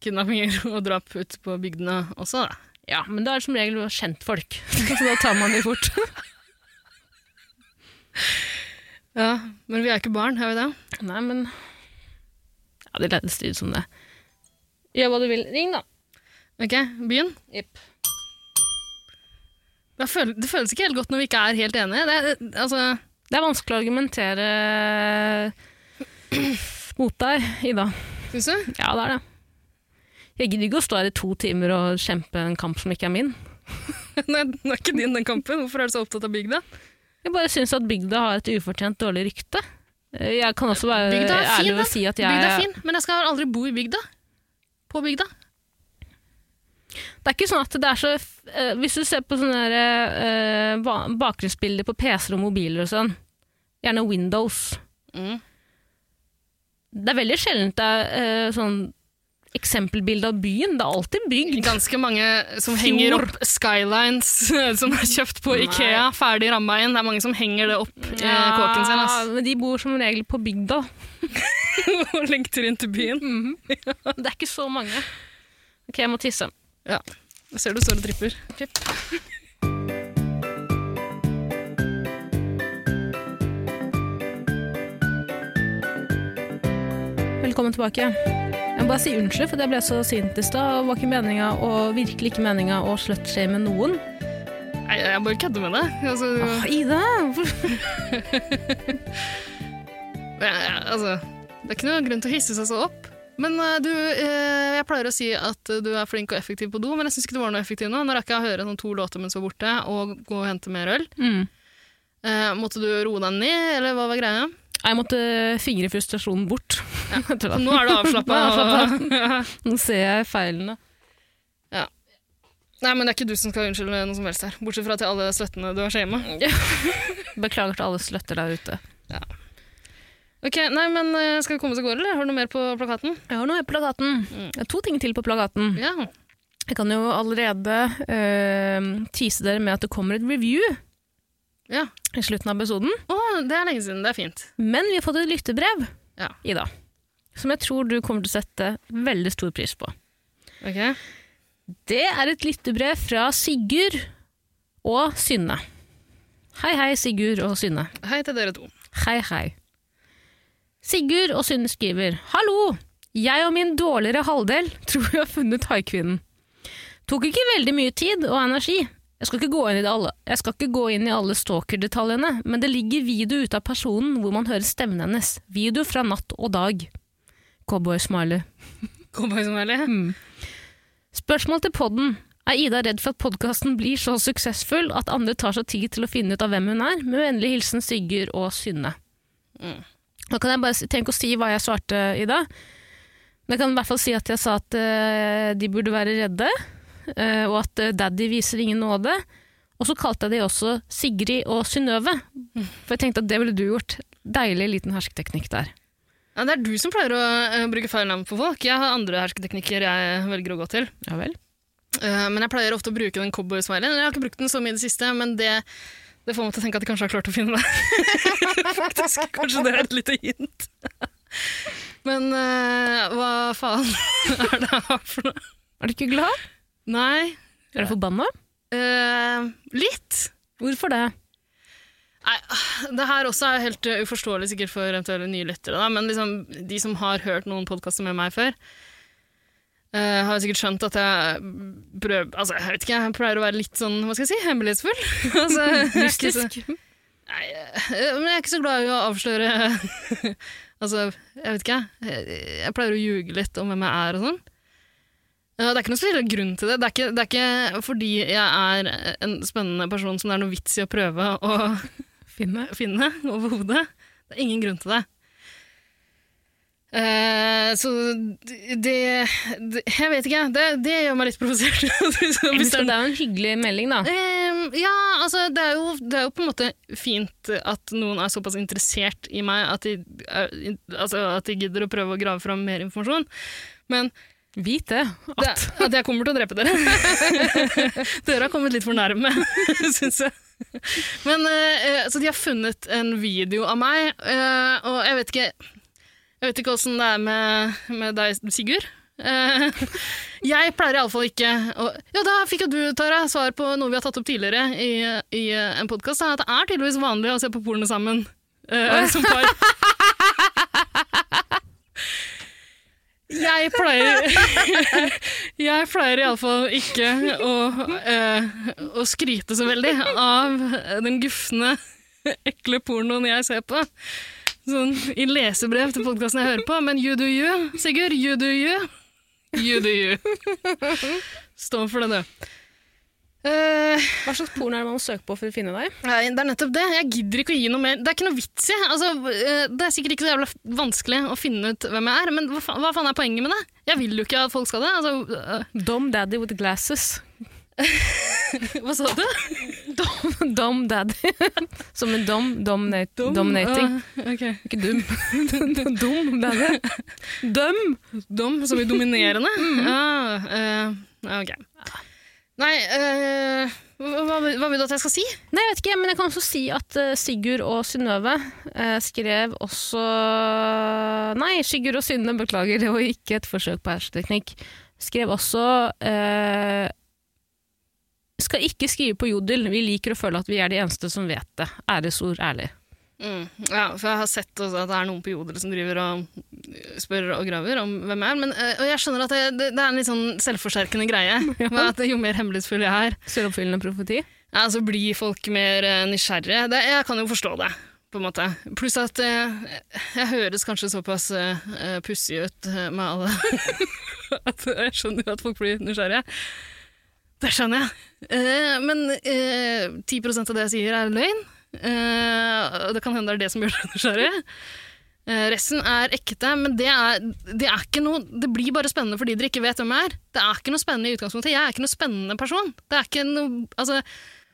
[SPEAKER 3] kidnappinger og drap ute på bygdene også, da.
[SPEAKER 5] Ja, men da er det som regel kjentfolk, så da tar man de fort.
[SPEAKER 3] Ja, men vi er ikke barn, er vi det?
[SPEAKER 5] Nei, men Ja, det lærte det ut som det. Gjør hva du vil. Ring, da.
[SPEAKER 3] Ok, byen?
[SPEAKER 5] Jepp.
[SPEAKER 3] Det, føl det føles ikke helt godt når vi ikke er helt enige. Det, er- det, altså,
[SPEAKER 5] Det er vanskelig å argumentere mot deg, Ida.
[SPEAKER 3] synes du?
[SPEAKER 5] Ja, det er det. Jeg gidder ikke å stå her i to timer og kjempe en kamp som ikke er min.
[SPEAKER 3] Nei, det er ikke din den kampen. Hvorfor er du så opptatt av bygda?
[SPEAKER 5] Jeg bare syns at bygda har et ufortjent dårlig rykte. Jeg kan også være
[SPEAKER 3] Bygda er fin,
[SPEAKER 5] ærlig
[SPEAKER 3] da.
[SPEAKER 5] og si at jeg
[SPEAKER 3] Bygda er fin, men jeg skal aldri bo i bygda. På bygda.
[SPEAKER 5] Det er ikke sånn at det er så eh, Hvis du ser på sånne der, eh, ba- bakgrunnsbilder på PC-er og mobiler og sånn, gjerne Windows
[SPEAKER 3] Mm.
[SPEAKER 5] Det er veldig sjeldent det er eh, sånn eksempelbilde av byen. Det er alltid bygd.
[SPEAKER 3] Ganske mange som
[SPEAKER 5] Fjord.
[SPEAKER 3] henger opp skylines som er kjøpt på Ikea, ferdig ramma inn. Det er mange som henger det opp i kåken sin
[SPEAKER 5] Ja, men de bor som regel på bygda.
[SPEAKER 3] ass. og lengter inn til byen.
[SPEAKER 5] Det er ikke så mange. Ok, jeg må tisse.
[SPEAKER 3] Ja. Jeg ser du står og dripper.
[SPEAKER 5] Velkommen tilbake. Jeg må bare si unnskyld for at jeg ble så sint i stad. Det var ikke meninga, og virkelig ikke meninga, å slutshame noen.
[SPEAKER 3] Nei, jeg bare kødder med det. Altså,
[SPEAKER 5] Åh, Ida! hvorfor-
[SPEAKER 3] jeg- altså, det er ikke noe grunn til å hisse seg så opp. Men eh, du, eh, jeg pleier å si at eh, du er flink og effektiv på do, men jeg syns ikke du var noe effektiv nå. Nå rakk jeg å høre sånn to låter mens du var borte, og gå og hente mer øl.
[SPEAKER 5] Mm.
[SPEAKER 3] Eh, måtte du roe deg ned, eller hva var greia?
[SPEAKER 5] Jeg måtte fingre frustrasjonen bort. Jeg tror
[SPEAKER 3] Så
[SPEAKER 5] det.
[SPEAKER 3] nå er du avslappa. og...
[SPEAKER 5] Nå ser jeg feilene.
[SPEAKER 3] Nei, men det er ikke du som skal unnskylde noe som helst her. Bortsett fra til alle støttene du har shama.
[SPEAKER 5] Beklager til alle sløtter der ute.
[SPEAKER 3] Ok, nei, men eh, skal vi komme oss av gårde, eller? Har du noe mer på plakaten?
[SPEAKER 5] Jeg har noe på plakaten. Mm. Jeg har to ting til på plakaten.
[SPEAKER 3] Ja.
[SPEAKER 5] Jeg kan jo allerede øh, tease dere med at det kommer et review
[SPEAKER 3] ja.
[SPEAKER 5] i slutten av episoden.
[SPEAKER 3] Å, det er lenge siden. Det er fint.
[SPEAKER 5] Men vi har fått et lyttebrev,
[SPEAKER 3] Ja.
[SPEAKER 5] Ida, som jeg tror du kommer til å sette veldig stor pris på.
[SPEAKER 3] Ok.
[SPEAKER 5] Det er et lyttebrev fra Sigurd og Synne. Hei, hei, Sigurd og Synne.
[SPEAKER 3] Hei til dere to.
[SPEAKER 5] Hei, hei. Sigurd og Synne skriver Hallo! Jeg og min dårligere halvdel tror vi har funnet haikvinnen. Tok ikke veldig mye tid og energi. Jeg skal ikke gå inn i det alle, jeg skal ikke gå inn i alle stalker-detaljene, men det ligger video ute av personen hvor man hører stemmen hennes. Video fra natt og dag. Cowboy-smiley.
[SPEAKER 3] Cowboy som hellig.
[SPEAKER 5] Spørsmål til podden. Er Ida redd for at podkasten blir så suksessfull at andre tar seg tid til å finne ut av hvem hun er? Med vennlig hilsen Sigurd og Synne. Da kan jeg bare si- tenke å si hva jeg svarte, Ida. Men jeg kan i hvert fall si at jeg sa at eh, de burde være redde, eh, og at eh, daddy viser ingen nåde. Og så kalte jeg de også Sigrid og Synnøve, for jeg tenkte at det ville du gjort. Deilig liten hersketeknikk der.
[SPEAKER 3] Ja, det er du som pleier å eh, bruke feil navn på folk. Jeg har andre hersketeknikker jeg velger å gå til.
[SPEAKER 5] Ja vel.
[SPEAKER 3] Eh, men jeg pleier ofte å bruke den cowboy-smileyen. Jeg har ikke brukt den så mye i det siste, men det, det får meg til å tenke at de kanskje har klart å finne deg. Faktisk, kanskje det er et lite hint. men eh, hva faen er det her for noe?
[SPEAKER 5] Er du ikke glad?
[SPEAKER 3] Nei,
[SPEAKER 5] Er du forbanna?
[SPEAKER 3] eh, litt.
[SPEAKER 5] Hvorfor det?
[SPEAKER 3] Nei, det her også er helt uh, uforståelig sikkert for eventuelle nye lyttere, da, men liksom, de som har hørt noen podkaster med meg før, eh, har sikkert skjønt at jeg prøv, altså, jeg vet ikke, jeg pleier å være litt sånn, hva skal jeg si, hemmelighetsfull. altså, jeg er ikke så-
[SPEAKER 5] Mystisk.
[SPEAKER 3] Nei, eh, men jeg er ikke så glad i å avsløre Altså, jeg vet ikke. Jeg, jeg pleier å ljuge litt om hvem jeg er og sånn. Eh, Det er ikke noen spesiell grunn til det. Det er, ikke, det er ikke fordi jeg er en spennende person som det er noe vits i å prøve å
[SPEAKER 5] Finne.
[SPEAKER 3] finne overhodet. Det er ingen grunn til det. Eh, så det, det Jeg vet ikke. Det, det gjør meg litt provosert. Hvis det er
[SPEAKER 5] Hvis det er jo en hyggelig melding, da.
[SPEAKER 3] Ehm, ja, altså det er, jo, det er jo på en måte fint at noen er såpass interessert i meg at de, er, altså, at de gidder å prøve å grave fram mer informasjon. Men
[SPEAKER 5] Vit det.
[SPEAKER 3] det, at jeg kommer til å drepe dere. dere har kommet litt for nærme, syns jeg. Men eh, eh, Så de har funnet en video av meg, eh, og jeg vet ikke Jeg vet ikke åssen det er med, med deg, Sigurd. Eh, jeg pleier iallfall ikke å Ja, da fikk jo du, Tara, svar på noe vi har tatt opp tidligere i, i eh, en podkast, at det er tydeligvis vanlig å se på porno sammen eh, som par. Jeg pleier Jeg pleier iallfall ikke å, eh, å skryte så veldig av den gufne, ekle pornoen jeg ser på. Sånn i lesebrev til podkasten jeg hører på, men you do you, Sigurd. You do you. You do you. Stå for det, du. Eh,
[SPEAKER 5] Hva slags porno er det man må søke på for å finne deg?
[SPEAKER 3] nei, det er nettopp det. Jeg gidder ikke å gi noe mer. Det er ikke noe vits i. Altså, eh, det er sikkert ikke så jævla f- vanskelig å finne ut hvem jeg er, men hva faen, hva faen er poenget med det? Jeg vil jo ikke at folk skal det. Altså, eh,
[SPEAKER 5] Dom Daddy with glasses.
[SPEAKER 3] hva sa du?
[SPEAKER 5] Dom Daddy. Som en dom, dominate, dominating.
[SPEAKER 3] Ah, ok.
[SPEAKER 5] Ikke dum. dum Daddy. Døm!
[SPEAKER 3] Dom som i dominerende? Ja, eh, ja, ok. Nei, eh, hva, hva vil- hva vil du at jeg skal si?
[SPEAKER 5] Nei, jeg vet ikke, men jeg kan også si at eh, Sigurd og Synnøve eh, skrev også Nei, Sigurd og Synne, beklager, det var ikke et forsøk på hersketeknikk. Skrev også eh, Skal ikke skrive på Jodel, vi liker å føle at vi er de eneste som vet det. Æresord ærlig.
[SPEAKER 3] Mm, Ja, for jeg har sett også at det er noen på Jodel som driver og eh, spør og graver om hvem jeg er, men, eh, og jeg skjønner at det, det, det er en litt sånn selvforsterkende greie, med at jo mer hemmelighetsfull jeg er,
[SPEAKER 5] Selvoppfyllende profeti.
[SPEAKER 3] ja, så blir folk mer eh, nysgjerrige. Det, jeg kan jo forstå det, på en måte. Pluss at eh, jeg høres kanskje såpass eh, eh, pussig ut eh, med alle at jeg skjønner jo at folk blir nysgjerrige. Det skjønner jeg. Eh, men eh, 10 av det jeg sier, er løgn. Eh, og det kan hende det er det som gjør deg nysgjerrig. Eh, resten er ekte, men det, er, det, er ikke noe, det blir bare spennende fordi dere ikke vet hvem jeg er. Det er ikke noe spennende i utgangspunktet. Jeg er ikke noe spennende person. Det er ikke noe, altså,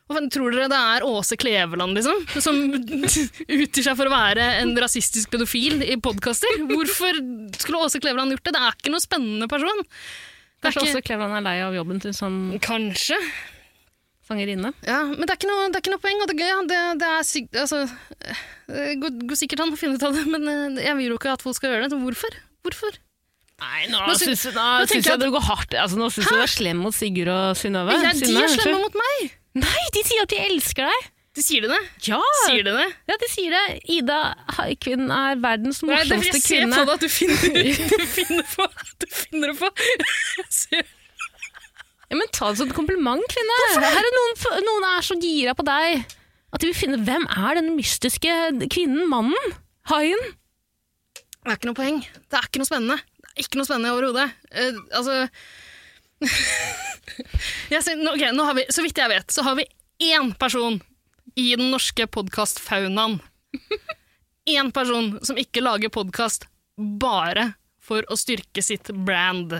[SPEAKER 3] hva faen, tror dere det er Åse Kleveland, liksom? Som utgir seg for å være en rasistisk pedofil i podkaster? Hvorfor skulle Åse Kleveland gjort det? Det er ikke noe spennende person. Det er
[SPEAKER 5] Kanskje
[SPEAKER 3] ikke,
[SPEAKER 5] også Kleveland er lei av jobben til som
[SPEAKER 3] kanskje.
[SPEAKER 5] fangerinne.
[SPEAKER 3] Ja, men det er ikke noe, det er ikke noe poeng, og det, ja, det, det er syk, altså, det går, går sikkert an å finne ut av det, men eh, jeg vil jo ikke at folk skal gjøre det. Så hvorfor? Hvorfor?
[SPEAKER 5] Nei, nå,
[SPEAKER 3] Nå sy-
[SPEAKER 5] syns jeg, nå
[SPEAKER 3] nå tenker
[SPEAKER 5] syns
[SPEAKER 3] jeg
[SPEAKER 5] jeg du går hardt. Altså, nå syns jeg du er slem mot Sigurd og Synnøve.
[SPEAKER 3] Men jeg, de
[SPEAKER 5] Synne,
[SPEAKER 3] er
[SPEAKER 5] unnskyld.
[SPEAKER 3] slemme mot meg!
[SPEAKER 5] Nei, de sier at de elsker deg!
[SPEAKER 3] De sier det, det.
[SPEAKER 5] Ja!
[SPEAKER 3] Sier de det?
[SPEAKER 5] Ja, de sier det. Ida Haikvinn er verdens
[SPEAKER 3] Nei, det
[SPEAKER 5] morsomste
[SPEAKER 3] jeg ser på
[SPEAKER 5] kvinne.
[SPEAKER 3] deg at du finner, du finner på. Du finner det på. Jeg ser
[SPEAKER 5] Ja, men ta det som et kompliment, kvinne. Her er noen, f- noen er så gira på deg at de vil finne hvem er den mystiske kvinnen, mannen, haien.
[SPEAKER 3] Det er ikke noe poeng. Det er ikke noe spennende. Det er ikke noe spennende overhodet. Eh, altså jeg ser, nå, ok, nå har vi, Så vidt jeg vet, så har vi én person i den norske podkastfaunaen. Én person som ikke lager podkast bare for å styrke sitt brand.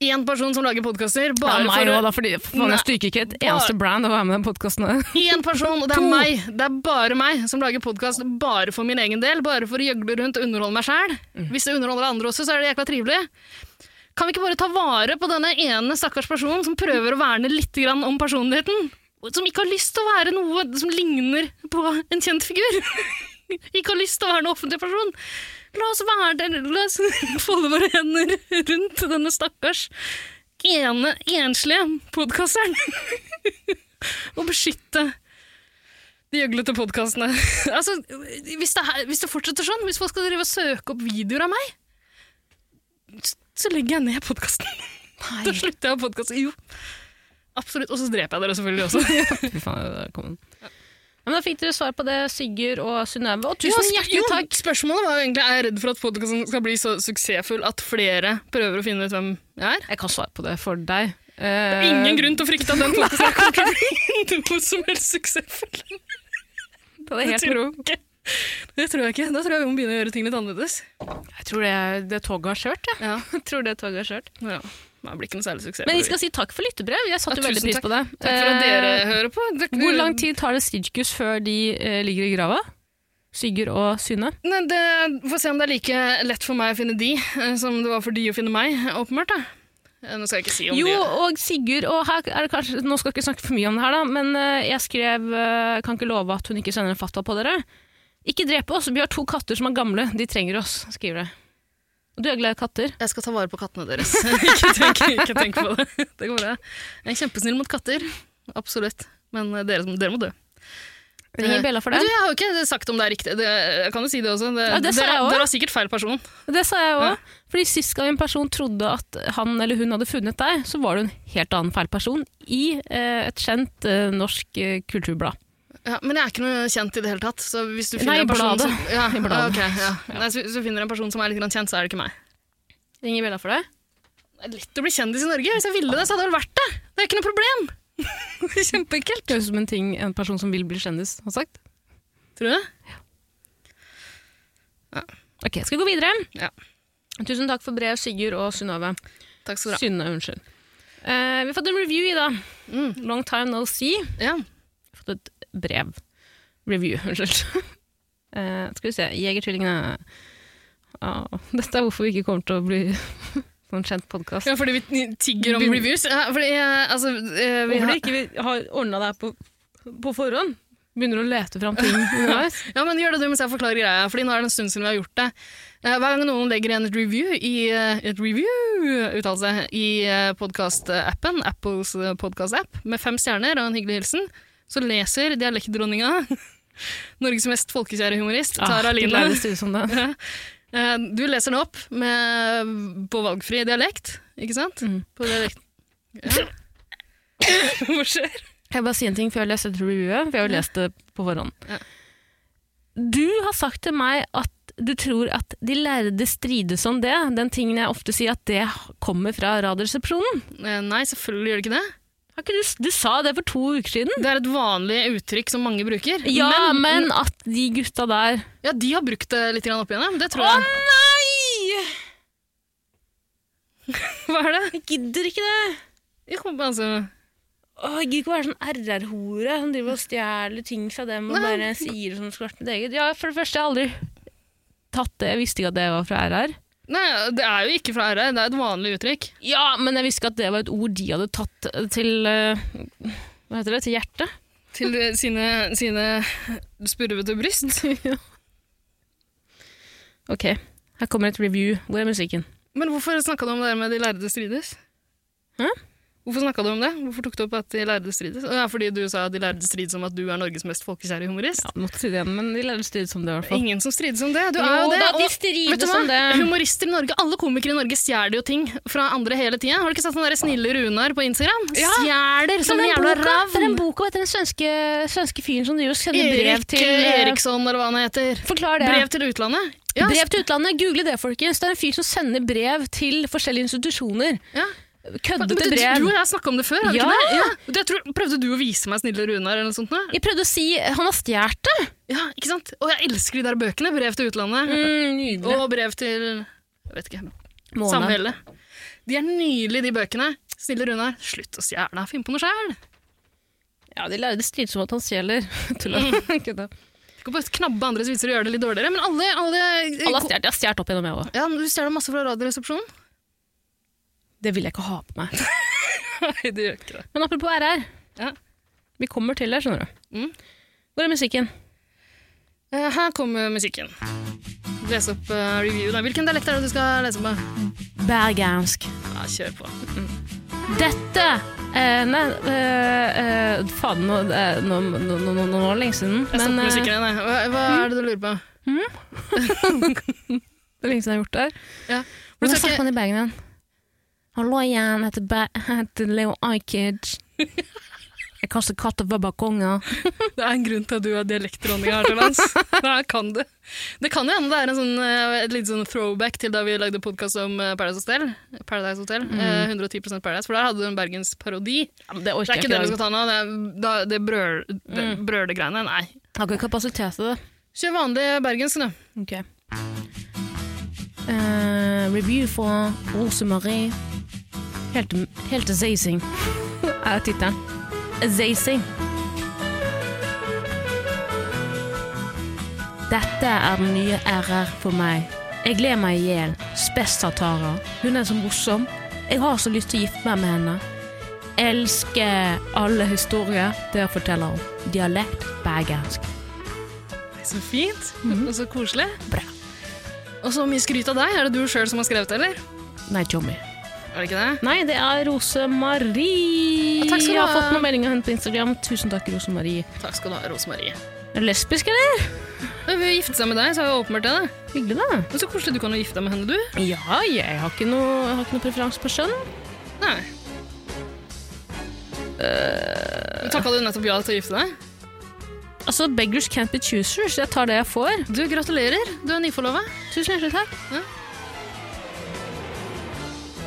[SPEAKER 3] Én person som lager podkaster bare for å
[SPEAKER 5] fordi
[SPEAKER 3] Nei.
[SPEAKER 5] jeg styrker ikke et
[SPEAKER 3] eneste
[SPEAKER 5] brand å være med i den podkasten.
[SPEAKER 3] Én person, og det er
[SPEAKER 5] To.
[SPEAKER 3] meg. Det er bare meg som lager podkast bare for min egen del. Bare for å gjøgle rundt og underholde meg sjæl. Hvis det underholder andre også, så er det jækla trivelig. Kan vi ikke bare ta vare på denne ene stakkars personen som prøver å verne litt grann om personligheten? Som ikke har lyst til å være noe som ligner på en kjent figur. ikke har lyst til å være en offentlig person. La oss være der, la oss folde våre hender rundt denne stakkars ene enslige podkasteren. og beskytte de gjøglete podkastene. altså, hvis det, her- hvis det fortsetter sånn, hvis folk skal drive og søke opp videoer av meg, s- så legger jeg ned podkasten. Da slutter jeg med podkasten. Jo. Absolutt. Og så dreper jeg dere selvfølgelig også.
[SPEAKER 5] Fy faen, der kom den. Ja, men da fikk dere svar på det, Sigurd og Synnøve. Og tusen
[SPEAKER 3] Ja,
[SPEAKER 5] hjertelig
[SPEAKER 3] jo,
[SPEAKER 5] takk!
[SPEAKER 3] Spørsmålet var jo egentlig er jeg redd for at podkasten skal bli så suksessfull at flere prøver å finne ut hvem jeg er.
[SPEAKER 5] Jeg kan svare på det for deg. Eh,
[SPEAKER 3] Ingen grunn til å frykte at den podkasten kommer til å bli noe som helst suksessfull.
[SPEAKER 5] Det er
[SPEAKER 3] Det
[SPEAKER 5] helt
[SPEAKER 3] tror jeg ikke. Det tror jeg ikke. Da tror jeg vi må begynne å gjøre ting litt annerledes.
[SPEAKER 5] Jeg tror det, det toget har kjørt, jeg.
[SPEAKER 3] Ja.
[SPEAKER 5] jeg. Tror det toget har kjørt.
[SPEAKER 3] Ja. Det blir ikke noe særlig suksess.
[SPEAKER 5] Men vi skal si takk for lyttebrev. Jeg satte
[SPEAKER 3] Ja,
[SPEAKER 5] jo veldig
[SPEAKER 3] tusen
[SPEAKER 5] pris på det.
[SPEAKER 3] Takk for at dere
[SPEAKER 5] Eh,
[SPEAKER 3] hører på. Det,
[SPEAKER 5] Hvor lang tid tar det Sidkus før de eh, ligger i grava? Sigurd og Synne?
[SPEAKER 3] Nei, det, Få se om det er like lett for meg å finne de eh, som det var for de å finne meg, åpenbart. da. Eh, Nå skal jeg ikke si om
[SPEAKER 5] Jo,
[SPEAKER 3] det.
[SPEAKER 5] og Sigurd og her er det kanskje, Nå skal jeg ikke snakke for mye om det her, da, men eh, jeg skrev eh, Kan ikke love at hun ikke sender en fatwa på dere. Ikke drep oss, vi har to katter som er gamle. De trenger oss, skriver jeg. Og du er glad i katter?
[SPEAKER 3] Jeg skal ta vare på kattene deres. ikke, tenk, ikke tenk på det. Det går bra. Jeg er kjempesnill mot katter. Absolutt. Men eh, dere, dere må dø.
[SPEAKER 5] Ringer Bella for
[SPEAKER 3] Men
[SPEAKER 5] det?
[SPEAKER 3] Du, jeg har jo ikke sagt om det er riktig. Det, jeg kan jo si det også. Det,
[SPEAKER 5] Ja, det sa
[SPEAKER 3] dere,
[SPEAKER 5] jeg også.
[SPEAKER 3] dere har sikkert feil person.
[SPEAKER 5] Det sa jeg òg. Fordi sist gang en person trodde at han eller hun hadde funnet deg, så var du en helt annen feil person i eh, et kjent eh, norsk eh, kulturblad.
[SPEAKER 3] Ja, men jeg er ikke noe kjent i det hele tatt. Så hvis du
[SPEAKER 5] Nei,
[SPEAKER 3] finner
[SPEAKER 5] i
[SPEAKER 3] en person
[SPEAKER 5] bladet.
[SPEAKER 3] Som, ja,
[SPEAKER 5] I bladet.
[SPEAKER 3] ok, ja. Nei, så, så finner du en person som er litt grann kjent, så er det ikke meg.
[SPEAKER 5] Ringer Bella for deg?
[SPEAKER 3] Det er lett å bli kjendis i Norge. Hvis jeg ville det, så hadde jeg vel vært det. Det er ikke noe problem.
[SPEAKER 5] Kjempeenkelt. Høres ut som en ting en person som vil bli kjendis, har sagt.
[SPEAKER 3] Tror du det?
[SPEAKER 5] Ok, skal vi gå videre?
[SPEAKER 3] Ja.
[SPEAKER 5] Tusen takk for brev, Sigurd og Synnøve.
[SPEAKER 3] Takk skal du ha.
[SPEAKER 5] Synne, unnskyld. Eh, vi har fått en review, Ida. Long time no see. Vi
[SPEAKER 3] Mm. Ja.
[SPEAKER 5] har fått et brev. Review, unnskyld. Eh, skal vi se. Jegertvillingene. Ah, dette er hvorfor vi ikke kommer til å bli få en kjent podkast.
[SPEAKER 3] ja, fordi vi tigger om
[SPEAKER 5] Begynn.
[SPEAKER 3] reviews. Ja, fordi, eh, altså, eh, vi
[SPEAKER 5] Hvorfor
[SPEAKER 3] har-
[SPEAKER 5] det ikke vi har ordna det her på, på forhånd? Begynner å lete fram ting underveis.
[SPEAKER 3] Ja, men gjør det du mens jeg forklarer greia, fordi nå er det en stund siden vi har gjort det. Eh, Hver gang noen legger igjen et review i eh, et review-uttalelse i podkast-appen, Apples podkast-app, med fem stjerner og en hyggelig hilsen, så leser dialektdronninga, Norges mest folkekjære humorist,
[SPEAKER 5] Ah,
[SPEAKER 3] Tara
[SPEAKER 5] det
[SPEAKER 3] Line.
[SPEAKER 5] pleier å se ut som det.
[SPEAKER 3] Eh, Du leser den opp med, på valgfri dialekt, ikke sant?
[SPEAKER 5] Mm.
[SPEAKER 3] På dialekt. Ja. Hva skjer?
[SPEAKER 5] Kan jeg bare si en ting før jeg leser dette reviewet? For jeg har jo lest det på forhånd.
[SPEAKER 3] Ja.
[SPEAKER 5] Du har sagt til meg at du tror at de lærde strides om det. Den tingen jeg ofte sier at det kommer fra Radioresepsjonen.
[SPEAKER 3] Eh, Nei, selvfølgelig gjør det ikke det.
[SPEAKER 5] Har ikke du, du sa det for to uker siden.
[SPEAKER 3] Det er et vanlig uttrykk som mange bruker.
[SPEAKER 5] Ja, men, at de gutta der
[SPEAKER 3] Ja, de har brukt det litt grann opp igjennom. Det tror
[SPEAKER 5] Å
[SPEAKER 3] jeg.
[SPEAKER 5] nei!
[SPEAKER 3] Hva er det?
[SPEAKER 5] Jeg gidder ikke det.
[SPEAKER 3] Jeg kommer på, altså.
[SPEAKER 5] Åh, jeg gidder ikke å være sånn RR-hore som driver og stjeler ting fra dem og
[SPEAKER 3] Nei.
[SPEAKER 5] bare sier som skvart mitt eget. Ja, for det første, jeg har aldri tatt det. Jeg visste ikke at det var fra RR.
[SPEAKER 3] Nei, det er jo ikke fra RR, det er et vanlig uttrykk.
[SPEAKER 5] Ja, men jeg visste ikke at det var et ord de hadde tatt til eh, Hva heter det? Til hjertet?
[SPEAKER 3] Til eh, sine, sine spurvete bryst.
[SPEAKER 5] Ok, her kommer et review. Hvor er musikken?
[SPEAKER 3] Men hvorfor snakka du om det der med de lærde strides?
[SPEAKER 5] Hæ?
[SPEAKER 3] Hvorfor snakket du om det? Hvorfor tok du opp at de lærde strides? Å, Ja, fordi du sa at de lærde strides om at du er Norges mest folkekjære humorist?
[SPEAKER 5] Ja, måtte si det igjen, men de lærde strides om det, i hvert fall.
[SPEAKER 3] Ingen som strides om det. Du er jo det.
[SPEAKER 5] da, de
[SPEAKER 3] og- Vet du
[SPEAKER 5] strides
[SPEAKER 3] hva?
[SPEAKER 5] om det.
[SPEAKER 3] Humorister i Norge, alle komikere i Norge stjeler jo ting fra andre hele tida. Har du ikke sett den der snille Runar på Instagram?
[SPEAKER 5] Ja.
[SPEAKER 3] Stjeler som en
[SPEAKER 5] den
[SPEAKER 3] sånn jævla
[SPEAKER 5] boka,
[SPEAKER 3] ravn!
[SPEAKER 5] det er den boka etter den svenske, svenske fyren som driver og sender brev
[SPEAKER 3] Erik
[SPEAKER 5] til eh,
[SPEAKER 3] Eriksson, eller hva han heter.
[SPEAKER 5] Forklar det.
[SPEAKER 3] Brev til utlandet? Ja,
[SPEAKER 5] brev til utlandet. Google det, folkens. Det er en fyr som sender brev til forskjellige institusjoner.
[SPEAKER 3] Ja. Men
[SPEAKER 5] Køddete
[SPEAKER 3] Du,
[SPEAKER 5] brev.
[SPEAKER 3] du og jeg snakka om det før, har vi
[SPEAKER 5] Ja.
[SPEAKER 3] ikke det? Ja. Jeg tror, prøvde du å vise meg 'Snille Runar' eller noe sånt? nå?
[SPEAKER 5] Jeg prøvde å si Han har stjålet det!
[SPEAKER 3] Ja, ikke sant? Og jeg elsker de der bøkene. Brev til utlandet.
[SPEAKER 5] Mm, nydelig.
[SPEAKER 3] Og brev til jeg vet ikke,
[SPEAKER 5] Måne.
[SPEAKER 3] samhellet. De er nydelige, de bøkene. Snille Runar, slutt å stjele. Finn på noe sjæl.
[SPEAKER 5] Ja, de lærde strides om at han stjeler. Tulla.
[SPEAKER 3] Mm.
[SPEAKER 5] Kødda.
[SPEAKER 3] Du kan bare knabbe andres vitser og gjøre det litt dårligere. Men alle, alle, eh,
[SPEAKER 5] Alle har stjålet. Jeg har stjålet opp gjennom, jeg òg.
[SPEAKER 3] Ja, men Du stjeler masse fra Radioresepsjonen.
[SPEAKER 5] Det vil jeg ikke ha på meg.
[SPEAKER 3] Nei, det gjør ikke det.
[SPEAKER 5] Men apropos RR.
[SPEAKER 3] Ja.
[SPEAKER 5] Vi kommer til det, skjønner du.
[SPEAKER 3] Mm.
[SPEAKER 5] Hvor er musikken?
[SPEAKER 3] Eh, Her kommer musikken. Les opp eh, review, da. Hvilken dialekt er det du skal lese på?
[SPEAKER 5] Bergensk.
[SPEAKER 3] Ja, kjør på.
[SPEAKER 5] Dette eh, Nei, eh, eh, faen, nå, eh, nå, nå, nå, nå, nå var det lenge siden.
[SPEAKER 3] Jeg stopper
[SPEAKER 5] men, eh,
[SPEAKER 3] musikken igjen, jeg. Hva, hva er det du lurer på?
[SPEAKER 5] det er lenge siden jeg har gjort det her.
[SPEAKER 3] Ja. For du
[SPEAKER 5] Hvordan
[SPEAKER 3] skal
[SPEAKER 5] snakker
[SPEAKER 3] ikke-
[SPEAKER 5] man i Bergen igjen? Hallo igjen, heter, Be heter Leo Ajkic. Jeg kaster katter på balkonger.
[SPEAKER 3] Det er en grunn til at du er dialektdronninga her til lands. Det her kan du. Det kan jo hende det er en sånn, eh, et lite sånn throwback til da vi lagde podkast om eh, Paradise Hotel. Paradise Hotel eh, 110 Paradise, for der hadde du en bergensparodi.
[SPEAKER 5] Det
[SPEAKER 3] Det
[SPEAKER 5] orker
[SPEAKER 3] er Mm.
[SPEAKER 5] jeg
[SPEAKER 3] ikke
[SPEAKER 5] ikke.
[SPEAKER 3] det vi
[SPEAKER 5] i
[SPEAKER 3] skal ta nå. Det, er- da- det, brøl, det brølegreiene. Nei.
[SPEAKER 5] dag. Har ikke kapasitet til det.
[SPEAKER 3] Kjør vanlig bergensk, du.
[SPEAKER 5] Ok. Eh, review fra Rose Marie. Helt, helt amazing, er tittelen. Amazing. Dette er den nye RR for meg. Jeg gleder meg i hjel. Spes Tatara. Hun er så morsom. Jeg har så lyst til å gifte meg med henne. Elsker alle historier der jeg forteller om dialekt bergensk.
[SPEAKER 3] Så fint Mm-hmm. og så koselig.
[SPEAKER 5] Bra.
[SPEAKER 3] Og så mye skryt av deg. Er det du sjøl som har skrevet det, eller?
[SPEAKER 5] Nei, Tommy.
[SPEAKER 3] Er det ikke det?
[SPEAKER 5] Nei, det er Rose Marie.
[SPEAKER 3] Takk skal du
[SPEAKER 5] jeg har
[SPEAKER 3] ha.
[SPEAKER 5] fått noen meldinger av henne på Instagram. Tusen takk, Rose Marie.
[SPEAKER 3] Takk skal du ha, Rosemarie.
[SPEAKER 5] Er du lesbisk, eller?
[SPEAKER 3] Hun vil gifte seg med deg, så har jeg åpenbart det. da.
[SPEAKER 5] Hyggelig, da.
[SPEAKER 3] Men så koselig du kan jo gifte deg med henne, du.
[SPEAKER 5] Ja, jeg har ikke noe, jeg har ikke noe preferanse på skjønn.
[SPEAKER 3] Nei. Men Takka du nettopp ja til å gifte deg?
[SPEAKER 5] Altså, beggars can't be choosers. Jeg tar det jeg får.
[SPEAKER 3] Du, gratulerer. Du er nyforlova.
[SPEAKER 5] Tusen hjertelig takk.
[SPEAKER 3] Ja.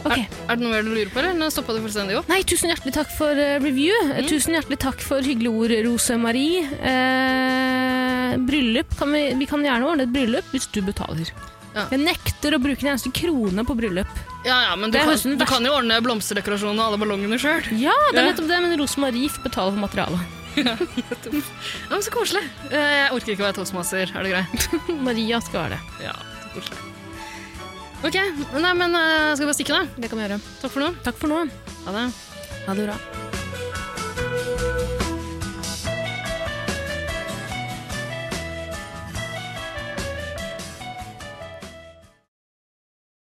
[SPEAKER 5] Ok.
[SPEAKER 3] Er det noe mer du lurer på, eller? Nå stoppa det fullstendig opp.
[SPEAKER 5] Nei, tusen hjertelig takk for eh, review.
[SPEAKER 3] Mm.
[SPEAKER 5] Eh, Tusen hjertelig takk for hyggelige ord, Rose Marie. Eh, bryllup kan vi, vi kan gjerne ordne et bryllup hvis du betaler.
[SPEAKER 3] Ja.
[SPEAKER 5] Jeg nekter å bruke en eneste krone på bryllup.
[SPEAKER 3] Ja, ja, men du,
[SPEAKER 5] Det er
[SPEAKER 3] kan,
[SPEAKER 5] høsten
[SPEAKER 3] du
[SPEAKER 5] verst.
[SPEAKER 3] kan jo ordne blomsterdekorasjonen og alle ballongene sjøl.
[SPEAKER 5] Ja, det er
[SPEAKER 3] Ja.
[SPEAKER 5] nettopp det, men Rose Marie får betale for materialet.
[SPEAKER 3] Ja, men så koselig. Eh, Jeg orker ikke å være toastmaster. Er det greit?
[SPEAKER 5] Maria skal være det.
[SPEAKER 3] Ja, så koselig. Ok, nei, men eh, skal vi bare stikke, da?
[SPEAKER 5] Det kan vi gjøre.
[SPEAKER 3] Takk for nå.
[SPEAKER 5] Takk for nå.
[SPEAKER 3] Ha det.
[SPEAKER 5] Ha det bra.